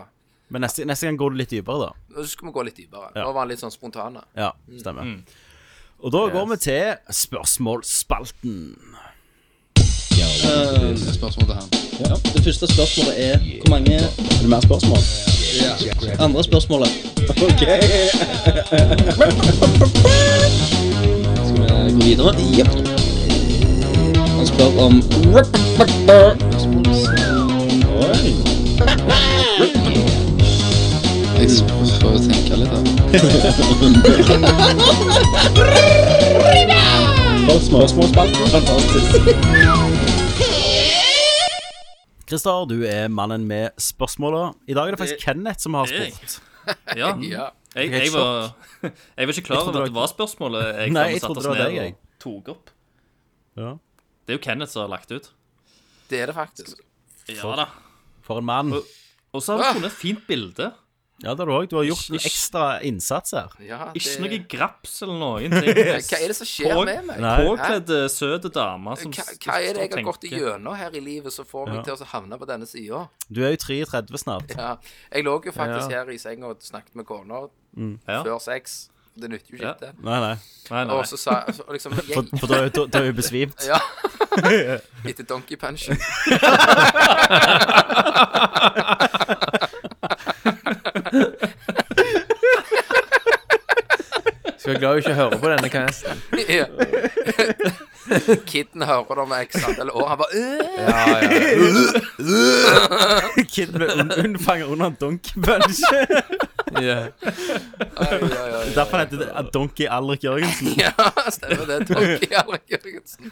Speaker 1: Men neste, neste gang går du litt dypere, da.
Speaker 2: Nå skal vi gå litt dypere. Nå var han litt sånn spontane.
Speaker 1: Ja, stemmer.
Speaker 2: Mm.
Speaker 1: Og da går vi til spørsmålsspalten.
Speaker 5: Eh, Ja, det første spørsmålet er Hvor mange Er det mer spørsmål? Andre spørsmålet Ok Skal vi gå videre? Jep Han spør om Oi Jeg får jo tenke litt da Fantastisk
Speaker 1: Christer, du er mannen med spørsmåla. I dag er det faktisk Kenneth som har
Speaker 4: Jeg?
Speaker 1: spurt.
Speaker 4: Ja.
Speaker 2: Ja.
Speaker 4: Jeg,
Speaker 1: Jeg er
Speaker 4: jeg, var, jeg var ikke
Speaker 1: Jeg
Speaker 4: klar
Speaker 1: trodde
Speaker 4: over at det
Speaker 1: det var-
Speaker 4: var spørsmålet jeg
Speaker 1: Nei,
Speaker 4: satte
Speaker 1: jeg trodde
Speaker 4: oss
Speaker 1: det var
Speaker 4: ned
Speaker 1: deg,
Speaker 4: og
Speaker 1: jeg.
Speaker 4: tok opp.
Speaker 1: Ja.
Speaker 4: Det er jo Kenneth som har lagt ut.
Speaker 2: Det er det faktisk.
Speaker 4: Ja da.
Speaker 1: For en mann.
Speaker 4: Og så har
Speaker 2: Ah!
Speaker 4: vi funnet et fint bilde.
Speaker 1: Ja, det har du òg. Du har gjort en
Speaker 4: Ish.
Speaker 1: ekstra innsats her.
Speaker 2: Ja, det...
Speaker 4: Ikke noe graps eller noen ting.
Speaker 2: Hva er det som skjer
Speaker 4: På-
Speaker 2: med meg?
Speaker 1: Nei.
Speaker 4: Påkledd eh, søt dame som
Speaker 2: Hva, hva er det jeg har gått
Speaker 4: tenker-
Speaker 2: igjennom her i livet som får meg til å havne på denne sida?
Speaker 1: Du er jo 33 snart.
Speaker 2: Ja. Jeg lå jo faktisk her i senga og snakket med kona
Speaker 4: Ja.
Speaker 2: før sex. Det nytter jo ikke.
Speaker 4: Ja.
Speaker 2: det.
Speaker 1: Nei, nei.
Speaker 4: Nei, nei.
Speaker 2: Og så sa så liksom
Speaker 1: For,
Speaker 2: jeg,
Speaker 1: for da er- da da er hun besvimt.
Speaker 2: Ja. Etter Donkey Punch.
Speaker 3: Skal være glad hun ikke hører på denne casten.
Speaker 2: Ja. Kidden hører det med x antall år. Han bare øh,
Speaker 1: Kid ble un unnfanget under en donkey punch.
Speaker 3: Yeah.
Speaker 2: oi, oi, oi, oi.
Speaker 1: Derfor heter det at Donkey Alrik Jørgensen.
Speaker 2: Ja, stemmer det. Donkey Alrik Jørgensen.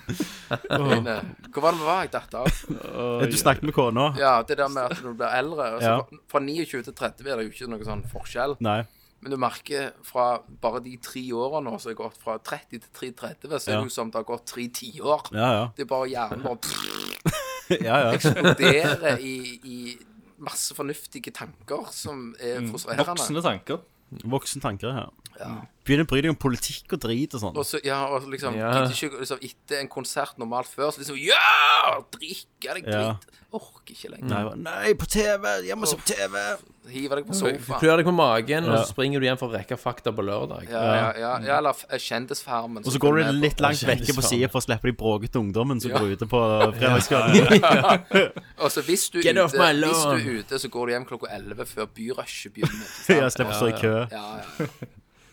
Speaker 2: Men, eh, Hvor var det vi var? Jeg datt av.
Speaker 1: Du snakket med kona.
Speaker 2: Ja, det der med at når du blir eldre altså,
Speaker 1: Ja.
Speaker 2: fra- Fra 29 til 30 er det jo ikke noe sånn forskjell.
Speaker 1: Nei.
Speaker 2: Men du merker fra bare de tre årene nå som har gått fra 30 til 33, så er
Speaker 1: Ja.
Speaker 2: det jo som det har gått tre tiår.
Speaker 1: Ja, ja.
Speaker 2: Det er bare hjernen bare pff,
Speaker 1: ja, ja.
Speaker 2: eksploderer i, i masse fornuftige tanker som
Speaker 1: Mm.
Speaker 2: er frustrerende.
Speaker 4: Voksne tanker.
Speaker 1: Voksen tanker her. Begynner å bry deg om politikk og drit og sånn.
Speaker 2: Og så, ja, og liksom,
Speaker 3: Ja.
Speaker 2: gidder ikke, liksom Etter en konsert normalt før, så liksom Ja! Drikke deg
Speaker 1: Ja.
Speaker 2: drit. Orker ikke lenger.
Speaker 1: Nei, nei, på TV! Jeg må se på TV!
Speaker 2: Hive deg på
Speaker 3: Du
Speaker 2: sofaen.
Speaker 3: klør deg på magen, og
Speaker 1: Ja.
Speaker 3: så springer du igjen for å rekke fakta på lørdag.
Speaker 2: Ja, ja, ja, ja, eller f- Kjendisfarmen.
Speaker 1: Og så
Speaker 2: som
Speaker 1: går
Speaker 2: følger
Speaker 1: du
Speaker 2: med
Speaker 1: litt
Speaker 2: på.
Speaker 1: langt
Speaker 3: Kjendis
Speaker 1: vekke på
Speaker 3: faen.
Speaker 1: sida for å slippe de bråkete ungdommen som går ute på fredagskvelden.
Speaker 2: Og så Altså, hvis du,
Speaker 3: Get
Speaker 2: er
Speaker 3: off my
Speaker 2: ute, hvis du
Speaker 3: lawn.
Speaker 2: er ute, så går du hjem klokka 11 før byrushet begynner. ikke sant?
Speaker 1: Ja, slipper å stå i kø.
Speaker 2: Ja, ja.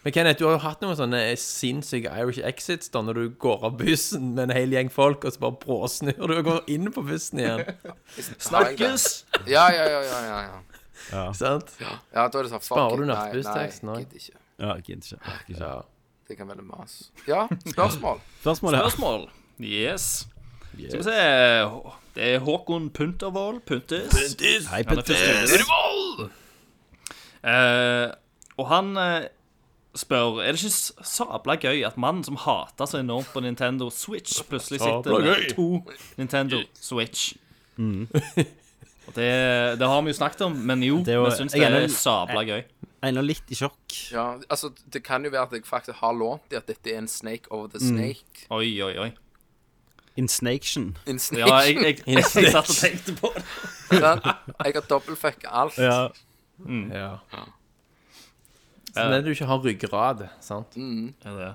Speaker 3: Men Kenneth, du har jo hatt noen sånne sinnssyke Irish exits da, når du går av bussen med en hel gjeng folk, og så bare bråsnur du og går inn på bussen igjen.
Speaker 2: Snakkes! Ja, ja, ja. ja, ja, ja.
Speaker 3: sant?
Speaker 2: ja da er det sånn fuck
Speaker 3: Sparer
Speaker 2: it,
Speaker 3: du
Speaker 2: nei,
Speaker 3: nattbussteksten
Speaker 2: Nei,
Speaker 3: også?
Speaker 2: gidder ikke.
Speaker 1: Ja, jeg gidder ikke. jeg gidder ikke.
Speaker 3: Ja.
Speaker 2: Det kan være mas. Ja, spørsmål.
Speaker 1: Spørsmålet her.
Speaker 4: Spørsmål. Yes. Skal vi se Det er Håkon Puntervold. Puntis.
Speaker 1: Hei,
Speaker 4: Han er
Speaker 1: Petter.
Speaker 4: først ute. Eh, og han eh, spør Er det ikke s- sabla gøy at mannen som hater så enormt på Nintendo Switch, plutselig sitter med to Nintendo Switch? Og det, det har vi jo snakket om, men jo,
Speaker 1: er jo-
Speaker 4: vi syns Mm.
Speaker 1: jeg
Speaker 4: det
Speaker 1: er
Speaker 4: er
Speaker 1: litt-
Speaker 4: sabla gøy.
Speaker 1: Einar litt i sjokk.
Speaker 2: Ja, altså, det kan jo være at jeg faktisk har lånt det, at dette er en snake over
Speaker 3: Mm.
Speaker 2: the snake.
Speaker 4: Oi, oi, oi.
Speaker 1: Insnaction.
Speaker 2: En snake.
Speaker 4: Ja, jeg, jeg, jeg, jeg satt og tenkte på det.
Speaker 2: sant? Jeg har dobbeltfucka alt.
Speaker 1: Ja.
Speaker 3: ja.
Speaker 1: Eh, Mm.
Speaker 3: Så det er du ikke har ryggrad, sant?
Speaker 4: Ja, det. er.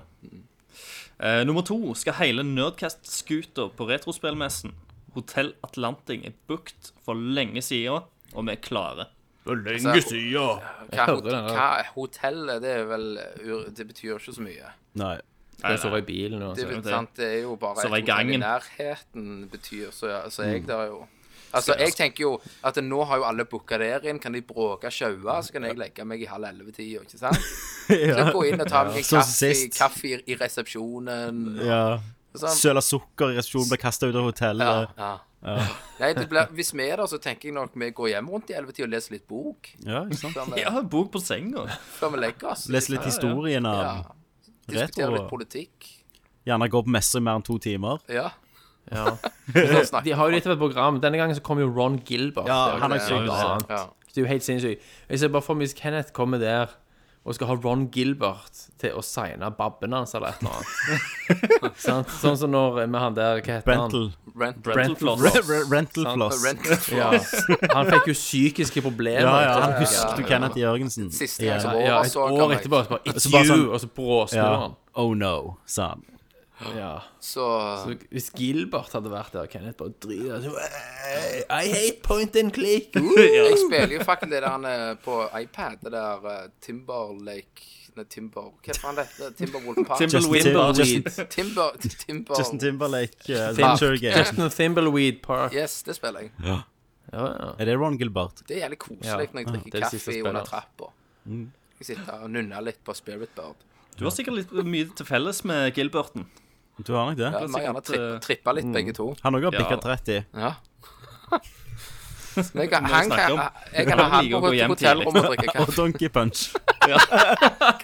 Speaker 4: Eh, nummer to skal hele Nerdcast-skuta på retrospillmessen. Hotell Atlanting er bookt for lenge siden, og vi er klare.
Speaker 2: Lenge siden! Hva,
Speaker 3: hører den,
Speaker 2: hva hotellet, det er vel eh, ur- Det betyr ikke så mye.
Speaker 1: Nei.
Speaker 3: Skal sove i bilen og
Speaker 2: Det,
Speaker 3: så.
Speaker 2: er,
Speaker 4: det.
Speaker 2: sant, det er jo bare
Speaker 4: Så var
Speaker 2: et
Speaker 4: i gangen.
Speaker 2: hotell i nærheten betyr, så, så jeg der jo Altså, Jeg tenker jo at nå har jo alle booka der inn. Kan de bråke sjaua, så kan jeg legge meg i halv elleve-tida, ikke sant? Så gå inn og ta meg en
Speaker 1: Sånn som
Speaker 2: kaffe,
Speaker 1: sist.
Speaker 2: kaffe i- i resepsjonen.
Speaker 1: Ja.
Speaker 2: Sånn.
Speaker 1: Søla sukker i resepsjonen, ble kasta ut av
Speaker 2: Ja,
Speaker 1: hotellet.
Speaker 2: ja. Nei, det blir, hvis vi er der, så tenker jeg nok vi går hjem rundt i ellevetida og leser litt bok.
Speaker 1: Ja, ikke sant?
Speaker 2: Før vi,
Speaker 4: Ja, bok på senga.
Speaker 2: før vi legger oss.
Speaker 1: Les litt historien av
Speaker 2: Ja.
Speaker 1: den.
Speaker 2: Diskutere
Speaker 1: retro.
Speaker 2: litt politikk.
Speaker 1: Gjerne gå på messe i mer enn to timer.
Speaker 2: Ja.
Speaker 3: Ja.
Speaker 2: Så
Speaker 3: De
Speaker 2: snakker
Speaker 3: har jo dette på et program. Denne gangen så kom jo Ron Gilbert.
Speaker 1: Ja, han er
Speaker 3: Det
Speaker 1: syk,
Speaker 3: jo
Speaker 1: altså.
Speaker 3: annet.
Speaker 2: Ja.
Speaker 3: Det er jo helt sinnssykt. Jeg ser bare for meg hvis Kenneth kommer der og skal ha Ron Gilbert til å signe babben hans eller et eller annet. Sant? Sånn som når med han der Hva heter
Speaker 1: Rental,
Speaker 2: Rent,
Speaker 4: Brental Floss.
Speaker 1: re re rental
Speaker 3: Sant.
Speaker 1: floss.
Speaker 2: rent
Speaker 3: han? Ja. Han fikk jo psykiske problemer.
Speaker 1: Ja, ja, han
Speaker 3: etter-
Speaker 1: husker du Kenneth Jørgensen.
Speaker 2: Siste gang så
Speaker 1: Ja.
Speaker 2: var-
Speaker 3: ja, et
Speaker 2: Overså han
Speaker 3: år
Speaker 2: meg.
Speaker 3: etterpå. Så bare, It's
Speaker 1: Så bare
Speaker 3: you!
Speaker 1: sånn-
Speaker 3: Og så bråsnur
Speaker 1: Ja.
Speaker 3: han.
Speaker 1: Oh no, sa han.
Speaker 3: Ja.
Speaker 2: Så
Speaker 3: Så hvis Gilbert hadde vært der, og Kenneth bare driter så, "Hey, I hate point and click! Woo!"
Speaker 2: Jeg spiller jo faktisk det der han er på iPad, det der eh, Timberlake Nei, Timber Hva faen det heter Timberwolf Park?
Speaker 1: Justin,
Speaker 4: Timberweed.
Speaker 1: Timber, Justin,
Speaker 3: Timberweed.
Speaker 2: Timber, Timber
Speaker 1: Justin Timberlake. Uh,
Speaker 3: Park.
Speaker 1: Adventure Game.
Speaker 3: Justin Thimbleweed Park.
Speaker 2: Yes, det spiller jeg.
Speaker 3: Ja, ja.
Speaker 1: Er det Ron Gilbert?
Speaker 2: Det er jævlig koselig
Speaker 3: Ja.
Speaker 2: når jeg drikker
Speaker 3: det er det siste
Speaker 2: kaffe
Speaker 3: spillet,
Speaker 2: under
Speaker 3: altså.
Speaker 2: trappa. Jeg sitter og nunner litt på Spirit Bird.
Speaker 4: Du har sikkert litt mye til felles med Gilberten.
Speaker 1: Du har nok det?
Speaker 2: Ja, Vi må gjerne
Speaker 4: sikkert,
Speaker 2: trippe,
Speaker 4: eh,
Speaker 2: trippe litt, begge to.
Speaker 1: Han òg har
Speaker 4: Ja.
Speaker 1: bikka 30.
Speaker 2: Ja. Men jeg, kan-
Speaker 4: Når vi
Speaker 2: han
Speaker 4: snakker
Speaker 2: kan,
Speaker 4: om-
Speaker 2: jeg kan ha han
Speaker 4: liker å
Speaker 2: på
Speaker 4: gå hjem
Speaker 2: hotellrommet og drikke
Speaker 1: Og
Speaker 2: kaffe.
Speaker 1: Donkey Punch.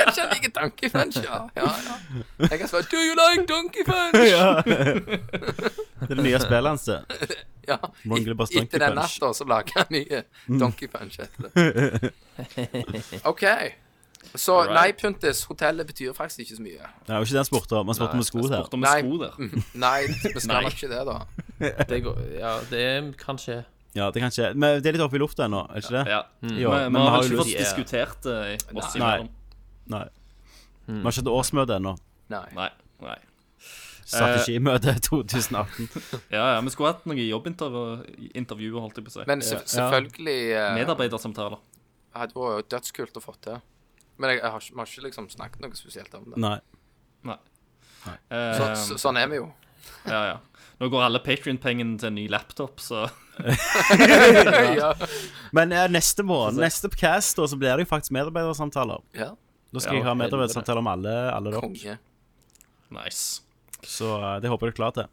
Speaker 2: Kanskje han liker Donkey Punch, ja. ja, ja. Jeg kan svare Do you like Donkey Punch?
Speaker 1: Ja. Det er det nye spillet hans. det.
Speaker 2: Ja.
Speaker 1: Ron Gilberts
Speaker 2: Etter
Speaker 1: Donkey Punch.
Speaker 2: den
Speaker 1: Mm.
Speaker 2: natta så lager han nye Donkey Punch etter det. OK. Så nei, Puntis, hotellet betyr faktisk ikke så mye.
Speaker 1: Det var ikke det han spurte om. Han spurte om sko der.
Speaker 4: Borte med
Speaker 2: Nei. Mm.
Speaker 4: sko der.
Speaker 2: Nei, vi skal
Speaker 4: Nei.
Speaker 2: nok ikke det, da.
Speaker 3: Det går, ja, det kan skje.
Speaker 1: Ja, det kan skje. Men det er litt oppe i lufta ennå, er ikke det?
Speaker 4: Ja. Vi, vi
Speaker 1: Jo, Mm. men
Speaker 4: har
Speaker 1: vi har
Speaker 4: vel
Speaker 1: jo
Speaker 4: ikke fått
Speaker 1: lyst-
Speaker 4: diskutert det oss
Speaker 1: Nei.
Speaker 4: imellom.
Speaker 1: Nei. Vi har ikke hatt årsmøte ennå.
Speaker 2: Nei.
Speaker 4: Nei. Nei.
Speaker 1: Strategimøte 2018.
Speaker 4: Ja, ja, vi skulle hatt noen jobbintervjuer, intervjuer, holdt jeg på å si.
Speaker 2: Men se- selvfølgelig eh,
Speaker 4: Medarbeidersamtaler.
Speaker 2: hadde vært dødskult å få til. Men jeg, jeg har, ikke- vi har ikke liksom snakket noe spesielt om det.
Speaker 1: Nei.
Speaker 4: Eh,
Speaker 2: Så, så, sånn er vi jo.
Speaker 4: ja, ja. Nå går alle Patrion-pengene til en ny laptop, så
Speaker 2: Ja.
Speaker 1: Men eh, neste måned, neste cast, da, så blir det jo faktisk medarbeidersamtaler.
Speaker 2: Ja.
Speaker 1: Da skal jeg ha medarbeidersamtaler med alle, alle dere.
Speaker 2: Konge.
Speaker 4: nice.
Speaker 1: Så eh, det håper jeg du er klar til.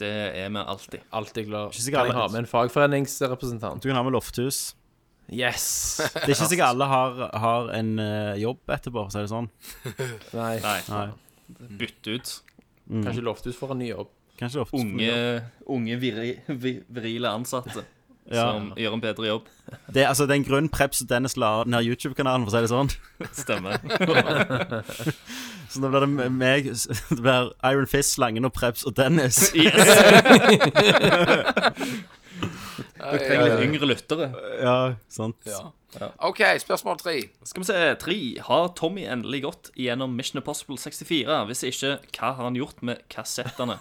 Speaker 4: Det er vi alltid.
Speaker 3: Alltid glad.
Speaker 1: sikkert
Speaker 3: Kan jeg
Speaker 1: alle-
Speaker 3: ha med en fagforeningsrepresentant?
Speaker 1: Du kan ha med Lofthus.
Speaker 3: Yes!
Speaker 1: Det er ikke sikkert alle har, har en eh, jobb etterpå, for å si det sånn.
Speaker 3: Nei,
Speaker 4: Nei.
Speaker 1: Nei.
Speaker 4: Bytte ut.
Speaker 3: kanskje Lofthus får en ny jobb.
Speaker 1: Kanskje Lofthus.
Speaker 4: Unge, unge viri, vi, virile ansatte
Speaker 1: Ja.
Speaker 4: som gjør en bedre jobb.
Speaker 1: Det, er- altså, det er en grunn Preps og Dennis la ned YouTube-kanalen, for å si det sånn.
Speaker 4: Stemmer.
Speaker 1: Så da blir det meg Det blir Iron Fist, Slangen og Preps og Dennis.
Speaker 4: Yes!
Speaker 2: Ja,
Speaker 4: Litt
Speaker 2: ja, ja.
Speaker 4: yngre lyttere.
Speaker 1: Ja, sant.
Speaker 2: OK, spørsmål tre.
Speaker 4: Skal vi se. Tre. Har Tommy endelig gått gjennom Mission Impossible 64? Hvis ikke, hva har han gjort med kassettene?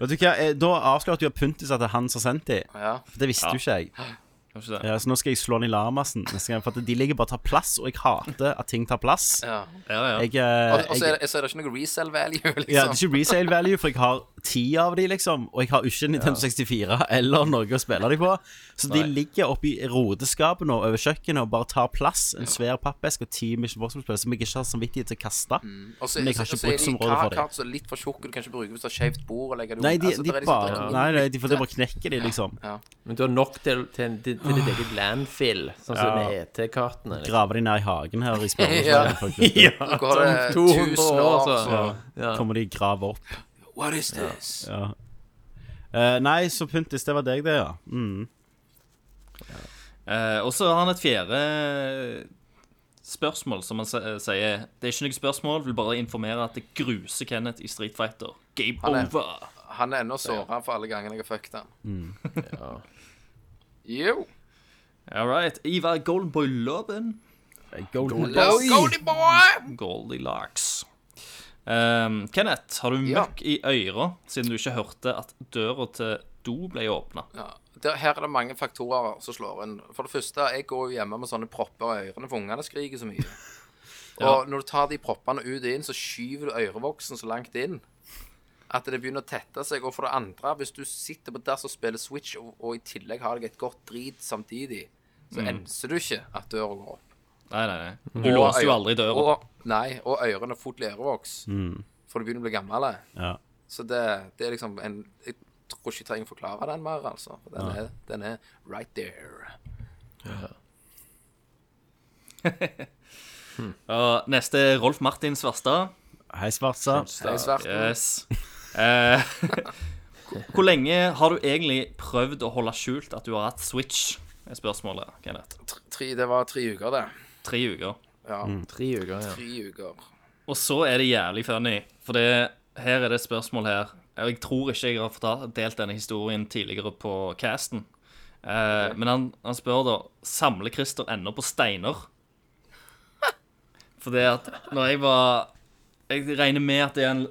Speaker 1: Vet du hva, eh, Da avslørte jo Puntis at det er han som har sendt de.
Speaker 2: Ja.
Speaker 1: For Det visste
Speaker 4: Ja.
Speaker 1: jo ikke jeg.
Speaker 4: Kan ikke det?
Speaker 1: Ja, så nå skal jeg slå han i larmassen neste gang. For at de ligger bare og tar plass, og jeg hater at ting tar plass.
Speaker 2: ja.
Speaker 4: Ja, Altså, ja.
Speaker 1: Jeg, eh,
Speaker 2: Og og så er,
Speaker 1: jeg
Speaker 2: det- så er det ikke noe resell value, liksom.
Speaker 1: ja, det er ikke resale value, for jeg har ti av de, liksom. Og jeg har ikke Nintendo 64 eller noe å spille de på. Så de ligger oppi rodeskapet nå over kjøkkenet og bare tar plass. En svær pappeske og ti Mission Possible-spill som jeg ikke har samvittighet til å kaste.
Speaker 2: Og så
Speaker 1: Men jeg har
Speaker 2: så-
Speaker 1: ikke
Speaker 2: så er de
Speaker 1: bruksområde for det.
Speaker 2: kart som er litt for tjukke, du kan ikke bruke hvis du har skjevt bord. og legger det
Speaker 1: Nei,
Speaker 2: rundt.
Speaker 1: de,
Speaker 2: Altså,
Speaker 1: de
Speaker 2: det er liksom- det er
Speaker 1: bare
Speaker 2: ingen-
Speaker 1: Nei, nei de, for det bare knekker de, liksom.
Speaker 3: Men du har nok til, til, til, til ditt eget landfill, sånn som med ET-kartene. Liksom.
Speaker 1: Grave de ned i hagen her i spørsmålet.
Speaker 2: Ja.
Speaker 1: ja.
Speaker 2: Nå går det
Speaker 3: Om 200
Speaker 2: tusen år,
Speaker 3: så-
Speaker 2: så
Speaker 3: Ja.
Speaker 1: Kommer de grave opp.
Speaker 2: What is this?
Speaker 1: altså. Ja. Eh, nei, så Puntis, det var deg, det, ja. Mm.
Speaker 4: Eh, og så har han et fjerde spørsmål, som han se- eh, sier. Det er ikke noe spørsmål, vil bare informere at det gruser Kenneth i Street Fighter. Game
Speaker 2: er-
Speaker 4: over!
Speaker 2: Han er ennå såra for alle gangene jeg har fucket han.
Speaker 1: Mm.
Speaker 2: Jo.
Speaker 4: All right. Ivar Goldenboy Loven.
Speaker 1: Golden
Speaker 2: Let's go, the boy!
Speaker 4: Goldilocks. Ehm, Kenneth, har du
Speaker 2: Ja.
Speaker 4: møkk i øra siden du ikke hørte at døra til do ble åpna?
Speaker 2: Ja. Der, her er det mange faktorer som slår inn. For det første, jeg går jo hjemme med sånne propper i ørene, for ungene skriker så mye. Og når du tar de proppene ut og inn, så skyver du ørevoksen så langt inn at det begynner å tette seg. Og for det andre, hvis du sitter på dass og spiller Switch, og, og i tillegg har deg et godt drit samtidig, så enser du ikke at døra går opp.
Speaker 4: Nei, nei, nei. Du låste jo aldri Mm. døra.
Speaker 2: Og, nei, og ørene fort i ørevoks. For du begynner å bli gammel. eh.
Speaker 1: Ja.
Speaker 2: Så det, det er liksom en Jeg tror ikke jeg trenger å forklare den mer, altså. For den, er, den er right there.
Speaker 4: Og neste er Rolf Martin Svarstad.
Speaker 1: Hei, Svartsa.
Speaker 2: Det er svært.
Speaker 4: Yes. Eh, hvor lenge har du egentlig prøvd å holde skjult at du har hatt Switch? Er spørsmålet, Kenneth.
Speaker 2: Tre, det var tre uker, det.
Speaker 4: Tre uker.
Speaker 2: Ja,
Speaker 4: Mm.
Speaker 3: Tre uker, ja.
Speaker 2: tre uker.
Speaker 4: Og så er det jævlig funny, for det, her er det et spørsmål her. Jeg tror ikke jeg har fortalt, delt denne historien tidligere på casten. Eh, Men han, han spør da Samler Christer ennå på steiner? For det at når jeg var Jeg regner med at det han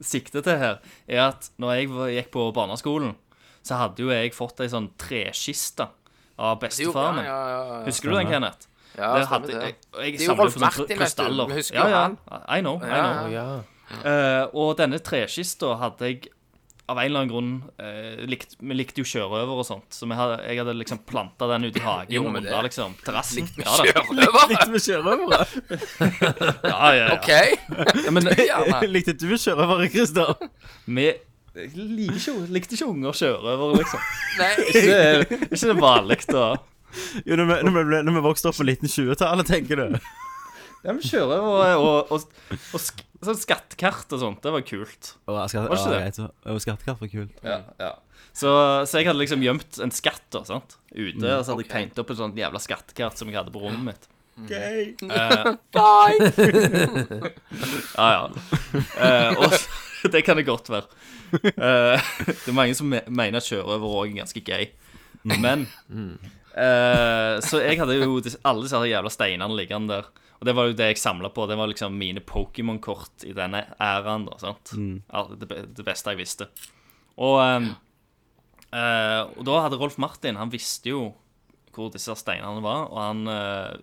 Speaker 4: sikter til her, er at når jeg var, gikk på barneskolen, så hadde jo jeg fått ei sånn trekiste av
Speaker 2: Jo,
Speaker 4: bestefaren min.
Speaker 2: ja, ja, ja.
Speaker 4: Husker du den, Kenneth?
Speaker 2: ja
Speaker 4: det
Speaker 2: stemmer
Speaker 4: hadde,
Speaker 2: det.
Speaker 4: jeg, og jeg
Speaker 2: Det er jo
Speaker 4: samler
Speaker 2: Rolf
Speaker 4: på
Speaker 2: Martin,
Speaker 4: sånne
Speaker 2: vet du.
Speaker 4: krystaller.
Speaker 2: Vi husker
Speaker 4: Ja, ja.
Speaker 2: han.
Speaker 4: I know. I
Speaker 2: Ja,
Speaker 4: know.
Speaker 2: ja.
Speaker 3: ja.
Speaker 4: Eh, og denne trekista hadde jeg av en eller annen grunn eh, likt, Vi likte jo sjørøver og sånt, så vi hadde, jeg hadde liksom planta den ut i hagen
Speaker 2: Gjorde vi
Speaker 4: under
Speaker 2: det?
Speaker 4: liksom, terrassen. Ja, da.
Speaker 2: Sjørøver?
Speaker 1: Likte vi sjørøvere?
Speaker 4: ja, ja, ja.
Speaker 2: OK.
Speaker 4: men-
Speaker 2: Gjerne.
Speaker 1: Likte du sjørøvere, Christer?
Speaker 4: Vi jeg liker ikke, likte ikke unger sjørøvere, liksom.
Speaker 2: Nei,
Speaker 4: Det er ikke det vanlig, da.
Speaker 1: Jo, når vi, når vi, ble- når vi vokste opp på 1920-tallet, tenker du.
Speaker 4: Ja, men sjørøvere og, og, og, sk sånn skattekart og sånt, det var kult.
Speaker 1: Å, skatt,
Speaker 4: Var ikke
Speaker 1: å,
Speaker 4: det?
Speaker 1: greit, så- å, Skattekart var kult.
Speaker 4: Ja, ja. Så, så jeg hadde liksom gjemt en skatt da, sant? ute, og så hadde jeg tegnet opp en sånn jævla skattekart som jeg hadde på rommet mitt. Ja, ja. Eh, og s- det kan det godt være. Eh, det er mange som me- mener at sjørøver òg er ganske gøy. Men eh, Så jeg hadde jo dis- alle disse her jævla steinene liggende der. Og det var jo det jeg samla på. Det var liksom mine Pokémon-kort i denne æraen. da, sant? Ja, det, be- det beste jeg visste. Og, ehm, eh, og da hadde Rolf Martin Han visste jo hvor disse steinene var, og han eh,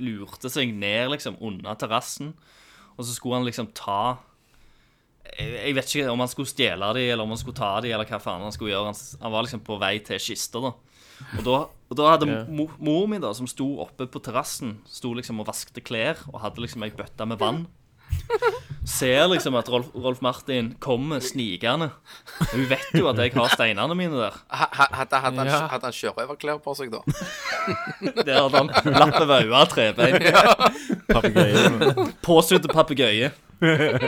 Speaker 4: lurte seg ned liksom under terrassen. Og så skulle han liksom ta jeg, jeg vet ikke om han skulle stjele de, eller om han skulle ta de, eller hva faen han skulle gjøre. Han, s- han var liksom på vei til kista, da. Og da, og da hadde mo, mor mi, da, som sto oppe på terrassen, sto liksom og vaskte klær og hadde liksom ei bøtte med vann. Ser liksom at Rolf, Rolf Martin kommer snikende. Hun vet jo at jeg har steinene mine der.
Speaker 2: ha- ha- Hadde hadde han,
Speaker 3: Ja.
Speaker 2: hadde han sjørøverklær på seg, da?
Speaker 4: Der hadde han lapp over øya, trebein.
Speaker 1: Papegøye.
Speaker 4: Påsydde papegøye.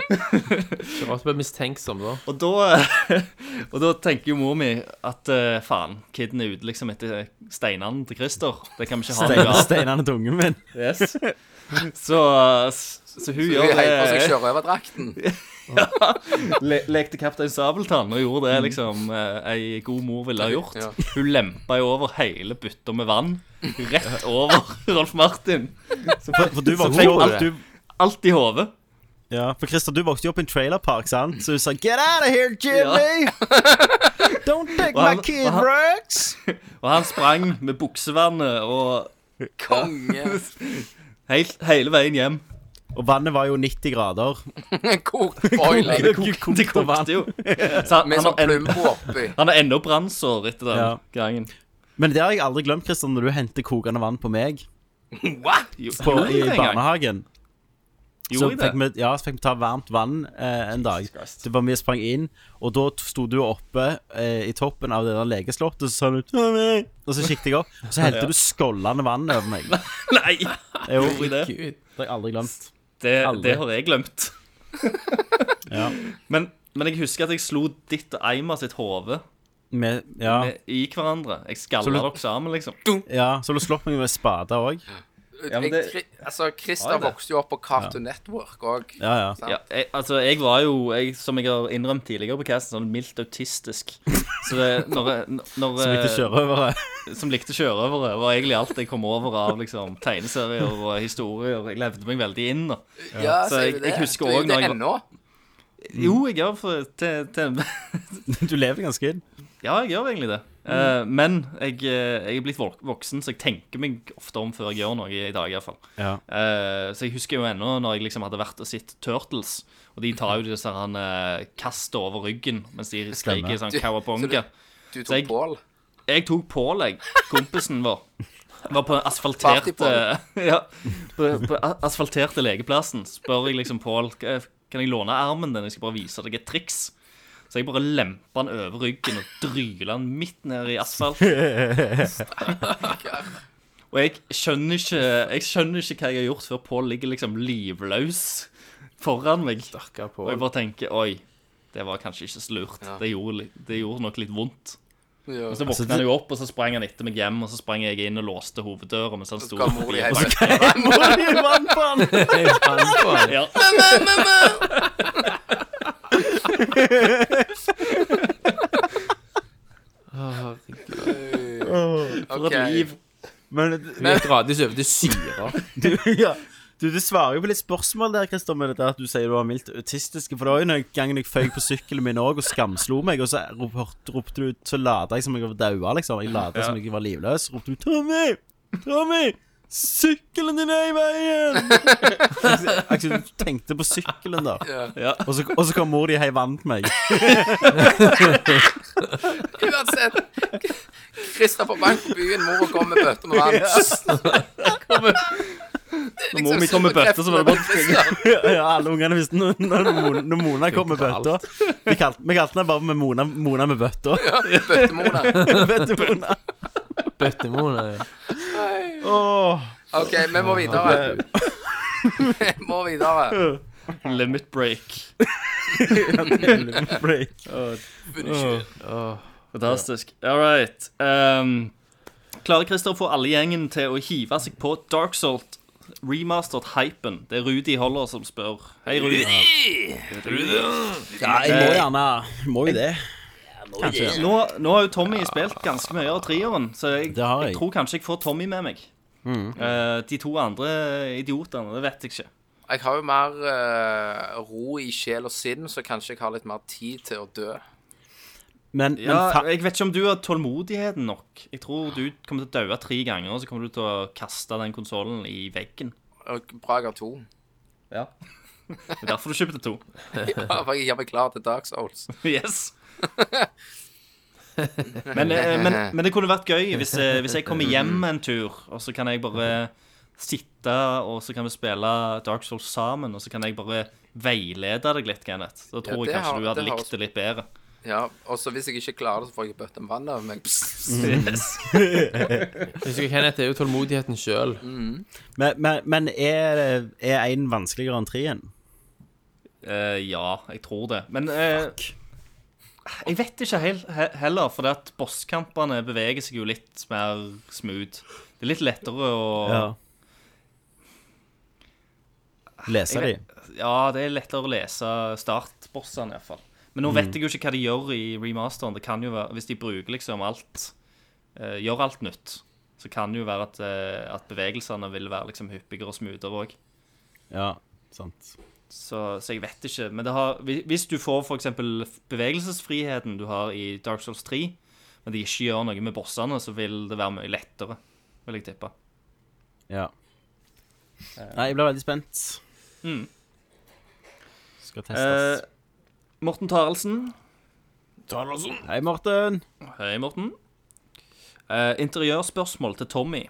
Speaker 3: Det var bare mistenksom, da.
Speaker 4: Og da, og da tenker jo mor mi at eh, faen, kiden er ute liksom etter steinene til Christer. Det kan vi ikke ha
Speaker 1: Stein,
Speaker 4: noe av.
Speaker 1: steinene tungen min.
Speaker 4: Yes. Så, så hun
Speaker 2: Hun
Speaker 4: gjør
Speaker 2: heiv på seg
Speaker 4: det.
Speaker 2: sjørøverdrakten.
Speaker 4: Le, lekte Kaptein Sabeltann og gjorde det liksom eh, ei god mor ville ha gjort.
Speaker 2: Ja.
Speaker 4: Hun lempa jo over hele bytta med vann. Rett over Rolf Martin.
Speaker 1: For, for du vokste
Speaker 4: fikk
Speaker 1: jo
Speaker 4: alt-
Speaker 1: alt du
Speaker 4: Alt i hodet.
Speaker 1: Ja, for Christer, du vokste jo opp i en trailerpark, sant? Så du sa 'Get out of here, Jimmy! Don't take
Speaker 4: Og han-
Speaker 1: my kid
Speaker 4: og han-
Speaker 1: Rex!'
Speaker 4: Og han sprang med buksevannet og
Speaker 2: Konge.
Speaker 4: helt, hele veien hjem.
Speaker 1: Og vannet var jo 90 grader.
Speaker 2: Kokt boiling
Speaker 4: Det kokte, det kokte jo. Så han,
Speaker 2: med
Speaker 4: han, har
Speaker 2: sånn
Speaker 4: en-
Speaker 2: plumbo oppi.
Speaker 4: Han har ennå brannsår etter den
Speaker 1: Ja.
Speaker 4: gangen.
Speaker 1: Men det har jeg aldri glemt, Christer, når du henter kokende vann på meg
Speaker 4: Jo,
Speaker 1: på,
Speaker 4: gjorde
Speaker 1: i
Speaker 4: jeg det en gang?
Speaker 1: barnehagen. Så
Speaker 4: Gjorde
Speaker 1: fikk
Speaker 4: jeg det?
Speaker 1: vi, ja, så fikk vi ta varmt vann eh, en dag.
Speaker 4: Christ.
Speaker 1: Det var Vi sprang inn, og da t- sto du oppe eh, i toppen av det der legeslottet, og så sa du 'Tommy!' Og så kikket jeg opp, og så helte du skållende vann over meg. Det
Speaker 4: Nei!
Speaker 1: Jo.
Speaker 4: Gjorde jeg det?
Speaker 3: Gud.
Speaker 1: har jeg aldri glemt.
Speaker 4: Det,
Speaker 1: Aldri.
Speaker 4: det har jeg glemt.
Speaker 1: Ja.
Speaker 4: Men, men jeg husker at jeg slo ditt og Eima sitt hode
Speaker 1: Med, ja.
Speaker 4: i hverandre. Jeg skalla
Speaker 1: Så du-
Speaker 4: dere sammen, liksom.
Speaker 1: Ja, så har du slått meg med spade òg.
Speaker 4: Ja, men det-
Speaker 2: jeg, altså, Christer
Speaker 4: Har jeg det?
Speaker 2: vokste jo opp på Cartoon Network òg.
Speaker 1: Ja, ja.
Speaker 4: Ja, jeg, altså, jeg var jo, jeg, som jeg har innrømt tidligere på casten, sånn mildt autistisk. Så det, når, jeg- når
Speaker 1: Som ikke
Speaker 4: jeg-
Speaker 1: kjører over eh, her.
Speaker 4: Som likte sjørøvere. Var egentlig alt jeg kom over av liksom, tegneserier og historier. Jeg levde meg veldig inn. da
Speaker 1: Mm.
Speaker 2: Ja,
Speaker 4: Så jeg- jeg husker
Speaker 2: også
Speaker 4: også
Speaker 2: når
Speaker 4: når jeg var-
Speaker 2: ennå.
Speaker 4: Jo, jeg gjør for, til, til
Speaker 1: Du lever ganske inn.
Speaker 4: Ja, jeg gjør egentlig det. Eh, men jeg, eh, jeg er blitt vok- voksen, så jeg tenker meg ofte om før jeg gjør noe i dag. i hvert fall
Speaker 1: Ja.
Speaker 4: Eh, så jeg husker jo ennå når jeg liksom hadde vært og sett Turtles. Og de tar jo disse her, eh, kastet over ryggen mens de skriker sånn
Speaker 2: Du-
Speaker 4: cowabunga.
Speaker 2: Du tok
Speaker 4: jeg-
Speaker 2: Pål.
Speaker 4: Jeg tok Pål, jeg. Kompisen vår. Var på den asfalterte
Speaker 2: Party-Pål.
Speaker 4: Ja, på, på a- asfalterte legeplassen. Spør jeg liksom Pål "K- eh, Kan jeg låne armen din, jeg skal bare vise deg et triks. Så jeg bare lempa han over ryggen og dryla han midt ned i asfalt. Og jeg skjønner ikke Jeg skjønner ikke hva jeg har gjort før Pål ligger liksom livløs foran meg.
Speaker 3: Stakkar
Speaker 4: Og jeg
Speaker 3: Pål.
Speaker 4: bare tenker Oi, det var kanskje ikke så lurt. Det, gjorde, li- det gjorde nok litt vondt.
Speaker 2: Ja.
Speaker 4: Og så våkna han jo opp, og så sprang han etter meg hjem, og så sprang jeg inn og låste hoveddøra mens han sto
Speaker 2: Skal mor i
Speaker 4: og så-
Speaker 2: heimen.
Speaker 3: Jeg fant på han.
Speaker 4: Ja.
Speaker 2: Ok.
Speaker 1: Men
Speaker 3: Vi gikk gradvis over til syre.
Speaker 1: du, ja. du, du svarer jo på litt spørsmål der, Christer, med dette at du sier du var mildt autistisk. For det var jo en gang jeg føyk på sykkelen min òg og skamslo meg, og så ropte, ropte du ut Så lata jeg som jeg var daua, liksom. Jeg lata som jeg var livløs. Ropte du 'Tommy! Tommy! Sykkelen din er i veien!' Akkurat du tenkte på sykkelen, da.
Speaker 4: Ja.
Speaker 1: Og så, og så kom mor di og heiv vann til meg.
Speaker 2: Uansett. Christer på bank på byen, mora kom med bøtter med vann.
Speaker 4: Når
Speaker 2: liksom
Speaker 4: mor mi kom med bøtter, så var det bare
Speaker 1: Ja, alle ungene visste når, når, Mona, når Mona kom med bøtta. Vi kalte vi kalte henne bare med Mona, Mona med bøtta.
Speaker 2: Bøttemona.
Speaker 1: Vet du, Mona?
Speaker 3: Bøttemor, nei.
Speaker 1: Åh.
Speaker 2: OK, vi må videre. Vi må videre.
Speaker 4: limit break.
Speaker 1: Break.
Speaker 4: Fantastisk. All right. Um, klarer Christer å få alle gjengen til å hive seg på Dark Salt remastered hypen? Det er Rudi Holler som spør. Hei, Rudi.
Speaker 1: Ja, jeg må gjerne Må jo det.
Speaker 4: Nå, nå har jo Tommy spilt ganske mye av treeren, så jeg,
Speaker 1: Det har jeg. Mm.
Speaker 4: jeg. tror kanskje jeg får Tommy med meg. Eh, de to andre idiotene, det vet jeg ikke.
Speaker 2: Jeg har jo mer eh, ro i sjel og sinn, så kanskje jeg har litt mer tid til å dø.
Speaker 1: Men, men
Speaker 4: Ja,
Speaker 1: fa
Speaker 4: jeg vet ikke om du har tålmodigheten nok. Jeg tror du kommer til å daue tre ganger, og så kommer du til å kaste den konsollen i veggen.
Speaker 2: Og Bra jeg har to.
Speaker 4: Det er derfor du kjøpte to.
Speaker 2: Ja, for jeg gjør meg klar til Dark Souls.
Speaker 4: Yes. men, eh, men, men det kunne vært gøy hvis, eh, hvis jeg kommer hjem en tur, og så kan jeg bare sitte, og så kan vi spille Dark Souls sammen, og så kan jeg bare veilede deg litt, Kenneth. Da tror
Speaker 2: det
Speaker 4: jeg kanskje
Speaker 2: har-
Speaker 4: du hadde
Speaker 2: det har
Speaker 4: likt det litt bedre.
Speaker 2: Ja, og så hvis jeg ikke klarer det, så får jeg en bøtte med vann over meg. Pss.
Speaker 4: Yes.
Speaker 3: Husker du, Kenneth er jo tålmodigheten sjøl.
Speaker 1: men, men, men er er én vanskeligere enn treen?
Speaker 4: Eh, ja, jeg tror det. Men eh, jeg vet ikke hel he heller, for det at bosskampene beveger seg jo litt mer smooth. Det er litt lettere å
Speaker 1: Lese de.
Speaker 4: Jeg Ja, det er lettere å lese startbossene i hvert fall Men nå vet jeg jo ikke hva de gjør i remasteren. Det kan jo være, Hvis de bruker liksom alt eh, Gjør alt nytt, så kan det jo være at, eh, at bevegelsene vil være liksom hyppigere og smoothere òg.
Speaker 1: Ja, sant.
Speaker 4: Så, så jeg vet ikke. Men det har, hvi- hvis du får f.eks. bevegelsesfriheten du har i Dark Souls 3, men de ikke gjør noe med bossene, så vil det være mye lettere, vil jeg tippe.
Speaker 1: Ja. Nei, jeg blir veldig spent. Skal testes.
Speaker 4: Mm. Eh, Morten Taraldsen,
Speaker 1: Hei, Morten.
Speaker 4: Hei, Morten. Eh, interiørspørsmål til Tommy.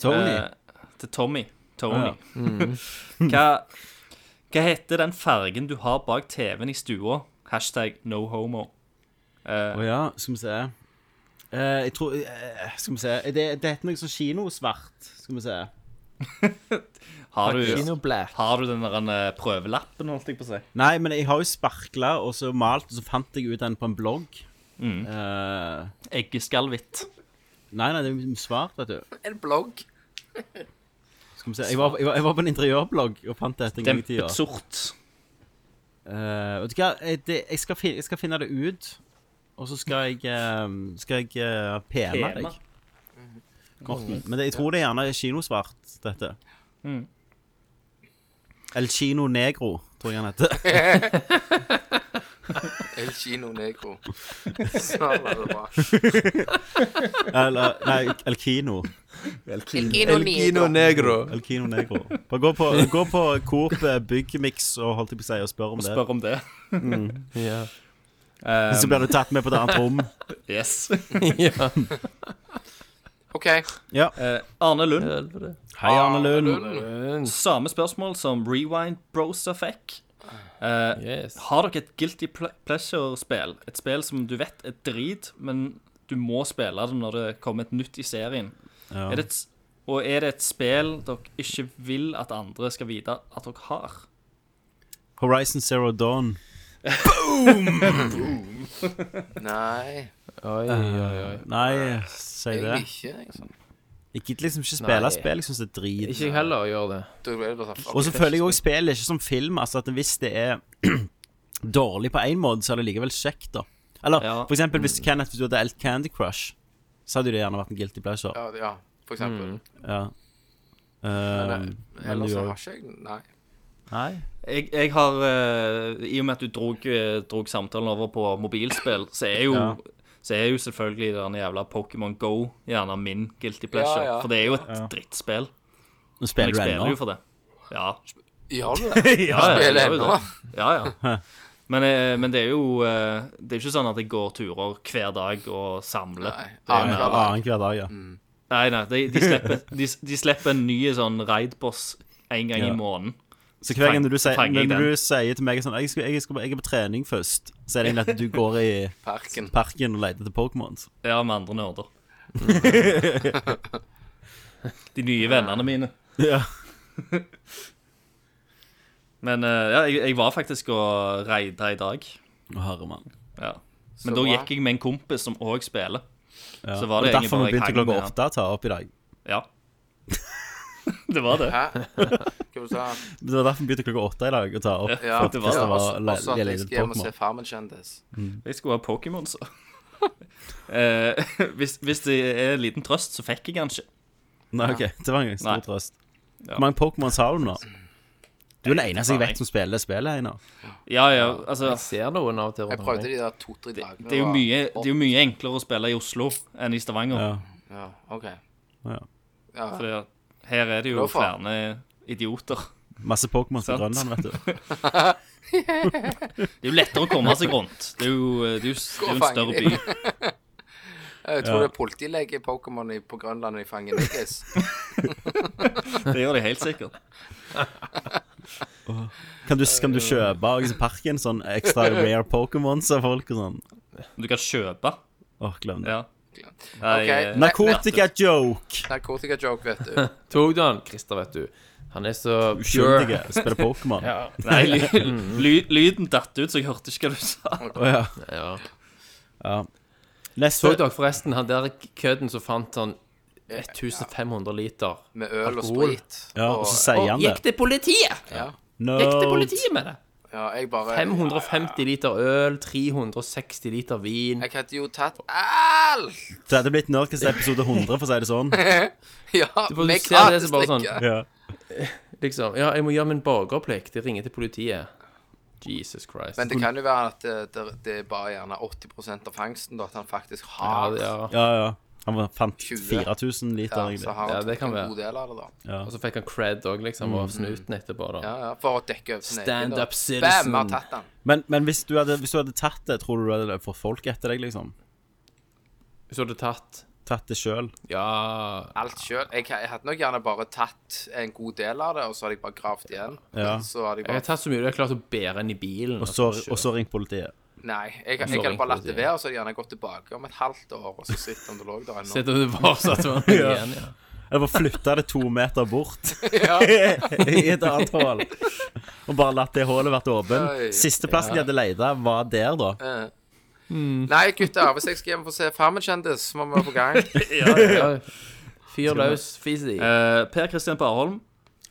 Speaker 1: Tony.
Speaker 4: Eh, til Tommy. Tony.
Speaker 1: Ah,
Speaker 4: hva, hva heter den fargen du har bak TV-en i stua? Hashtag no homo.
Speaker 1: Å ja, skal vi se. Eh, jeg tror eh, Skal vi se. Det, det heter noe sånn kinosvart. Skal vi se.
Speaker 4: Har du,
Speaker 3: Kinoblæk.
Speaker 4: har du den der eh, prøvelappen, holdt jeg på å si?
Speaker 1: Nei, men jeg har jo sparkla og så malt, og så fant jeg ut den på en blogg. Eh,
Speaker 4: Eggeskallhvitt.
Speaker 1: nei, nei, det er jo svart, vet du.
Speaker 2: En blogg.
Speaker 1: Skal vi se. Jeg var, jeg var, jeg var på en interiørblogg og fant dette en gang i tida.
Speaker 4: Dempet sort.
Speaker 1: Eh, vet du hva, jeg, det, jeg, skal finne, jeg skal finne det ut, og så skal jeg, eh, skal jeg eh, PM-e
Speaker 4: Tema.
Speaker 1: deg. Morten. Men det, jeg tror det er gjerne kinosvart, dette.
Speaker 4: Mm.
Speaker 1: El Kino Negro, tror jeg han heter.
Speaker 2: El Chino Negro. Snarere det bra.
Speaker 1: Eller, nei, El Kino.
Speaker 3: El Gino Negro.
Speaker 1: El Kino Negro. Bare gå på, gå på Coop eh, Byggmix og holdt jeg på å si, og spør om det.
Speaker 4: Spør om det.
Speaker 3: Ja.
Speaker 1: Så blir du tatt med på et annet rom.
Speaker 4: Yes.
Speaker 3: ja.
Speaker 2: OK.
Speaker 1: Ja.
Speaker 4: Eh, Arne Lund.
Speaker 3: Helvete.
Speaker 1: Hei, Arne
Speaker 4: Ah,
Speaker 1: Lund.
Speaker 2: Lund.
Speaker 4: Samme spørsmål som Rewind Brosa fikk. Eh,
Speaker 3: Yes.
Speaker 4: Har dere et guilty ple- pleasure-spill? Et spill som du vet er drit, men du må spille det når det kommer et nytt i serien.
Speaker 1: Ja.
Speaker 4: Er det et, s- og er det et spill dere ikke vil at andre skal vite at dere har?
Speaker 1: Horizon Zero Dawn.
Speaker 2: Nei,
Speaker 3: Oi, oi, oi.
Speaker 1: Nei, si det.
Speaker 2: egentlig ikke. Liksom.
Speaker 1: Jeg gidder liksom ikke spille
Speaker 3: Nei.
Speaker 1: spill. Jeg syns det er drit.
Speaker 3: Ikke jeg heller gjør det.
Speaker 2: Da er det bare sånn,
Speaker 1: Og så føler jeg òg spillet ikke som film. Altså at Hvis det er dårlig på én måte, så er det likevel kjekt, da. Eller
Speaker 4: Ja.
Speaker 1: for eksempel hvis Kenneth hvis du hadde elt Candy Crush, så hadde jo det gjerne vært en guilty pleasure.
Speaker 2: Ja, ja, for eksempel.
Speaker 1: Ja. Um,
Speaker 2: Nei, Ellers så har ikke jeg Nei.
Speaker 1: Nei.
Speaker 4: Jeg, jeg har eh, I og med at du drog, eh, drog samtalen over på mobilspill, så er jo,
Speaker 1: Ja.
Speaker 4: så er jo selvfølgelig den jævla Pokémon Go gjerne min guilty pleasure.
Speaker 2: Ja, ja.
Speaker 4: For det er jo et drittspill.
Speaker 1: Nå
Speaker 4: Men
Speaker 1: spiller
Speaker 4: jeg
Speaker 1: du
Speaker 4: spiller jo
Speaker 1: ennå.
Speaker 4: for det. Ja.
Speaker 2: Gjør du det?
Speaker 4: ja
Speaker 2: spiller
Speaker 4: jeg gjør jo
Speaker 2: ennå.
Speaker 4: det. Ja, ja. Men, eh, men det er jo eh, Det er ikke sånn at jeg går turer hver dag og samler.
Speaker 2: Nei.
Speaker 4: Det er jo
Speaker 2: Annen
Speaker 4: mer-
Speaker 2: gang.
Speaker 1: Annenhver dag, ja.
Speaker 4: Mm. Nei, nei, de, de, slipper, de, de slipper en ny sånn raidboss en gang
Speaker 1: Ja.
Speaker 4: i måneden.
Speaker 1: Så hver gang
Speaker 4: Fang-
Speaker 1: du sier,
Speaker 4: fanger jeg
Speaker 1: når du
Speaker 4: den.
Speaker 1: sier til meg sånn jeg, skal, jeg, skal, 'Jeg er på trening først', så er det egentlig at du går i
Speaker 2: Parken.
Speaker 1: parken og leter etter Pokémons.
Speaker 4: Ja, med andre nerder. De nye vennene mine.
Speaker 1: Ja.
Speaker 4: Men eh, ja, jeg, jeg var faktisk og raida i dag.
Speaker 1: Å, herre mann.
Speaker 4: Ja. Men
Speaker 2: Så
Speaker 4: da
Speaker 2: bra.
Speaker 4: gikk jeg med en kompis som òg spiller.
Speaker 1: Ja.
Speaker 4: Så var det
Speaker 1: Og
Speaker 4: egentlig
Speaker 1: derfor
Speaker 4: bare
Speaker 1: vi
Speaker 4: jeg
Speaker 1: begynte
Speaker 4: hang
Speaker 1: klokka
Speaker 4: med han.
Speaker 1: åtte å ta opp i dag.
Speaker 4: Ja. Det var det.
Speaker 2: Hæ? Hva sa du?
Speaker 1: Det var derfor vi begynte klokka åtte i dag å ta opp.
Speaker 2: Ja,
Speaker 4: For at det var-
Speaker 1: det var-
Speaker 2: også- også at
Speaker 1: jeg
Speaker 2: jeg
Speaker 1: leter
Speaker 2: skal hjem og
Speaker 1: Pokémon.
Speaker 2: se Farmen kjendis.
Speaker 4: Jeg skulle ha Pokémon, så. Eh, hvis, hvis det er en liten trøst, så fikk jeg den ikke.
Speaker 1: Nei, ok, det var en stor
Speaker 4: Nei.
Speaker 1: trøst.
Speaker 4: Ja.
Speaker 1: Hvor mange Pokémons har du nå? Du er den eneste jeg
Speaker 4: faen,
Speaker 1: vet
Speaker 4: jeg.
Speaker 1: som spiller det spillet, Einar.
Speaker 4: Ja, ja, altså
Speaker 3: Jeg ser noen av og til.
Speaker 2: Jeg
Speaker 3: rundt
Speaker 2: prøvde
Speaker 3: omkring.
Speaker 2: de der to-tre dagene.
Speaker 4: det er, jo
Speaker 2: var-
Speaker 4: mye, det er jo mye enklere å spille i Oslo enn i Stavanger.
Speaker 1: Ja.
Speaker 2: Ja, OK.
Speaker 1: Ja.
Speaker 2: Ja.
Speaker 4: For det- her er det jo
Speaker 2: Hvorfor?
Speaker 4: flere idioter.
Speaker 1: Masse Pokémons i
Speaker 4: Sant.
Speaker 1: Grønland, vet du.
Speaker 4: Det er jo lettere å komme seg rundt. Det er jo, det er jo, det er jo en større by.
Speaker 2: Jeg tror
Speaker 1: Ja.
Speaker 2: det er politilege i Pokémon i- på Grønland de fanger niggis.
Speaker 4: Det gjør de helt sikkert.
Speaker 1: Kan du, kan du kjøpe av liksom, parken sånn ekstra rare Pokémons av folk og sånn?
Speaker 4: Du kan kjøpe.
Speaker 1: Åh, glem det.
Speaker 4: Ja. Nei,
Speaker 2: Ok.
Speaker 4: eh,
Speaker 1: Narkotika-joke!
Speaker 2: Narkotikajoke, vet du.
Speaker 3: Tok du han? Christer, vet du. Han er så pure.
Speaker 1: Skjøndige. Spiller Pokémon. Å ja.
Speaker 4: nei ly, ly, lyden datt ut, så jeg hørte ikke hva du sa.
Speaker 1: ja.
Speaker 3: Ja.
Speaker 1: Neste
Speaker 3: Så dere forresten han der kødden som fant sånn 1500 liter?
Speaker 2: Med øl og
Speaker 3: Alkohol.
Speaker 2: sprit.
Speaker 1: Ja, og så sier han det.
Speaker 3: til politiet?
Speaker 2: Ja.
Speaker 1: No.
Speaker 3: med det?
Speaker 2: ja, jeg bare
Speaker 3: 550 liter øl, 360 liter vin.
Speaker 2: Jeg hadde jo tatt alt!
Speaker 1: Det hadde blitt Nerdcast episode 100, for å si det sånn.
Speaker 2: Ja,
Speaker 3: får-
Speaker 2: med
Speaker 3: du ser det, så bare sånn.
Speaker 2: gratis drikke.
Speaker 1: Ja.
Speaker 3: Liksom, ja, jeg må gjøre min borgerplikt. Jeg ringer til politiet. Jesus Christ.
Speaker 2: Men det kan jo være at det, det, det er bare gjerne 80 av fangsten, da, at han faktisk
Speaker 3: ja,
Speaker 2: har
Speaker 3: det- ja.
Speaker 1: ja, ja. Han fant
Speaker 2: 20.
Speaker 1: 4000 liter,
Speaker 2: Ja, så
Speaker 1: egentlig.
Speaker 2: har han
Speaker 3: Ja, det
Speaker 2: tatt
Speaker 3: kan
Speaker 2: en
Speaker 3: være.
Speaker 2: god del av det, da.
Speaker 3: Og så fikk han cred òg, liksom,
Speaker 1: Mm.
Speaker 3: av snuten etterpå. da
Speaker 2: Ja, ja, For å dekke over sin egen
Speaker 3: Stand
Speaker 2: da.
Speaker 3: up citizen.
Speaker 2: Bam, vi har tatt den.
Speaker 1: Men, men hvis, du hadde, hvis du hadde tatt det, tror du du hadde fått folk etter deg, liksom?
Speaker 3: Hvis du hadde tatt
Speaker 1: Tatt det sjøl?
Speaker 3: Ja
Speaker 2: Alt sjøl. Jeg, jeg hadde nok gjerne bare tatt en god del av det, og så hadde jeg bare gravd igjen.
Speaker 1: Ja.
Speaker 2: Så hadde jeg
Speaker 3: Jeg har
Speaker 2: bare
Speaker 3: tatt så mye du har klart å bære inn i bilen. altså.
Speaker 1: Og så, og så ringt politiet.
Speaker 2: Nei, jeg, jeg,
Speaker 3: Så
Speaker 2: hadde bare latt det
Speaker 3: inkluderer.
Speaker 2: være, og så hadde jeg gjerne gått tilbake om et halvt år, og så sett om det lå der ennå.
Speaker 3: Sitter du bare sånn at man igjen, ja.
Speaker 1: Eller bare flytta det to meter bort
Speaker 2: Ja.
Speaker 1: i et annet hull. Og bare latt det hullet vært åpen.
Speaker 2: Oi.
Speaker 1: Siste plassen de hadde leita, var der, da.
Speaker 2: Eh. Nei, gutter, hvis jeg skal hjem og se Farmen kjendis, så må vi være på gang.
Speaker 3: Ja, Fyr løs, fis i.
Speaker 4: Eh, per Kristian Barholm.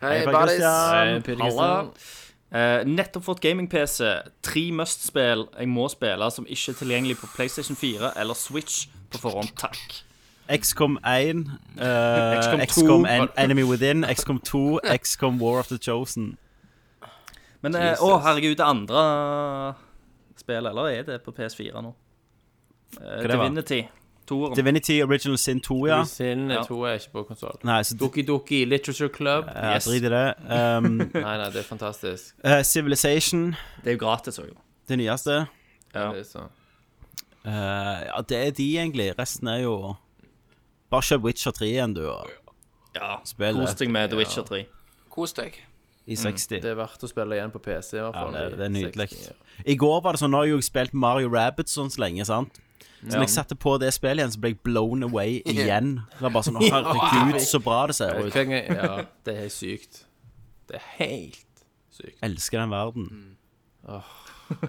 Speaker 2: Hei,
Speaker 1: Per
Speaker 2: Badis.
Speaker 3: Eh,
Speaker 1: Christian.
Speaker 4: Halla. Eh, nettopp fått gaming-PC. Tre Must-spill jeg må spille som ikke er tilgjengelig på PlayStation 4 eller Switch på forhånd. Takk.
Speaker 1: XCOM 1, eh,
Speaker 4: XCOM 2.
Speaker 1: XCOM en Enemy Within, XCOM 2, XCOM War of the Chosen.
Speaker 4: Men eh, å, herregud, det andre spillet, eller er det på PS4 nå? Eh,
Speaker 1: det være?
Speaker 4: Divinity. Toeren.
Speaker 1: Divinity Original Sin 2, ja.
Speaker 3: Sin
Speaker 4: Ja.
Speaker 3: 2 er ikke på konsoll.
Speaker 1: Nei, så
Speaker 3: Doki Doki Literature Club.
Speaker 1: ja,
Speaker 4: yes.
Speaker 1: drit i det. Um,
Speaker 3: Nei, nei, det er fantastisk.
Speaker 1: eh, Civilization,
Speaker 4: det er jo gratis òg.
Speaker 1: det nyeste.
Speaker 4: Ja.
Speaker 3: Det er sånn.
Speaker 1: Eh, ja, det er de, egentlig. Resten er jo Bare kjøp Witcher 3 igjen, du, og
Speaker 4: Ja.
Speaker 1: spill
Speaker 4: Kos
Speaker 1: det
Speaker 4: deg med The Witcher 3.
Speaker 2: Kos deg.
Speaker 1: i 60.
Speaker 3: Mm, Det er verdt å spille igjen på PC, i hvert
Speaker 1: Ja,
Speaker 3: fall.
Speaker 1: det,
Speaker 3: i
Speaker 1: det er nydelig.
Speaker 3: 60, ja.
Speaker 1: I går var det sånn, nå har jeg jo spilt Mario Rabbit sånn så lenge, sant? Så når jeg satte på det spillet igjen, så ble jeg blown away igjen. Det var bare sånn, «Å, herregud, så bra det ser ut.
Speaker 3: Hver gang jeg- Ja, det er helt sykt. Det er helt sykt.
Speaker 1: Elsker den verden.
Speaker 3: Mm.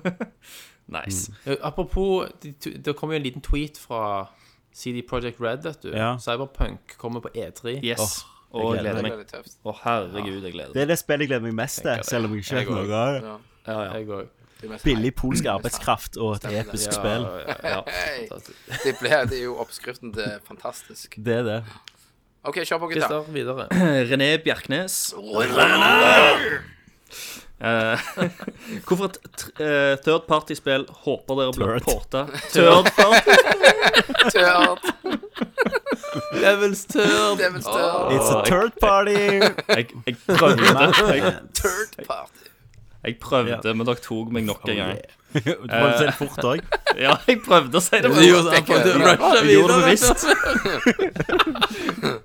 Speaker 4: Nice.
Speaker 3: Ja, Eh, Apropos, de to- det kom jo en liten tweet fra CD Projekt Red, vet du.
Speaker 1: Ja.
Speaker 3: Cyberpunk kommer på E3.
Speaker 4: Yes.
Speaker 1: Åh,
Speaker 4: og
Speaker 1: jeg
Speaker 4: jeg gleder
Speaker 1: gleder
Speaker 2: Det
Speaker 4: meg.
Speaker 2: er litt tøft.
Speaker 4: Å, herregud, jeg gleder meg.
Speaker 1: Det er det spillet jeg gleder meg mest til, selv om jeg ikke
Speaker 3: Jeg
Speaker 1: vet
Speaker 3: går.
Speaker 1: noe av det.
Speaker 2: Ja.
Speaker 4: Ja, ja.
Speaker 3: Jeg òg.
Speaker 2: Det er mest-
Speaker 1: Billig polsk arbeidskraft og et episk spill.
Speaker 3: Ja,
Speaker 2: Hei.
Speaker 3: fantastisk.
Speaker 2: Det, ble, det er jo oppskriften til fantastisk.
Speaker 1: Det er det.
Speaker 2: OK, kjør på, gutta.
Speaker 3: Christer, videre.
Speaker 4: René Bjerknes. Eh, hvorfor et tr- eh, third party-spill håper dere blir
Speaker 1: Turd.
Speaker 4: porta? Third party?
Speaker 2: Tørt.
Speaker 3: Devil's Turd.
Speaker 2: Devil's Turd.
Speaker 1: It's a third party!
Speaker 4: Jeg, jeg prøvde, jeg,
Speaker 2: Third party.
Speaker 4: jeg prøvde men dere tok meg nok en gang.
Speaker 1: Du må se det fort òg.
Speaker 4: Ja, jeg prøvde å si det.
Speaker 3: Du gjorde sånn,
Speaker 2: Tenker jeg.
Speaker 3: du rusher
Speaker 4: Jeg gjorde det
Speaker 3: videre.
Speaker 4: bevisst.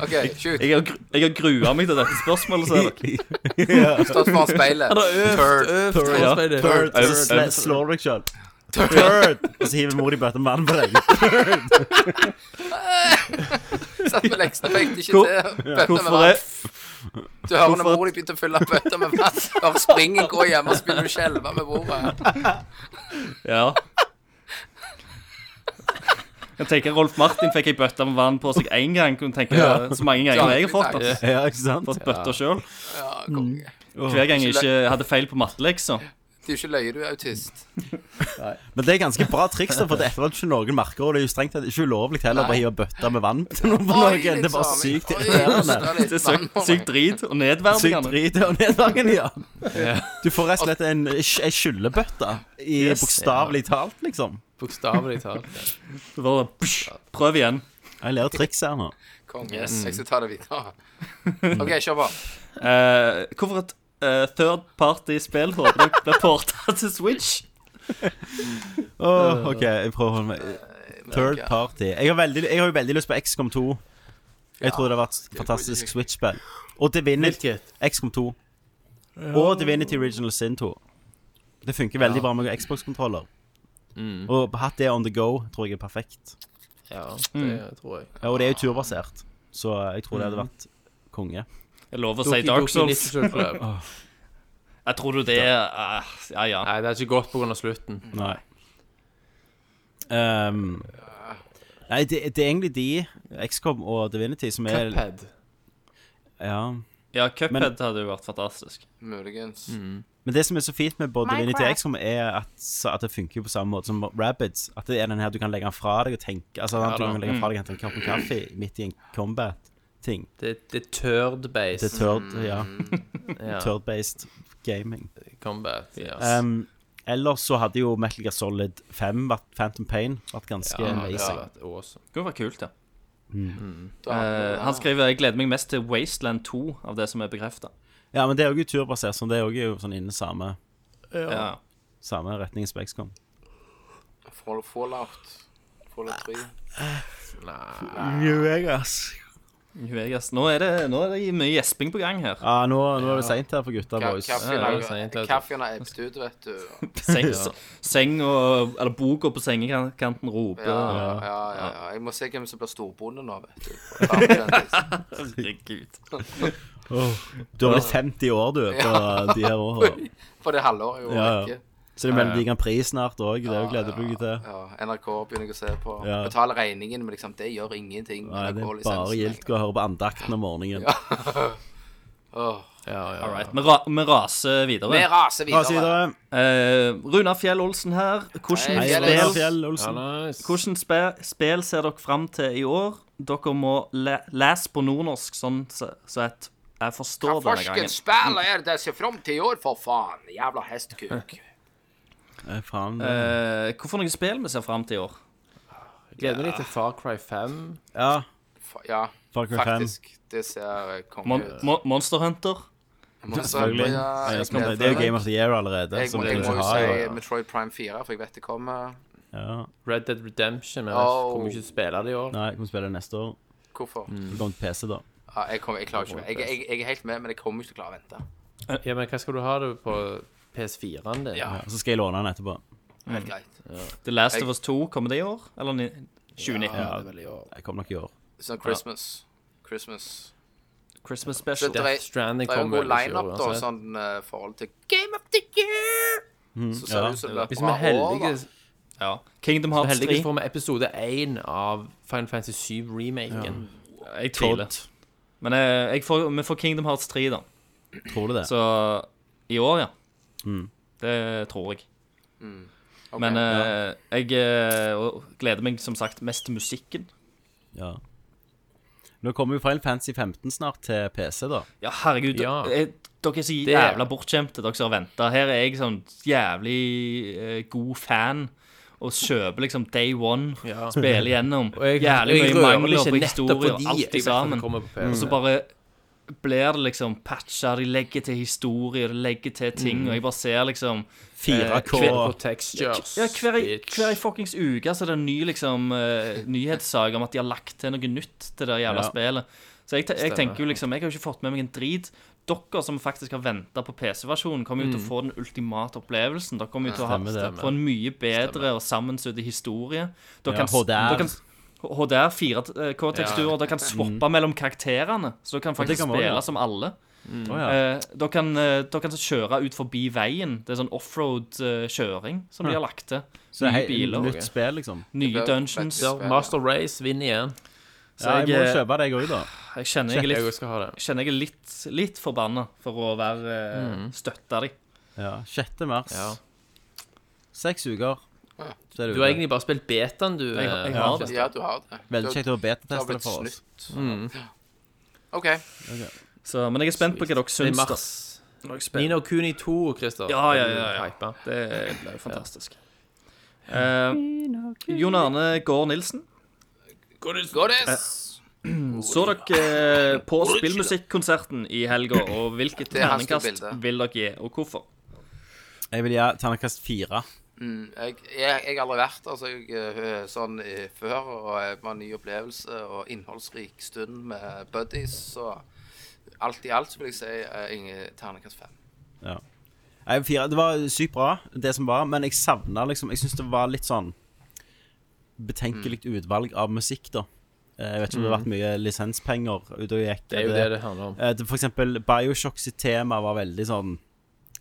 Speaker 2: OK, shoot.
Speaker 4: Jeg har, gru- jeg har grua meg til dette spørsmålet. Så er det.
Speaker 2: Stått foran speilet. Turd.
Speaker 3: Øvd,
Speaker 4: Turd, ja.
Speaker 3: øvd,
Speaker 1: Third,
Speaker 3: øvd.
Speaker 1: og så sl- slår du deg sjøl. Third! Og så hiver mor di bøtta med vann på deg.
Speaker 2: Satt med leksen, fikk det ikke
Speaker 4: Hvor-
Speaker 2: til. Bøtta med
Speaker 4: Hvorfor er
Speaker 2: vann. Du hører når
Speaker 4: hvorfor-
Speaker 2: mor di begynte å fylle bøtta med vann. Bare springe, gå hjem og spille og skjelve med bordet.
Speaker 4: Ja. Jeg tenker Rolf Martin fikk ei bøtte med vann på seg én gang. Kunne tenke Så mange ganger jeg har fått det.
Speaker 1: Ja, ikke sant?
Speaker 4: Fått bøtter sjøl.
Speaker 2: Ja, konge.
Speaker 4: Hver gang jeg ikke hadde feil på liksom. mattelekser.
Speaker 2: Det er jo ikke løye, du er autist.
Speaker 1: Men det er ganske bra triks, da, for det etterlater ikke noen merker. Og det er jo strengt tatt ikke ulovlig heller å bare hive bøtter med vann til noen. på
Speaker 2: Oi,
Speaker 1: noen. Det er bare
Speaker 2: liksom.
Speaker 1: sykt
Speaker 2: Oi,
Speaker 1: irriterende.
Speaker 2: hosta litt
Speaker 4: Det er
Speaker 2: vann
Speaker 4: sykt,
Speaker 2: på meg.
Speaker 4: sykt drit og
Speaker 1: Sykt
Speaker 4: nedverdigende.
Speaker 1: drit og nedgangen, ja. Du får rett og slett en, en skyllebøtte, i
Speaker 4: Yes.
Speaker 1: bokstavelig talt, liksom.
Speaker 3: Bokstavelig talt. ja.
Speaker 4: Det var det, psh, Prøv igjen.
Speaker 1: Jeg lærer triks her nå.
Speaker 2: Konge. Jeg skal ta det videre. OK, kjør på.
Speaker 4: Eh, hvorfor et eh, third party-spill håper jeg blir porta til Switch?
Speaker 1: Åh, OK, jeg prøver å holde meg Third party. Jeg har, veldig, jeg har jo veldig lyst på XCOM 2. Jeg tror det har vært et fantastisk Switch-spill. Og Divinity XCOM 2. Og Divinity Original Sin 2. Det funker veldig bra med Xbox-kontroller. Og hatt det on the go tror jeg er perfekt.
Speaker 3: Ja,
Speaker 4: Mm.
Speaker 3: det tror jeg.
Speaker 1: Ja, Og det er jo turbasert, så jeg tror det hadde vært konge.
Speaker 4: Jeg lover å
Speaker 3: Doki
Speaker 4: si Dark
Speaker 3: Doki
Speaker 4: Souls.
Speaker 3: Literature Club.
Speaker 4: Jeg tror du det eh, Ja, ja.
Speaker 3: Nei, det er ikke godt pga. slutten.
Speaker 1: Nei. Ehm, nei, det, det er egentlig de, XCOM og Divinity, som er
Speaker 3: Cuphead.
Speaker 1: Ja.
Speaker 4: Ja, Cuphead
Speaker 1: Men-
Speaker 4: hadde jo vært fantastisk.
Speaker 2: Muligens.
Speaker 1: Men det som er så fint med både Divinity og XCOM, er at, så at det funker jo på samme måte som Rabbids. At det er den her du kan legge den fra deg og tenke Altså at du
Speaker 3: da.
Speaker 1: kan legge den fra deg og hente en kopp med kaffe midt i en combat-ting.
Speaker 3: Det, det er turd-based
Speaker 1: Det er turd, ja.
Speaker 3: ja.
Speaker 1: Turd-based gaming.
Speaker 3: combat. Yes.
Speaker 1: Ehm, ellers så hadde jo Metal Gear Solid 5, vært, Phantom Pain, vært ganske amazing.
Speaker 3: Det hadde vært awesome.
Speaker 4: Det kunne vært kult, ja.
Speaker 2: Da har vi
Speaker 4: Eh,
Speaker 2: det.
Speaker 4: han skriver 'Jeg gleder meg mest til Wasteland 2', av det som er bekrefta.
Speaker 1: Ja, men det er jo turbasert, så det er jo sånn innen samme,
Speaker 4: Ja.
Speaker 1: samme retning som XCOM.
Speaker 2: Fall- Fallout. Fallout 3.
Speaker 1: New Vegas.
Speaker 4: New Vegas. Nå er det, nå er det mye gjesping på gang her.
Speaker 1: Ja, nå, nå er det seint her for gutta,
Speaker 2: Ka-
Speaker 1: boys.
Speaker 2: kaffen
Speaker 3: Ja,
Speaker 2: har-
Speaker 3: det er sent, vet du.
Speaker 2: Kaffen har ebbet ut, vet du.
Speaker 4: Seng, seng og Eller boka på sengekanten roper.
Speaker 2: Ja, ja, ja, ja. Jeg må se hvem som blir storbonde nå, vet du. På Farmkjendis.
Speaker 4: Herregud.
Speaker 1: Åh, du har blitt 50 år, du, på de her åra.
Speaker 2: På det halvåret jo
Speaker 1: Ja, ja.
Speaker 2: ikke.
Speaker 1: Så det er Melodi Grand Prix snart òg. Det er jo gleder du deg til.
Speaker 2: Ja, NRK begynner jeg å se på.
Speaker 1: Ja.
Speaker 2: Betaler regningen, men liksom, det gjør ingenting. liksom
Speaker 1: Nei, det er bare
Speaker 2: NRK-lisensen.
Speaker 1: gildt å høre på andakten om morgenen.
Speaker 2: Åh.
Speaker 4: All right, vi, ra vi raser videre.
Speaker 2: Vi raser videre.
Speaker 1: Raser videre.
Speaker 4: Eh, Runar Fjell Olsen her. Hvordan
Speaker 2: Hei,
Speaker 1: Hei,
Speaker 2: Fjell
Speaker 1: Runar
Speaker 2: Olsen.
Speaker 4: spill,
Speaker 1: Fjell Olsen.
Speaker 4: hvordan spe, spill ser dere fram til i år? Dere må le, lese på nordnorsk, sånn så, så at jeg
Speaker 2: Hva
Speaker 4: forstår Sånn denne
Speaker 2: farsken
Speaker 4: gangen.
Speaker 2: spiller er det jeg ser fram til i år, for faen? Jævla hestekuk.
Speaker 1: Eh, Faen.
Speaker 4: Eh, hvorfor noen spill vi ser fram til i år?
Speaker 3: Gleder meg til Far Cry 5.
Speaker 1: Ja.
Speaker 2: Fa- Ja,
Speaker 1: Far Cry
Speaker 2: faktisk. Det ser eh, konge
Speaker 4: Mon
Speaker 2: ut.
Speaker 4: Mon Monster Hunter?
Speaker 2: Monster
Speaker 1: Selvfølgelig.
Speaker 2: Hunter, ja,
Speaker 1: Eh,
Speaker 2: jeg
Speaker 1: som
Speaker 2: gleder
Speaker 1: Det det er jo
Speaker 2: meg.
Speaker 1: Game of the Year allerede.
Speaker 2: Jeg,
Speaker 1: Som
Speaker 2: må-
Speaker 1: vi
Speaker 2: jeg må
Speaker 1: ikke
Speaker 2: jo
Speaker 1: har.
Speaker 2: si Metroid Prime 4, for jeg vet det kommer.
Speaker 1: Ja.
Speaker 3: Red Dead Redemption. Men
Speaker 2: Oh.
Speaker 3: jeg kommer ikke til å spille det i år.
Speaker 1: Nei, jeg kommer til å spille det neste år.
Speaker 2: Hvorfor?
Speaker 1: Det kommer til PC, da.
Speaker 2: Ja, jeg, kommer, jeg klarer ikke jeg, jeg, jeg er helt med, men jeg kommer ikke til å klare å vente.
Speaker 3: Ja, Men hva skal du ha det på PS4-en din?
Speaker 2: Ja,
Speaker 1: Og så skal jeg låne den etterpå.
Speaker 2: helt greit.
Speaker 4: The Last
Speaker 2: Jeg-
Speaker 4: of Us 2, kommer det i år? Eller ni- 2019?
Speaker 1: Jeg kommer nok i år.
Speaker 2: Sånn Christmas. Christmas.
Speaker 4: Christmas
Speaker 2: Så
Speaker 4: Special.
Speaker 2: det, er-
Speaker 3: Stranding
Speaker 2: det er jo en
Speaker 3: kommer
Speaker 2: god
Speaker 3: vel ikke i år,
Speaker 2: lineup, da,
Speaker 3: uansett.
Speaker 2: sånn eh, forhold til Game of the Year. Så ser
Speaker 1: ja.
Speaker 2: det ut som det blir
Speaker 3: Mm, Hvis vi
Speaker 2: bra
Speaker 3: er
Speaker 2: år,
Speaker 3: heldige,
Speaker 2: da.
Speaker 4: Ja. Kingdom
Speaker 3: Men
Speaker 4: Hearts 3.
Speaker 3: heldigvis får vi episode 1 av Final Fantasy 7-remaken.
Speaker 4: Jeg tviler. Men eh, jeg får, vi får Kingdom Hearts 3, da.
Speaker 1: Tror du det?
Speaker 4: Så i år, ja.
Speaker 3: Mm.
Speaker 4: Det tror jeg.
Speaker 2: Ok.
Speaker 4: Men eh, jeg eh, og- gleder meg som sagt mest til musikken.
Speaker 1: Ja. Nå kommer jo Final Fantasy 15 snart til PC, da.
Speaker 4: Ja, herregud.
Speaker 3: Ja.
Speaker 4: eh, dere er så jævla bortskjemte, dere som har venta. Her er jeg sånn jævlig eh, god fan. Og kjøper liksom Day One,
Speaker 3: Ja.
Speaker 4: spiller gjennom.
Speaker 3: Og jeg- og
Speaker 4: jævlig
Speaker 3: jeg
Speaker 4: mye
Speaker 3: rører meg
Speaker 4: mangler
Speaker 3: ikke
Speaker 4: på
Speaker 3: nettopp
Speaker 4: historier og
Speaker 3: fordi jeg
Speaker 4: alt
Speaker 3: vet at det
Speaker 4: sammen.
Speaker 3: kommer Mm. på PC.
Speaker 4: Og så bare blir det liksom patcha, de legger til historier, de legger til
Speaker 3: Mm.
Speaker 4: ting, og jeg bare ser liksom
Speaker 1: 4K.
Speaker 3: Critical textures.
Speaker 4: Ja, hver,
Speaker 3: bitch.
Speaker 4: hver fuckings uke så er det en ny liksom, eh, nyhetssak om at de har lagt til noe nytt til det jævla
Speaker 1: Ja.
Speaker 4: spillet. Så jeg, te- jeg
Speaker 3: Stemmer.
Speaker 4: tenker jo liksom Jeg har jo ikke fått med meg en drit. Dere som faktisk har venta på PC-versjonen, kommer jo til å
Speaker 1: Mm.
Speaker 4: få den ultimate opplevelsen. Dere kommer jo til å
Speaker 1: Stemmer
Speaker 4: ha,
Speaker 1: det.
Speaker 4: få en mye bedre og sammensydd historie. Dere kan,
Speaker 1: Ja, HDR.
Speaker 4: dere kan HDR, 4K-teksturer. eh, Dere
Speaker 1: Mm.
Speaker 4: kan swappe mellom karakterene, så dere kan
Speaker 1: det
Speaker 4: faktisk
Speaker 1: kan man også,
Speaker 4: spille
Speaker 1: ja.
Speaker 4: som alle.
Speaker 1: Å, ja.
Speaker 4: Eh, dere, kan, eh, dere kan kjøre ut forbi veien. Det er sånn offroad-kjøring som de har lagt til.
Speaker 1: Hm. Så det er
Speaker 4: nye
Speaker 1: hei-
Speaker 4: biler.
Speaker 1: nytt spill, liksom.
Speaker 4: Nye dungeons.
Speaker 3: Ja, Master Race vinner igjen.
Speaker 4: Så
Speaker 1: Ja, jeg må
Speaker 4: jeg, eh,
Speaker 1: kjøpe deg òg, da.
Speaker 4: jeg kjenner jeg er
Speaker 3: Jeg
Speaker 4: litt,
Speaker 3: skal ha det.
Speaker 4: kjenner jeg er litt, litt forbanna for å være eh,
Speaker 1: Mm.
Speaker 4: støtta de.
Speaker 1: Ja, 6. mars.
Speaker 3: Ja.
Speaker 1: Seks uker. Så er det ute.
Speaker 3: Du har egentlig bare spilt betaen, du.
Speaker 4: Jeg,
Speaker 3: eh,
Speaker 4: jeg har det.
Speaker 2: Ja, du har det.
Speaker 1: Veldig
Speaker 2: Du-
Speaker 1: kjekt å
Speaker 2: du har
Speaker 1: betateste det
Speaker 2: blitt
Speaker 1: for oss.
Speaker 2: snytt.
Speaker 3: Mm.
Speaker 2: OK.
Speaker 4: Så, men jeg er spent på hva dere
Speaker 3: Det er i
Speaker 4: syns. da.
Speaker 3: mars. Nino Kuni 2, Christer.
Speaker 4: Ja, ja, ja, ja.
Speaker 3: Hypa.
Speaker 4: Det ble jo fantastisk. Eh, Jon Arne Gaard Nilsen,
Speaker 3: Eh.
Speaker 2: Godis!
Speaker 4: så dere eh, på spillmusikkonserten i helga, og hvilket
Speaker 2: Det er hastig
Speaker 4: terningkast
Speaker 2: bilde.
Speaker 4: vil dere gi, og hvorfor?
Speaker 1: Jeg vil gi terningkast fire.
Speaker 2: Mm, jeg, jeg, jeg har aldri vært altså, jeg, eh, sånn eh, før, og det var en ny opplevelse og innholdsrik stund med buddies. Så alt i alt så vil jeg si eh, Inge terningkast fem.
Speaker 1: Nei, fire. Det var sykt bra, det som var, men jeg savna liksom Jeg syns det var litt sånn betenkelig
Speaker 3: Mm.
Speaker 1: utvalg av musikk, da. Eh, Jeg vet ikke om det har vært mye lisenspenger ute og gikk.
Speaker 3: Det er jo det det handler om.
Speaker 1: Eh, det- For eksempel Bioshock sitt tema var veldig sånn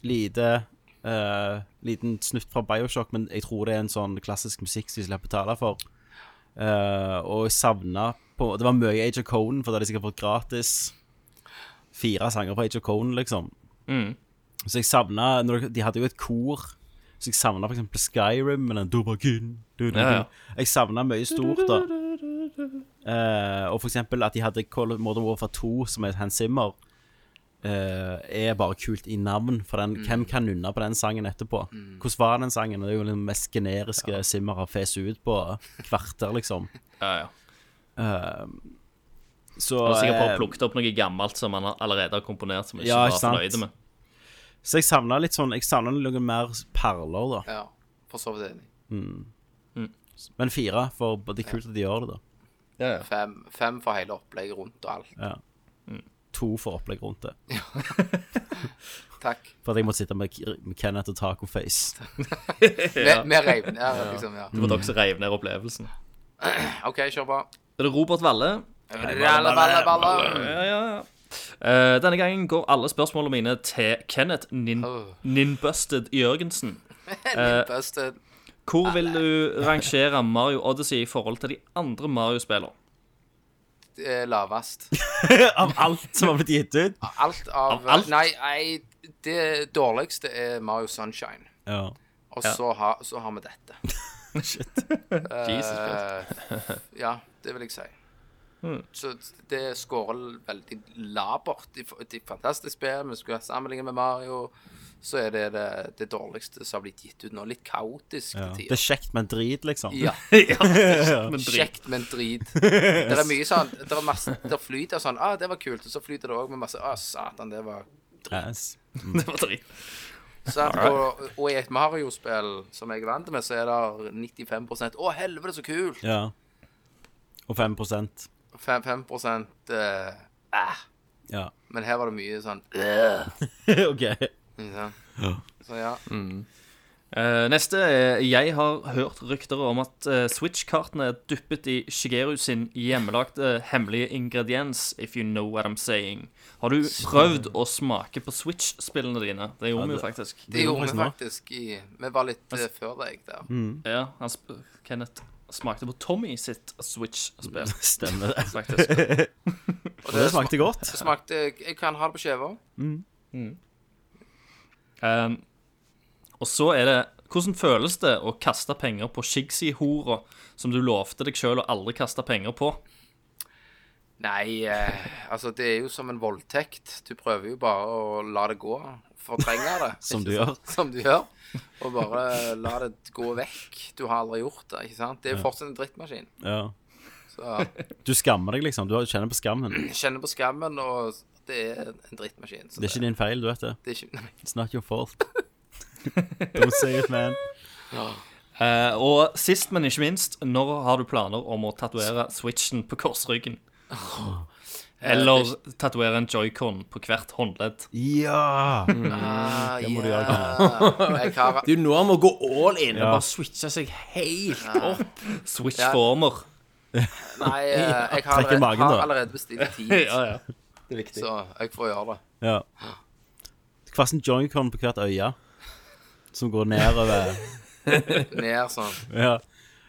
Speaker 1: lite eh, Liten snutt fra Bioshock, men jeg tror det er en sånn klassisk musikk som de slipper betale for. Eh, og jeg savna på Det var mye Age of Conan, for da hadde de sikkert fått gratis fire sanger på Age of Conan, liksom.
Speaker 4: Mm.
Speaker 1: Så jeg savna når de, de hadde jo et kor. Så jeg savna f.eks. Skyrim med den Dubakin, du, du, du.
Speaker 4: Ja, ja.
Speaker 1: Jeg savna mye stort, da. Eh, og f.eks. at de hadde Call of Modern Warfare 2, som er et Hans Zimmer, eh, er bare kult i navn. For den,
Speaker 4: Mm.
Speaker 1: hvem kan nunne på den sangen etterpå? Hvordan var den sangen? Det er jo den mest generiske Zimmer har fes ut på kvarter, liksom.
Speaker 4: Ja, ja.
Speaker 1: Så,
Speaker 4: Han har sikkert bare
Speaker 1: eh,
Speaker 4: plukket opp noe gammelt som han allerede har komponert, som vi ikke
Speaker 1: Ja,
Speaker 4: var
Speaker 1: ikke sant.
Speaker 4: fornøyd med.
Speaker 1: så jeg savna litt sånn Jeg savna noen mer perler, da.
Speaker 2: Ja, for så vidt enig.
Speaker 1: Men fire, for det er kult at de gjør det, da.
Speaker 2: Fem, fem for hele opplegget rundt og alt.
Speaker 1: To for opplegg rundt det.
Speaker 2: Takk.
Speaker 1: For at jeg måtte sitte med, med Kenneth og tacoface.
Speaker 2: Med, med reven, ja, liksom. Ja.
Speaker 3: Mm.
Speaker 4: Det var dere som reiv ned opplevelsen.
Speaker 2: OK, kjør på.
Speaker 4: Er det Robert Valle?
Speaker 2: Ralle, balle, balle.
Speaker 4: Ja, ja, ja. Eh, denne gangen går alle spørsmålene mine til Kenneth Nin
Speaker 2: Åh.
Speaker 4: Ninbusted Jørgensen.
Speaker 2: Busted.
Speaker 4: Hvor vil du rangere Mario Odyssey i forhold til de andre Mario-spillene?
Speaker 2: eh, lavest.
Speaker 1: Av alt som har blitt gitt ut.
Speaker 2: Alt av,
Speaker 4: Av alt?
Speaker 2: Nei, nei, det dårligste er Mario Sunshine.
Speaker 1: Ja.
Speaker 2: Og så, ha, så har vi dette.
Speaker 4: Jesus Christ.
Speaker 2: Ja, det vil jeg si.
Speaker 1: Hmm.
Speaker 2: Så det scorer veldig labert. Det er et fantastisk spill. Vi skulle sammenligne med Mario. Så er det det, det dårligste som har blitt gitt ut nå. Litt kaotisk
Speaker 1: Ja. Det er
Speaker 2: til tider.
Speaker 1: kjekt, men drit, liksom.
Speaker 2: Ja,
Speaker 4: Men drit.
Speaker 2: kjekt, men drit. Det er mye sånn Det er masse Der flyter sånn ah, 'Det var kult.' Og så flyter det òg med masse 'Å, satan, det var
Speaker 1: Yes.
Speaker 4: Det var drit.
Speaker 2: Sant? Og, og i et E Mario-spill som jeg er vant med, så er det 95 'Å, helvete, så kult!'
Speaker 1: ja. Og 5
Speaker 2: Fem- 5 eh, «Æh».
Speaker 1: Ja.
Speaker 2: Men her var det mye sånn
Speaker 1: OK.
Speaker 2: ikke sant? Så ja.
Speaker 4: Eh, neste er Jeg har hørt rykter om at eh, Switch-kartene er dyppet i Shigeru sin hjemmelagde hemmelige ingrediens, if you know what I'm saying. Har du prøvd å smake på Switch-spillene dine? Det gjorde vi jo faktisk.
Speaker 1: gjorde
Speaker 2: Det gjorde
Speaker 1: faktisk
Speaker 2: vi
Speaker 1: nå.
Speaker 2: faktisk i Vi var litt eh, før deg der.
Speaker 4: Ja, han sp Kenneth smakte på Tommy sitt Switch-spill,
Speaker 1: Stemmer det.
Speaker 4: faktisk.
Speaker 2: Og
Speaker 1: Det smakte godt.
Speaker 2: Det smakte Jeg kan ha det på skiva.
Speaker 4: Um, og så er det Hvordan føles det å kaste penger på Shigsy-hora som du lovte deg sjøl å aldri kaste penger på?
Speaker 2: Nei, eh, altså det er jo som en voldtekt. Du prøver jo bare å la det gå. Fortrenge det.
Speaker 1: Som
Speaker 2: ikke
Speaker 1: du
Speaker 2: sant?
Speaker 1: gjør.
Speaker 2: Som du gjør. Og bare la det gå vekk. Du har aldri gjort det, ikke sant? Det er jo fortsatt en drittmaskin.
Speaker 1: Ja.
Speaker 2: Så
Speaker 1: Du skammer deg, liksom. Du kjenner på skammen.
Speaker 2: jeg kjenner på skammen, og det er en drittmaskin. Så
Speaker 1: Det er ikke din feil, du vet det.
Speaker 2: det er ikke nei.
Speaker 1: It's not your fault. Don't say it, man.
Speaker 4: Eh, og sist, men ikke minst, når har du planer om å tatovere switchen på korsryggen? Eller tatovere en joycon på hvert håndledd?
Speaker 1: Ja!
Speaker 2: Ah,
Speaker 1: Det må du
Speaker 2: ja.
Speaker 1: gjøre, Karin.
Speaker 2: Jeg har
Speaker 3: Det er jo nå han må gå all in
Speaker 1: Ja.
Speaker 3: og bare switche seg helt opp.
Speaker 4: Switchformer.
Speaker 2: Nei, eh, jeg har,
Speaker 1: Trekk i magen,
Speaker 2: har
Speaker 1: da.
Speaker 2: allerede bestilt tid, så jeg får gjøre det.
Speaker 1: Ja. Hver sin joycon på hvert øye, som går nedover.
Speaker 2: Ned sånn.
Speaker 1: Ja.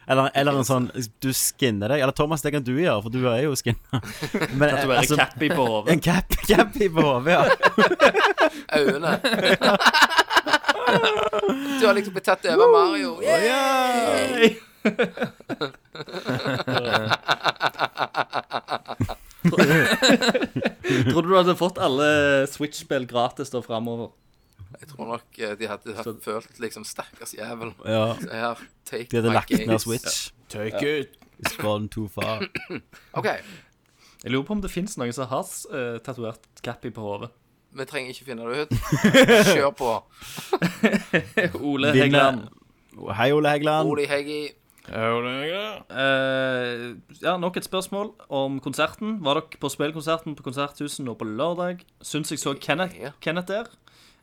Speaker 1: Eller, eller en sånn Du skinner deg. Eller Thomas, det kan du gjøre, for du er jo skinna. Men
Speaker 4: Tatovere
Speaker 1: altså,
Speaker 4: cappy på hodet.
Speaker 1: en cap, cap i på hodet, ja.
Speaker 2: Øynene. Du har liksom blitt tatt over Mario. Yeah!
Speaker 4: Tror du du hadde fått alle Switch-spill gratis da framover?
Speaker 2: Jeg tror nok eh, de hadde hatt følt liksom Stakkars jævel.
Speaker 1: ja.
Speaker 2: Så her, take
Speaker 1: De hadde
Speaker 2: my
Speaker 1: lagt ned
Speaker 2: gaze.
Speaker 1: Switch.
Speaker 3: Take it.
Speaker 1: It's gone too far.
Speaker 2: OK,
Speaker 4: Jeg lurer på om det fins noen som har uh, tatovert cappy på hodet.
Speaker 2: vi trenger ikke finne det ut. Kjør på.
Speaker 4: Ole
Speaker 1: Vinner-
Speaker 4: Heggeland.
Speaker 1: Hei, Ole Hegeland.
Speaker 2: Oli Heggy.
Speaker 4: Eh, ja, nok et spørsmål om konserten. Var dere på spillkonserten på Konserthuset nå på lørdag? Syns jeg så Kenneth,
Speaker 2: Ja.
Speaker 4: Kenneth der.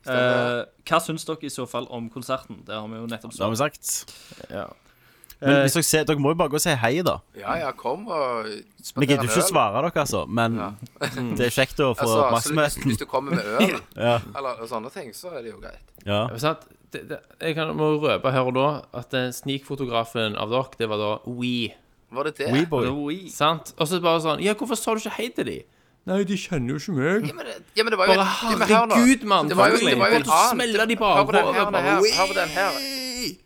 Speaker 2: Stemmer.
Speaker 4: Eh, hva syns dere i så fall om konserten? Det har vi jo nettopp
Speaker 1: Det har vi
Speaker 4: sagt.
Speaker 1: sagt.
Speaker 2: Eh,
Speaker 1: Men hvis dere, ser, dere må jo bare gå og si hei, da.
Speaker 2: Ja, ja, kom og
Speaker 1: Vi
Speaker 2: spander
Speaker 1: gidder jo ikke å svare dere, altså. Men det er kjekt å få
Speaker 2: Altså, så hvis,
Speaker 1: oppmerksomheten.
Speaker 2: hvis du kommer med øl
Speaker 1: Ja.
Speaker 2: eller sånne ting, så er det jo greit.
Speaker 1: Ja.
Speaker 3: Ja, men sant? Det, det, jeg kan, må røpe her og da at den snikfotografen av dere, det var da We.
Speaker 2: Var det det?
Speaker 1: Weboy.
Speaker 4: Det var we.
Speaker 3: Sant? Og så bare sånn Ja, hvorfor sa du ikke hei til de? Nei, de kjenner jo ikke
Speaker 2: Ja,
Speaker 3: meg.
Speaker 2: men det- Ja, men det var jo
Speaker 3: Bare
Speaker 2: Ja, men hør nå.
Speaker 3: herregud, mann.
Speaker 2: Det var jo, det var jo en
Speaker 3: Gå og
Speaker 2: annen
Speaker 3: smelle de
Speaker 2: Hør på den
Speaker 3: bakhodet.
Speaker 2: her, den
Speaker 3: bare,
Speaker 2: her,
Speaker 3: «Wee!»
Speaker 2: hør på den her.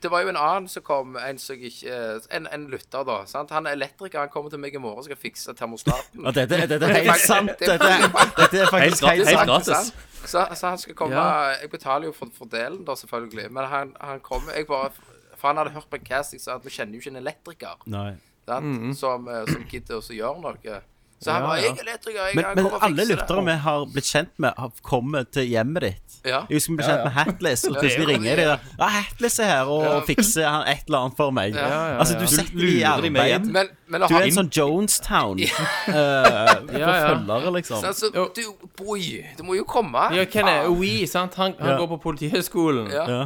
Speaker 2: Det var jo en annen som kom, en, som ikke, eh, en, en lytter, da. Sant? Han er elektriker, han kommer til meg i morgen og skal fikse termostaten.
Speaker 1: Ja, dette, dette, dette er helt
Speaker 2: faktisk-
Speaker 1: sant.
Speaker 2: det er
Speaker 1: Dette, er- dette er
Speaker 4: Helt gratis.
Speaker 1: faktisk helt
Speaker 4: Helt
Speaker 1: sant.
Speaker 4: gratis.
Speaker 2: Sant? Så, så han skal komme
Speaker 3: Ja.
Speaker 2: Jeg betaler jo for, for delen, da, selvfølgelig. Men han, han kommer Jeg bare For han hadde hørt på en cast jeg sa at vi kjenner jo ikke en elektriker
Speaker 1: Nei.
Speaker 2: sant? som, eh, som gidder å gjøre noe. Så han
Speaker 3: Ja,
Speaker 2: var
Speaker 3: ja.
Speaker 2: 'Jeg er elektriker, jeg
Speaker 1: Men,
Speaker 2: han
Speaker 1: men
Speaker 2: kommer og
Speaker 1: alle
Speaker 2: fikser det'.
Speaker 1: lyttere vi har blitt kjent med, har kommet til hjemmet ditt.
Speaker 2: Ja.
Speaker 1: Jeg husker vi ble kjent med Hatless, og plutselig
Speaker 2: Ja, ja.
Speaker 1: ringer de der. Ja, Hatless er her og fikser han et eller annet for meg.
Speaker 2: ja,
Speaker 1: Altså, du setter de i
Speaker 4: lurer de med
Speaker 1: arbeid.
Speaker 2: Men, men å
Speaker 1: Du
Speaker 2: ha-
Speaker 1: er en sånn Jonestown eh, for
Speaker 3: Ja, ja.
Speaker 1: følgere, liksom.
Speaker 2: Altså,
Speaker 3: Jo.
Speaker 2: du, boy, du må jo komme.
Speaker 3: Ja, hvem er
Speaker 2: Faen.
Speaker 3: We? sant? Han, han
Speaker 1: Ja.
Speaker 3: går på Politihøgskolen.
Speaker 2: Ja.
Speaker 1: Ja.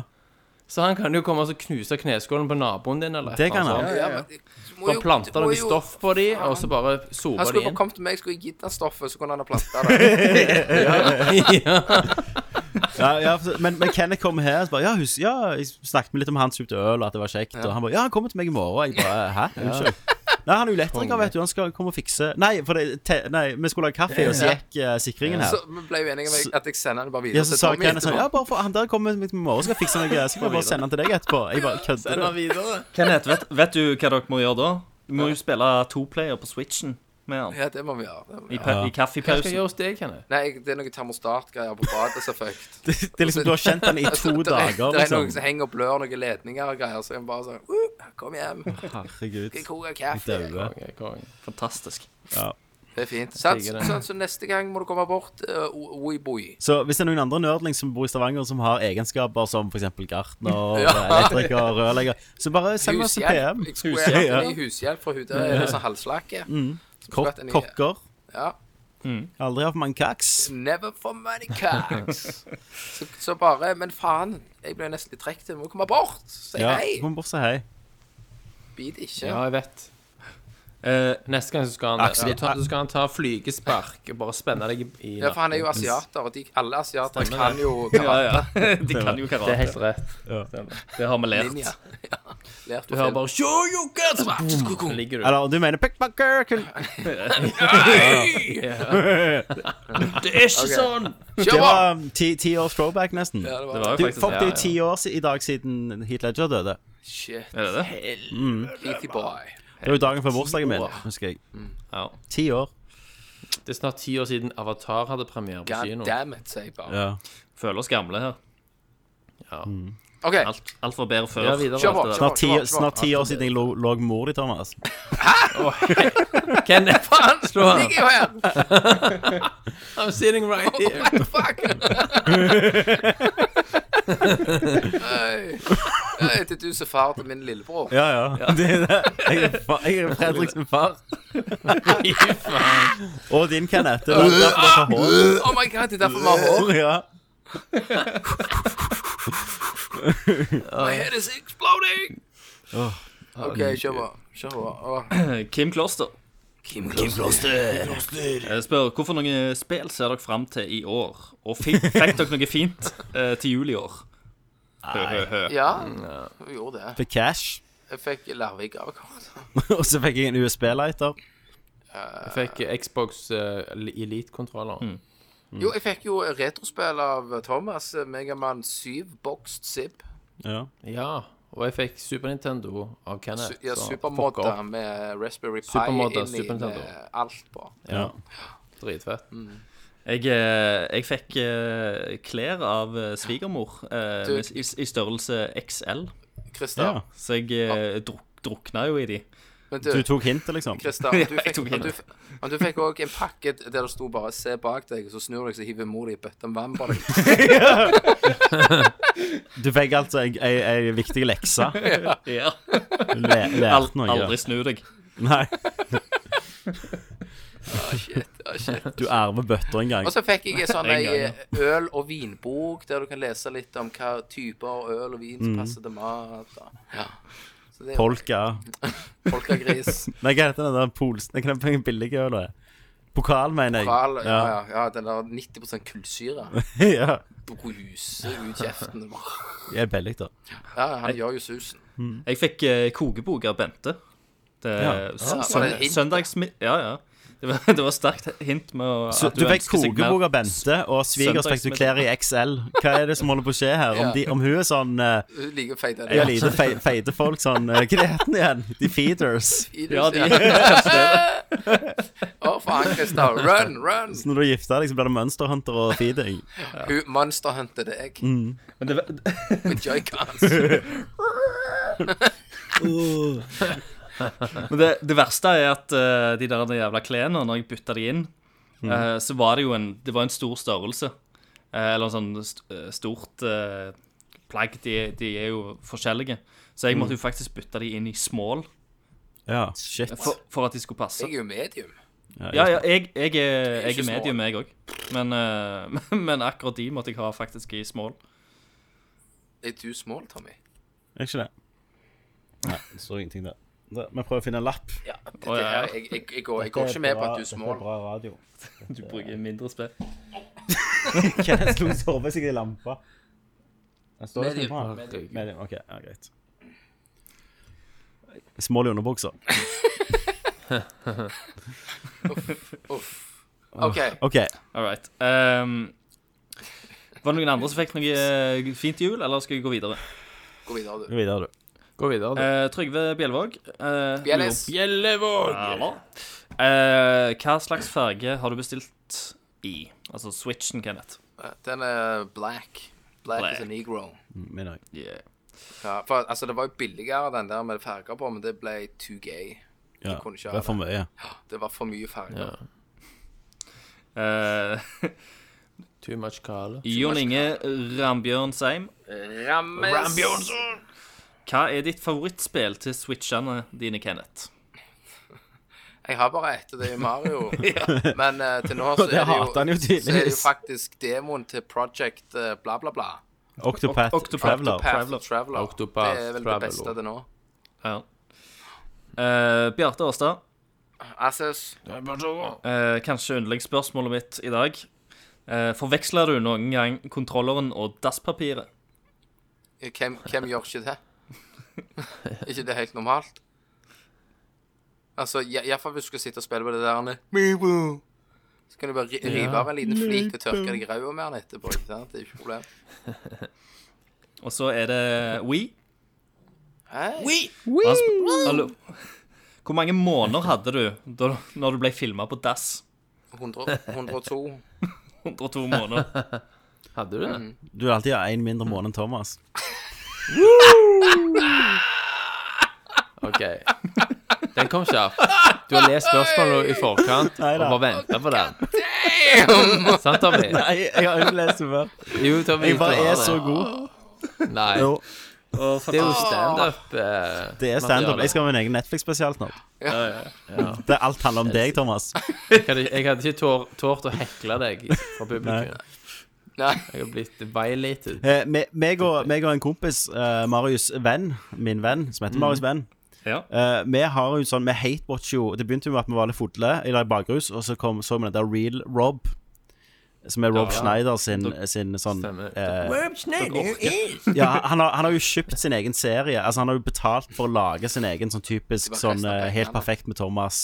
Speaker 3: Så han kan jo komme og så knuse kneskålen på naboen din, eller et
Speaker 1: Det kan
Speaker 3: eller annet
Speaker 1: han.
Speaker 3: sånt.
Speaker 2: Ja, men du må
Speaker 3: Bare
Speaker 2: jo-
Speaker 3: plante
Speaker 2: du må
Speaker 3: noe
Speaker 2: jo-
Speaker 3: stoff på de, og så bare
Speaker 2: Han
Speaker 3: sope de
Speaker 2: skulle bare
Speaker 3: inn.
Speaker 2: kommet til meg, skulle jeg gitt han stoffet, så kunne han ha planta det.
Speaker 3: ja.
Speaker 1: Ja, ja, for- men, men Kenneth kom her og bare ja, hus, ja, jeg snakket med litt om han som kjøpte øl, og at det var kjekt. Og han bare ja, han kommer til meg i morgen. Jeg bare hæ? Unnskyld. Nei, han er jo elektriker, vet du. Han skal komme og fikse Nei, for det, te, nei vi skulle lage kaffe, og så gikk eh, sikringen her.
Speaker 2: Så vi ble jo enige om jeg- at jeg sender den bare videre
Speaker 1: Ja, så sa Kenneth sånn
Speaker 2: etterpå.
Speaker 1: Ja, bare for, han der kommer midt i morgen skal fikse noe. Så kan jeg bare sende han til deg etterpå. Jeg bare kødder. du?
Speaker 6: videre.
Speaker 4: Kenneth, vet, vet du hva dere må gjøre da? Du må jo spille toplayer på Switchen med han.
Speaker 2: Ja, det må vi gjøre. Det må vi
Speaker 4: I,
Speaker 2: gjøre.
Speaker 4: pa i
Speaker 3: Hva skal jeg
Speaker 4: kaffepausen.
Speaker 3: gjøre hos deg, Kenneth?
Speaker 2: Nei, jeg- det er noe termostatgreier på badet som er fucked.
Speaker 1: Det, det er liksom, du har kjent han i to
Speaker 2: Det er-
Speaker 1: dager,
Speaker 2: Det er noen som
Speaker 1: liksom.
Speaker 2: henger og blør noen ledninger og greier, så er han bare sånn uh, Kom hjem,
Speaker 1: Herregud.
Speaker 2: jeg koker kaffe.
Speaker 1: Daue.
Speaker 3: Konge, konge.
Speaker 4: Fantastisk.
Speaker 2: Det er fint. Sant?
Speaker 3: digger det.
Speaker 2: Sånn, så neste gang må du komme bort. Uh, Oiboi.
Speaker 1: Så hvis det er noen andre nerdling som bor i Stavanger, som har egenskaper som f.eks. gartner,
Speaker 2: Ja.
Speaker 1: elektriker, rørlegger, så bare send oss en
Speaker 2: Hushjelp.
Speaker 1: PM.
Speaker 2: Jeg skulle vært
Speaker 1: ja.
Speaker 2: en ny hushjelp fra hun der med sånn halslakke. Skulle vært
Speaker 1: Kok
Speaker 2: en ny-
Speaker 1: kokker.
Speaker 2: Ja.
Speaker 1: Aldri hatt mange kaks.
Speaker 2: Never for many cocks. så, så bare Men faen, jeg ble nesten litt trekt. Jeg må komme bort. Si
Speaker 1: Ja,
Speaker 2: hei.
Speaker 1: kom bort og si hei.
Speaker 2: Bit ikke.
Speaker 3: Ja, jeg vet. Eh, neste gang så skal han, ja, ta, så skal han ta flygespark og bare spenne deg i, i
Speaker 2: Ja, for han er jo asiater, og de, alle asiater
Speaker 3: Stemmer
Speaker 2: kan jo
Speaker 4: Ja, ja. De kan jo
Speaker 3: Det er
Speaker 4: karate.
Speaker 3: helt rett.
Speaker 4: Det har vi
Speaker 2: ninja.
Speaker 4: lært.
Speaker 2: Ja. Lært
Speaker 3: Du
Speaker 2: på
Speaker 3: hører
Speaker 2: film.
Speaker 3: bare Shoyuka! Ligger du
Speaker 1: Eller du mener pick my girl.
Speaker 4: Det er ikke
Speaker 2: Ok.
Speaker 4: sånn!
Speaker 2: Kjør
Speaker 1: Det
Speaker 2: på!
Speaker 1: var um, ti, ti års throwback, nesten.
Speaker 2: Ja, det
Speaker 4: Det
Speaker 2: var
Speaker 4: var
Speaker 1: Du,
Speaker 4: jo faktisk
Speaker 1: fuck, det er jo ti år si- i dag siden Heat Ledger døde.
Speaker 2: Shit.
Speaker 4: Er det det?
Speaker 2: Heathy boy.
Speaker 1: Det var jo dagen før bursdagen min, husker jeg.
Speaker 2: Mm.
Speaker 4: Ja.
Speaker 1: Ti år.
Speaker 3: Det er snart ti år siden Avatar hadde premiere på
Speaker 2: God
Speaker 3: kino.
Speaker 2: damn it, sier jeg bare.
Speaker 1: Ja.
Speaker 4: Føler oss gamle her.
Speaker 2: OK.
Speaker 4: Alt, alt var bedre før.
Speaker 3: Ja, videre.
Speaker 2: Kjør på.
Speaker 4: alt det der.
Speaker 1: Snart ti, snart ti år siden jeg lå lå med mor di, Thomas.
Speaker 3: Kenneth,
Speaker 2: Faen!
Speaker 3: slå han.
Speaker 2: Ligger jo her!
Speaker 3: I'm sitting right here.
Speaker 2: What the fuck? Hei. Hei, Det er du som er far til min lillebror.
Speaker 1: Ja, ja. Det er det. Jeg er fa- Jeg er Fredrik sin far. Og din, Kenneth. Det er derfor du har hår.
Speaker 2: Oh my god, det er derfor vi har hår.
Speaker 1: Ja.
Speaker 2: My head is exploding! OK, kjør på. Kjør på. Åh.
Speaker 4: Kim Kloster.
Speaker 2: Kim Kloster.
Speaker 4: Jeg spør hvorfor noen spill ser dere fram til i år? Og fikk, fikk dere noe fint eh, til jul i år? Hø, hø, hø.
Speaker 2: Ja, vi gjorde det.
Speaker 1: Fikk cash.
Speaker 2: Jeg fikk Larvik-gavekort.
Speaker 1: Og så fikk jeg en USB-lighter.
Speaker 3: Jeg fikk Xbox eh, Elite-kontroller.
Speaker 2: Jo, jeg fikk jo retrospill av Thomas. eh, Megaman 7 Boxed Zip.
Speaker 1: Ja.
Speaker 3: Ja. Og jeg fikk Super Nintendo av
Speaker 2: Su
Speaker 3: Kenneth.
Speaker 2: ja,
Speaker 3: så
Speaker 2: supermodda
Speaker 3: fuck off.
Speaker 2: med Raspberry Pi
Speaker 3: Supermodda,
Speaker 2: inni
Speaker 3: Super Nintendo.
Speaker 2: med alt på.
Speaker 1: ja.
Speaker 3: Dritfett.
Speaker 4: Jeg, eh, jeg fikk eh, klær av eh, svigermor eh,
Speaker 2: Du-
Speaker 4: med- i, i størrelse XL,
Speaker 2: Christer,
Speaker 1: Ja.
Speaker 4: så jeg eh, druk, drukna jo i de.
Speaker 2: men
Speaker 1: Du tok hintet, liksom?
Speaker 2: Christer, men du
Speaker 4: Jeg
Speaker 2: fikk,
Speaker 4: tok
Speaker 2: men
Speaker 4: hele.
Speaker 2: du, f- men du fikk også en pakke der det sto bare 'se bak deg', og så snur du deg, så hiver mor di i bøtta med vann på deg.
Speaker 1: Du fikk altså ei- ei ei viktig lekse.
Speaker 4: Ja.
Speaker 1: Le,
Speaker 4: Al-
Speaker 1: lært noe.
Speaker 4: aldri snu deg.
Speaker 1: Nei,
Speaker 2: Shit, ah, shit.
Speaker 1: du arver bøtter en gang.
Speaker 2: Og så fikk jeg en sånn
Speaker 4: En gang,
Speaker 2: ei øl- og vinbok der du kan lese litt om hva typer øl og vin som passer til mat. Og, ja. Så det er jo
Speaker 1: Polka.
Speaker 2: polkagris.
Speaker 1: Nei, hva heter den der polsen? Hva er den billige øla? Pokal, mener jeg.
Speaker 2: Kval, ja, ja, ja, den der 90 kullsyre.
Speaker 1: ja.
Speaker 2: Bruser ut kjeften.
Speaker 1: Det er billig, da.
Speaker 2: Ja, han gjør jo susen.
Speaker 4: Jeg fikk eh, kokebok av Bente. Det,
Speaker 1: Ja.
Speaker 4: sø-
Speaker 2: Ja, Ah, var det
Speaker 4: søndag,
Speaker 2: hint?
Speaker 4: søndagsmi... Ja, ja. Det var, det var sterkt hint med å-
Speaker 1: Så
Speaker 4: at
Speaker 1: du fikk
Speaker 4: ønsker seg mer-
Speaker 1: kokebok av Bente, og svigers fikk du klær i XL. Hva er det som holder på å skje her? Om, de, om hun er sånn eh,
Speaker 2: Hun liker å feite
Speaker 1: Ja, lite fe feite folk sånn eh, Hva heter den igjen? De feeders.
Speaker 4: Ja, de,
Speaker 2: Å, faen, Christer. Run, run!
Speaker 1: Så når du er gifta deg, så blir det Monster Hunter og feeding.
Speaker 2: Hun monsterhunter deg
Speaker 4: Mm. men det, var-
Speaker 2: med joycons.
Speaker 4: Men det, det verste er at eh, de der de jævla klærne, når jeg bytta de inn,
Speaker 2: Mm.
Speaker 4: eh, så var det jo en, det var en stor størrelse. Eh, eller en sånn st eh, stort eh, plagg. De, de er jo forskjellige. Så jeg måtte
Speaker 2: Mm.
Speaker 4: jo faktisk bytte de inn i small
Speaker 1: Ja, shit.
Speaker 4: for, for at de skulle passe.
Speaker 2: Jeg er jo medium.
Speaker 4: Ja, ja, jeg, jeg, er, jeg er
Speaker 2: ikke small.
Speaker 4: medium, jeg òg. Men, eh, men akkurat de måtte jeg ha faktisk i small.
Speaker 2: Er du smål, Tommy?
Speaker 1: Er ikke det? Nei, det står ingenting der. Da- Vi prøver å finne en lapp.
Speaker 2: Ja, det,
Speaker 4: Å,
Speaker 2: det
Speaker 4: ja, ja.
Speaker 2: her, jeg, jeg, jeg, går, jeg går ikke med på at du er
Speaker 1: Dette er
Speaker 2: smål.
Speaker 1: bra radio.
Speaker 4: Du bruker mindre spill.
Speaker 1: Kenneth slo sovet seg i lampa. Den står jo
Speaker 2: Medium.
Speaker 1: på den. Medium. OK, ja, greit. Small i underbuksa.
Speaker 2: Uff. OK.
Speaker 1: OK.
Speaker 4: All right. Ehm, var det noen andre som fikk noe eh, fint jul, eller skal vi gå videre?
Speaker 2: Gå videre, du.
Speaker 1: Gå videre, du.
Speaker 3: Gå videre,
Speaker 4: Eh, Trygve Bjelvåg. eh,
Speaker 2: Bjellis.
Speaker 4: lurer- Bjelvåg! Eh, hva slags farge har du bestilt i? Altså switchen, Kenneth.
Speaker 2: eh, Den er black. Black,
Speaker 4: Black.
Speaker 2: is a negro.
Speaker 1: Mm, Min òg.
Speaker 4: Yeah.
Speaker 2: Ja, for, altså, det var jo billigere, den der med farger på, men det ble too gay.
Speaker 1: Ja.
Speaker 2: Jeg kunne ikke
Speaker 1: Det
Speaker 2: ha
Speaker 1: er for mye.
Speaker 2: Det var for mye farger.
Speaker 3: Ja.
Speaker 4: Eh,
Speaker 3: du. Too much Carl.
Speaker 4: Jon Inge Rambjørn Seim.
Speaker 2: Rammes.
Speaker 4: Hva er ditt favorittspill til switchene dine, Kenneth?
Speaker 2: Jeg har bare ett, og det er Mario. Men eh, til nå
Speaker 1: Og
Speaker 2: så er
Speaker 1: det
Speaker 2: det,
Speaker 1: hater han jo
Speaker 2: jo, så er det jo
Speaker 1: tydeligvis.
Speaker 2: faktisk demoen til Project eh, bla, bla, bla.
Speaker 1: Octopath Traveler.
Speaker 2: Path
Speaker 4: Traveler.
Speaker 2: Traveler.
Speaker 3: Octopath
Speaker 2: det er vel
Speaker 3: Traveler.
Speaker 2: det beste til nå.
Speaker 4: Ja. Eh, Bjarte Aastad,
Speaker 2: Asses.
Speaker 4: eh, kanskje yndlingsspørsmålet mitt i dag. Eh, forveksler du noen gang kontrolleren og dasspapiret?
Speaker 2: Hvem, hvem gjør ikke det? ikke det helt normalt? Altså, iallfall hvis du skal sitte og spille på det der Mibo. Så kan du bare ri- rive av en liten flik og tørke deg i ræva med den etterpå. Ikke sant? Det er ikke problem.
Speaker 4: Og så er det We.
Speaker 2: Hei.
Speaker 4: Han sp- Hallo. Hvor mange måneder hadde du da, når du ble filma på dass?
Speaker 2: 100, 102.
Speaker 4: 102 måneder.
Speaker 3: Hadde du det?
Speaker 1: Du vil alltid ha én mindre måned enn Thomas.
Speaker 3: OK. Den kom kjapt. Du har lest spørsmålet i forkant og
Speaker 1: Neida.
Speaker 3: bare venta på den. Sant, Tommy?
Speaker 1: Nei, jeg har ikke lest det før.
Speaker 3: Jo, Tommy.
Speaker 1: Jeg bare
Speaker 3: du
Speaker 1: er
Speaker 3: har det.
Speaker 1: så god.
Speaker 3: Nei.
Speaker 1: Jo, Ah.
Speaker 3: Det er jo standup. Eh,
Speaker 1: det er standup. Jeg skal ha min egen Netflix-spesial snart. Det er alt handler om deg, Thomas.
Speaker 3: Jeg hadde, jeg hadde ikke tår- tort å hekle deg fra publikum.
Speaker 2: Nei.
Speaker 3: Jeg har blitt violated.
Speaker 1: Eh, me- meg, og, meg og en kompis, eh, Marius Venn, min venn, som heter Marius Venn
Speaker 4: Ja.
Speaker 1: eh, Vi har jo sånn, vi hatewatcher jo Det begynte jo med at vi var litt fodle i lag bakrus, og så kom, så vi den der Real Rob. Som er Rob Schneider sin, sin sånn
Speaker 3: Stemmer.
Speaker 1: eh, ja, han, har, han har jo kjøpt sin egen serie. Altså Han har jo betalt for å lage sin egen sånn typisk
Speaker 2: Det var
Speaker 1: sånn
Speaker 2: resten av
Speaker 1: eh, Helt
Speaker 2: pengene.
Speaker 1: perfekt med Thomas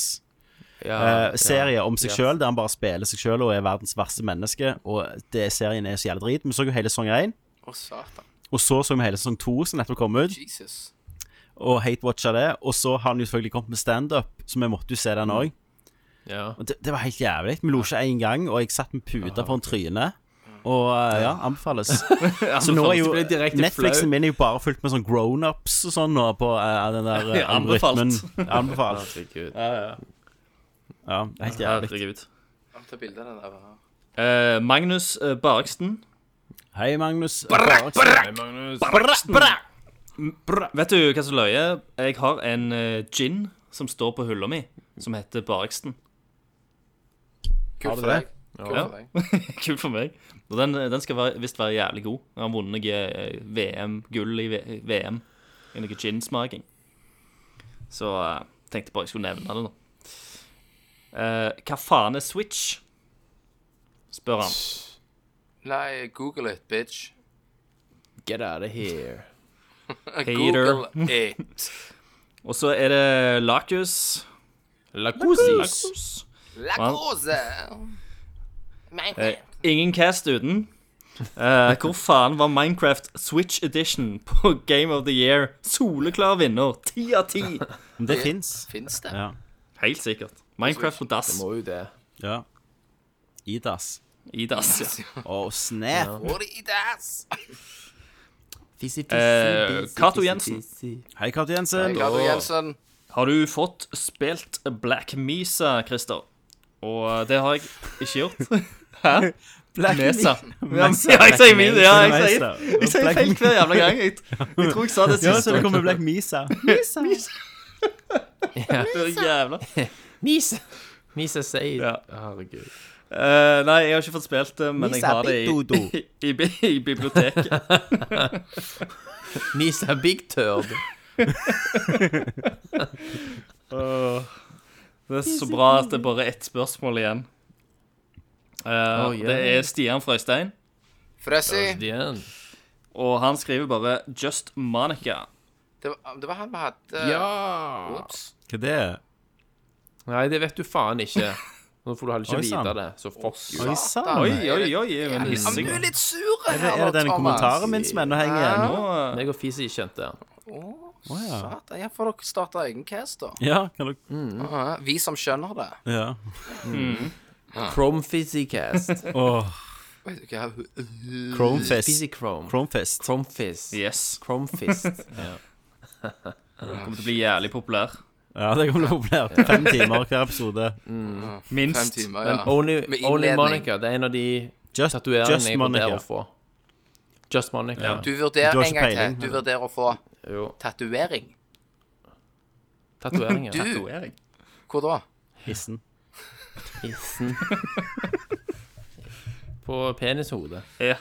Speaker 3: Ja,
Speaker 1: eh, serie om seg
Speaker 3: Ja.
Speaker 1: sjøl, der han bare spiller seg sjøl og er verdens verste menneske. Og det, serien er så jævlig drit. Vi så jo hele sesong én,
Speaker 2: Å, satan.
Speaker 1: og så så vi hele sesong to, som nettopp kom ut,
Speaker 2: Jesus.
Speaker 1: og hatewatcha det. Og så har han jo selvfølgelig kommet med standup, så vi måtte jo se den òg.
Speaker 3: ja.
Speaker 1: Og det, det var helt jævlig. Vi lo ikke én gang, og jeg satt med puta foran trynet. Og eh, ja, anbefales. Så nå er jo
Speaker 3: Det ble direkte
Speaker 1: Netflixen
Speaker 3: flau.
Speaker 1: min er jo bare fullt med sånn grownups og sånn nå på eh, den der eh,
Speaker 4: Ja, anbefalt.
Speaker 1: rytmen. Anbefalt.
Speaker 3: Herregud.
Speaker 1: Ja, helt jævlig.
Speaker 4: Herregud.
Speaker 2: Han tar bilde av den der. hva?
Speaker 4: Eh, Magnus eh, Barksten.
Speaker 1: Hei, Magnus. Bare-
Speaker 4: Vet du hva som løyer? Jeg har en eh, gin som står på hylla mi, som heter Barksten.
Speaker 2: Kult for
Speaker 1: det?
Speaker 2: deg. Kult
Speaker 4: Ja.
Speaker 2: for deg.
Speaker 4: Kult for meg. Og den, eh, den skal være- visst være jævlig god. Jeg har vunnet eh, VM, gull i V- VM i noe gin-smaking. Så jeg tenkte bare jeg skulle nevne det nå. Eh, hva faen er Switch? Spør han.
Speaker 2: Nei, google it, bitch.
Speaker 3: Get out of here.
Speaker 2: Google it.
Speaker 4: Og så er det Lacus.
Speaker 3: Lacuzzi.
Speaker 4: Lacus.
Speaker 2: La cose.
Speaker 4: Eh, ingen cast uten. Eh, hvor faen var Minecraft Switch Edition på Game of the Year? Soleklar vinner. Ti av ti.
Speaker 1: Men Det fins.
Speaker 2: Fins det?
Speaker 1: Ja.
Speaker 4: Helt sikkert. Minecraft på dass.
Speaker 3: Må jo det.
Speaker 1: ja. Idas.
Speaker 4: I dass, ja.
Speaker 1: Og snap.
Speaker 2: What is that?
Speaker 3: Fisi, fisi,
Speaker 4: Eh,
Speaker 3: fisi,
Speaker 4: Cato
Speaker 3: fisi,
Speaker 4: Jensen.
Speaker 3: fisi.
Speaker 1: Hei, Karte Jensen.
Speaker 2: Ricardo Jensen.
Speaker 4: Har du fått spilt Black Mesa, Christer? Og eh, det har jeg ikke gjort.
Speaker 1: Black
Speaker 4: Mesa. Ja,
Speaker 1: Mesa.
Speaker 4: jeg sier min, ja, jeg
Speaker 1: Black
Speaker 4: sier,
Speaker 1: Mesa.
Speaker 4: jeg sier
Speaker 1: Black
Speaker 4: feil hver jævla gang. Jeg, jeg tror jeg sa det
Speaker 1: Ja, så
Speaker 4: sist.
Speaker 1: det kommer Black Misa. Misa.
Speaker 4: Det er jævla.
Speaker 3: Misa. Misa Said.
Speaker 4: Ja.
Speaker 3: Herregud.
Speaker 4: Eh, nei, jeg har ikke fått spilt det, men jeg
Speaker 1: Misa
Speaker 4: har det i,
Speaker 1: Big Dodo.
Speaker 4: i, i, bi- i biblioteket.
Speaker 3: Misa Big Turd.
Speaker 4: Åh, det er så bra at det er bare ett spørsmål igjen. Eh,
Speaker 3: Oh, yeah.
Speaker 4: Det er Stian Frøystein,
Speaker 2: Frøssi.
Speaker 3: Igjen.
Speaker 4: og han skriver bare 'Just Monica'.
Speaker 2: Det, var- det var han vi hadde.
Speaker 3: Ja!
Speaker 2: Ops.
Speaker 1: Hva det er?
Speaker 3: Nei, det vet du faen ikke. Nå får du heller
Speaker 1: Oi,
Speaker 3: ikke
Speaker 1: sann.
Speaker 3: vite det, så fuck you.
Speaker 1: Oi
Speaker 2: Satan.
Speaker 1: sann.
Speaker 4: Oi, oi, oi, er vi en
Speaker 2: Han
Speaker 4: hissing.
Speaker 2: er litt sur her,
Speaker 1: Er det den kommentaren min som ennå henger igjen? nå?
Speaker 4: Nå, eh,
Speaker 3: Meg og Fisi kjente han.
Speaker 1: Wow.
Speaker 2: Satan, ja, får dere starte egen cast, da.
Speaker 1: Ja, kan du
Speaker 2: Ja, Vi som skjønner det.
Speaker 1: Ja.
Speaker 2: Ah.
Speaker 3: Chrome Fizzicast.
Speaker 1: Åh,
Speaker 2: Vet du hva?
Speaker 1: Chromefest.
Speaker 3: Fizzichrome.
Speaker 1: Chromefest.
Speaker 3: Chromefizz.
Speaker 4: Yes.
Speaker 3: Chromefist.
Speaker 4: Kommer til å bli jævlig populær.
Speaker 1: Ja, det kommer til å bli populært. Fem timer hver episode.
Speaker 2: Fem
Speaker 4: Minst.
Speaker 2: timer, ja.
Speaker 3: Only,
Speaker 2: Med
Speaker 3: only
Speaker 2: innledning.
Speaker 3: Monica. Det er en av de
Speaker 1: Just,
Speaker 3: tatoveringene
Speaker 1: just
Speaker 3: jeg vurderer
Speaker 1: Monica.
Speaker 3: å få. Just Monica.
Speaker 4: Ja.
Speaker 2: Du
Speaker 1: Du
Speaker 2: vurderer
Speaker 1: har
Speaker 2: en
Speaker 1: ikke
Speaker 2: gang til.
Speaker 1: peiling.
Speaker 2: Du vurderer å få
Speaker 3: Jo.
Speaker 2: tatovering.
Speaker 3: Tatoveringer.
Speaker 2: Du,
Speaker 4: Tatovering.
Speaker 2: hvor da?
Speaker 1: Hissen.
Speaker 3: Tissen. På penishodet.
Speaker 4: Ja.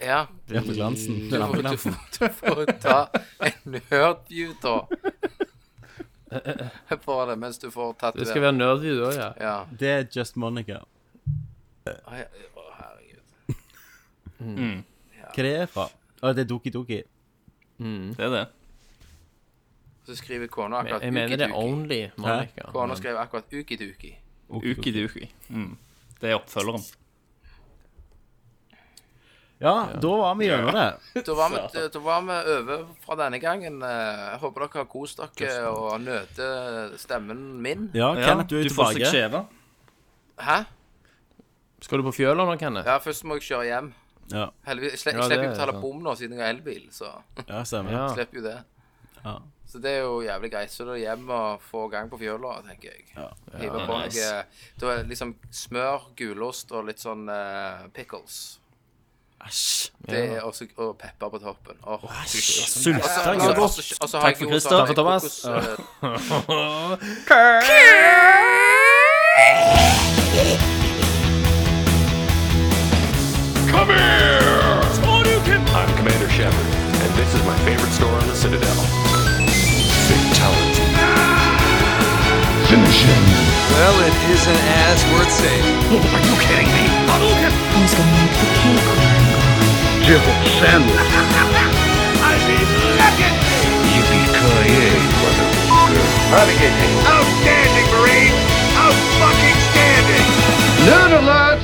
Speaker 2: Ja,
Speaker 1: Lampeglansen.
Speaker 2: du får, du får, du får ta en nerdview, da. På det, mens du får
Speaker 3: Det skal
Speaker 2: tatovering.
Speaker 3: være nerdview da, ja.
Speaker 2: Ja.
Speaker 1: Det er Just Monica.
Speaker 2: Ai, Å, herregud.
Speaker 1: Hva det er fra? Å, det er Doki Doki.
Speaker 4: Det er det.
Speaker 2: Så skriver kona akkurat
Speaker 3: Jeg mener det er
Speaker 2: ukiduki.
Speaker 3: only Monica.
Speaker 2: Kona skrev akkurat ukiduki.
Speaker 4: Uki Duki. Mm. Det er oppfølgeren.
Speaker 1: Ja, da var vi gjennom det.
Speaker 2: Da var vi, da var vi over fra denne gangen. Eh, Jeg håper dere har kost dere og nøter stemmen min.
Speaker 1: Ja,
Speaker 4: Ja,
Speaker 1: Kenneth, du er
Speaker 4: du får seg
Speaker 1: tilbake.
Speaker 4: skjeve.
Speaker 2: Hæ?
Speaker 3: Skal du på fjøla nå, Kenneth?
Speaker 2: Ja, først må jeg kjøre hjem.
Speaker 1: Ja,
Speaker 2: Heldigvis, jeg, sle
Speaker 3: Ja,
Speaker 2: jeg slipper
Speaker 3: det
Speaker 2: jo å
Speaker 3: er
Speaker 2: betale
Speaker 3: sant.
Speaker 2: bom nå, siden jeg har elbil. Så
Speaker 1: ja stemmer.
Speaker 3: Ja.
Speaker 2: slipper jo det.
Speaker 1: Ja.
Speaker 2: Så det er jo jævlig greit. Så da er det hjem og få gang på fjøla, tenker jeg.
Speaker 1: Ja.
Speaker 2: Hive på
Speaker 4: nice.
Speaker 2: noe Da er det liksom smør, gulost og litt sånn eh, pickles.
Speaker 1: Æsj.
Speaker 2: Det er også, og pepper på toppen. Åh, fy søren.
Speaker 1: Sulta
Speaker 2: Og så-
Speaker 1: godt.
Speaker 2: og så- og så har
Speaker 4: Takk for
Speaker 2: jeg jo
Speaker 4: Christer.
Speaker 2: sånn
Speaker 4: Takk for Thomas.
Speaker 2: kokos, eh,
Speaker 7: Come here! I'm Commander Shepard, and this is my favorite store on the Citadel. Fatality. Finish him. Oh,
Speaker 8: Well, it is an ass worth saving.
Speaker 7: Are you kidding me? Hadouken! Who's going to make the cake? Jill Sandler.
Speaker 9: I'd be looking!
Speaker 7: Yippee-ki-yay, motherfucker.
Speaker 9: Outstanding, Marine! Outfucking standing!
Speaker 7: Nerd alert!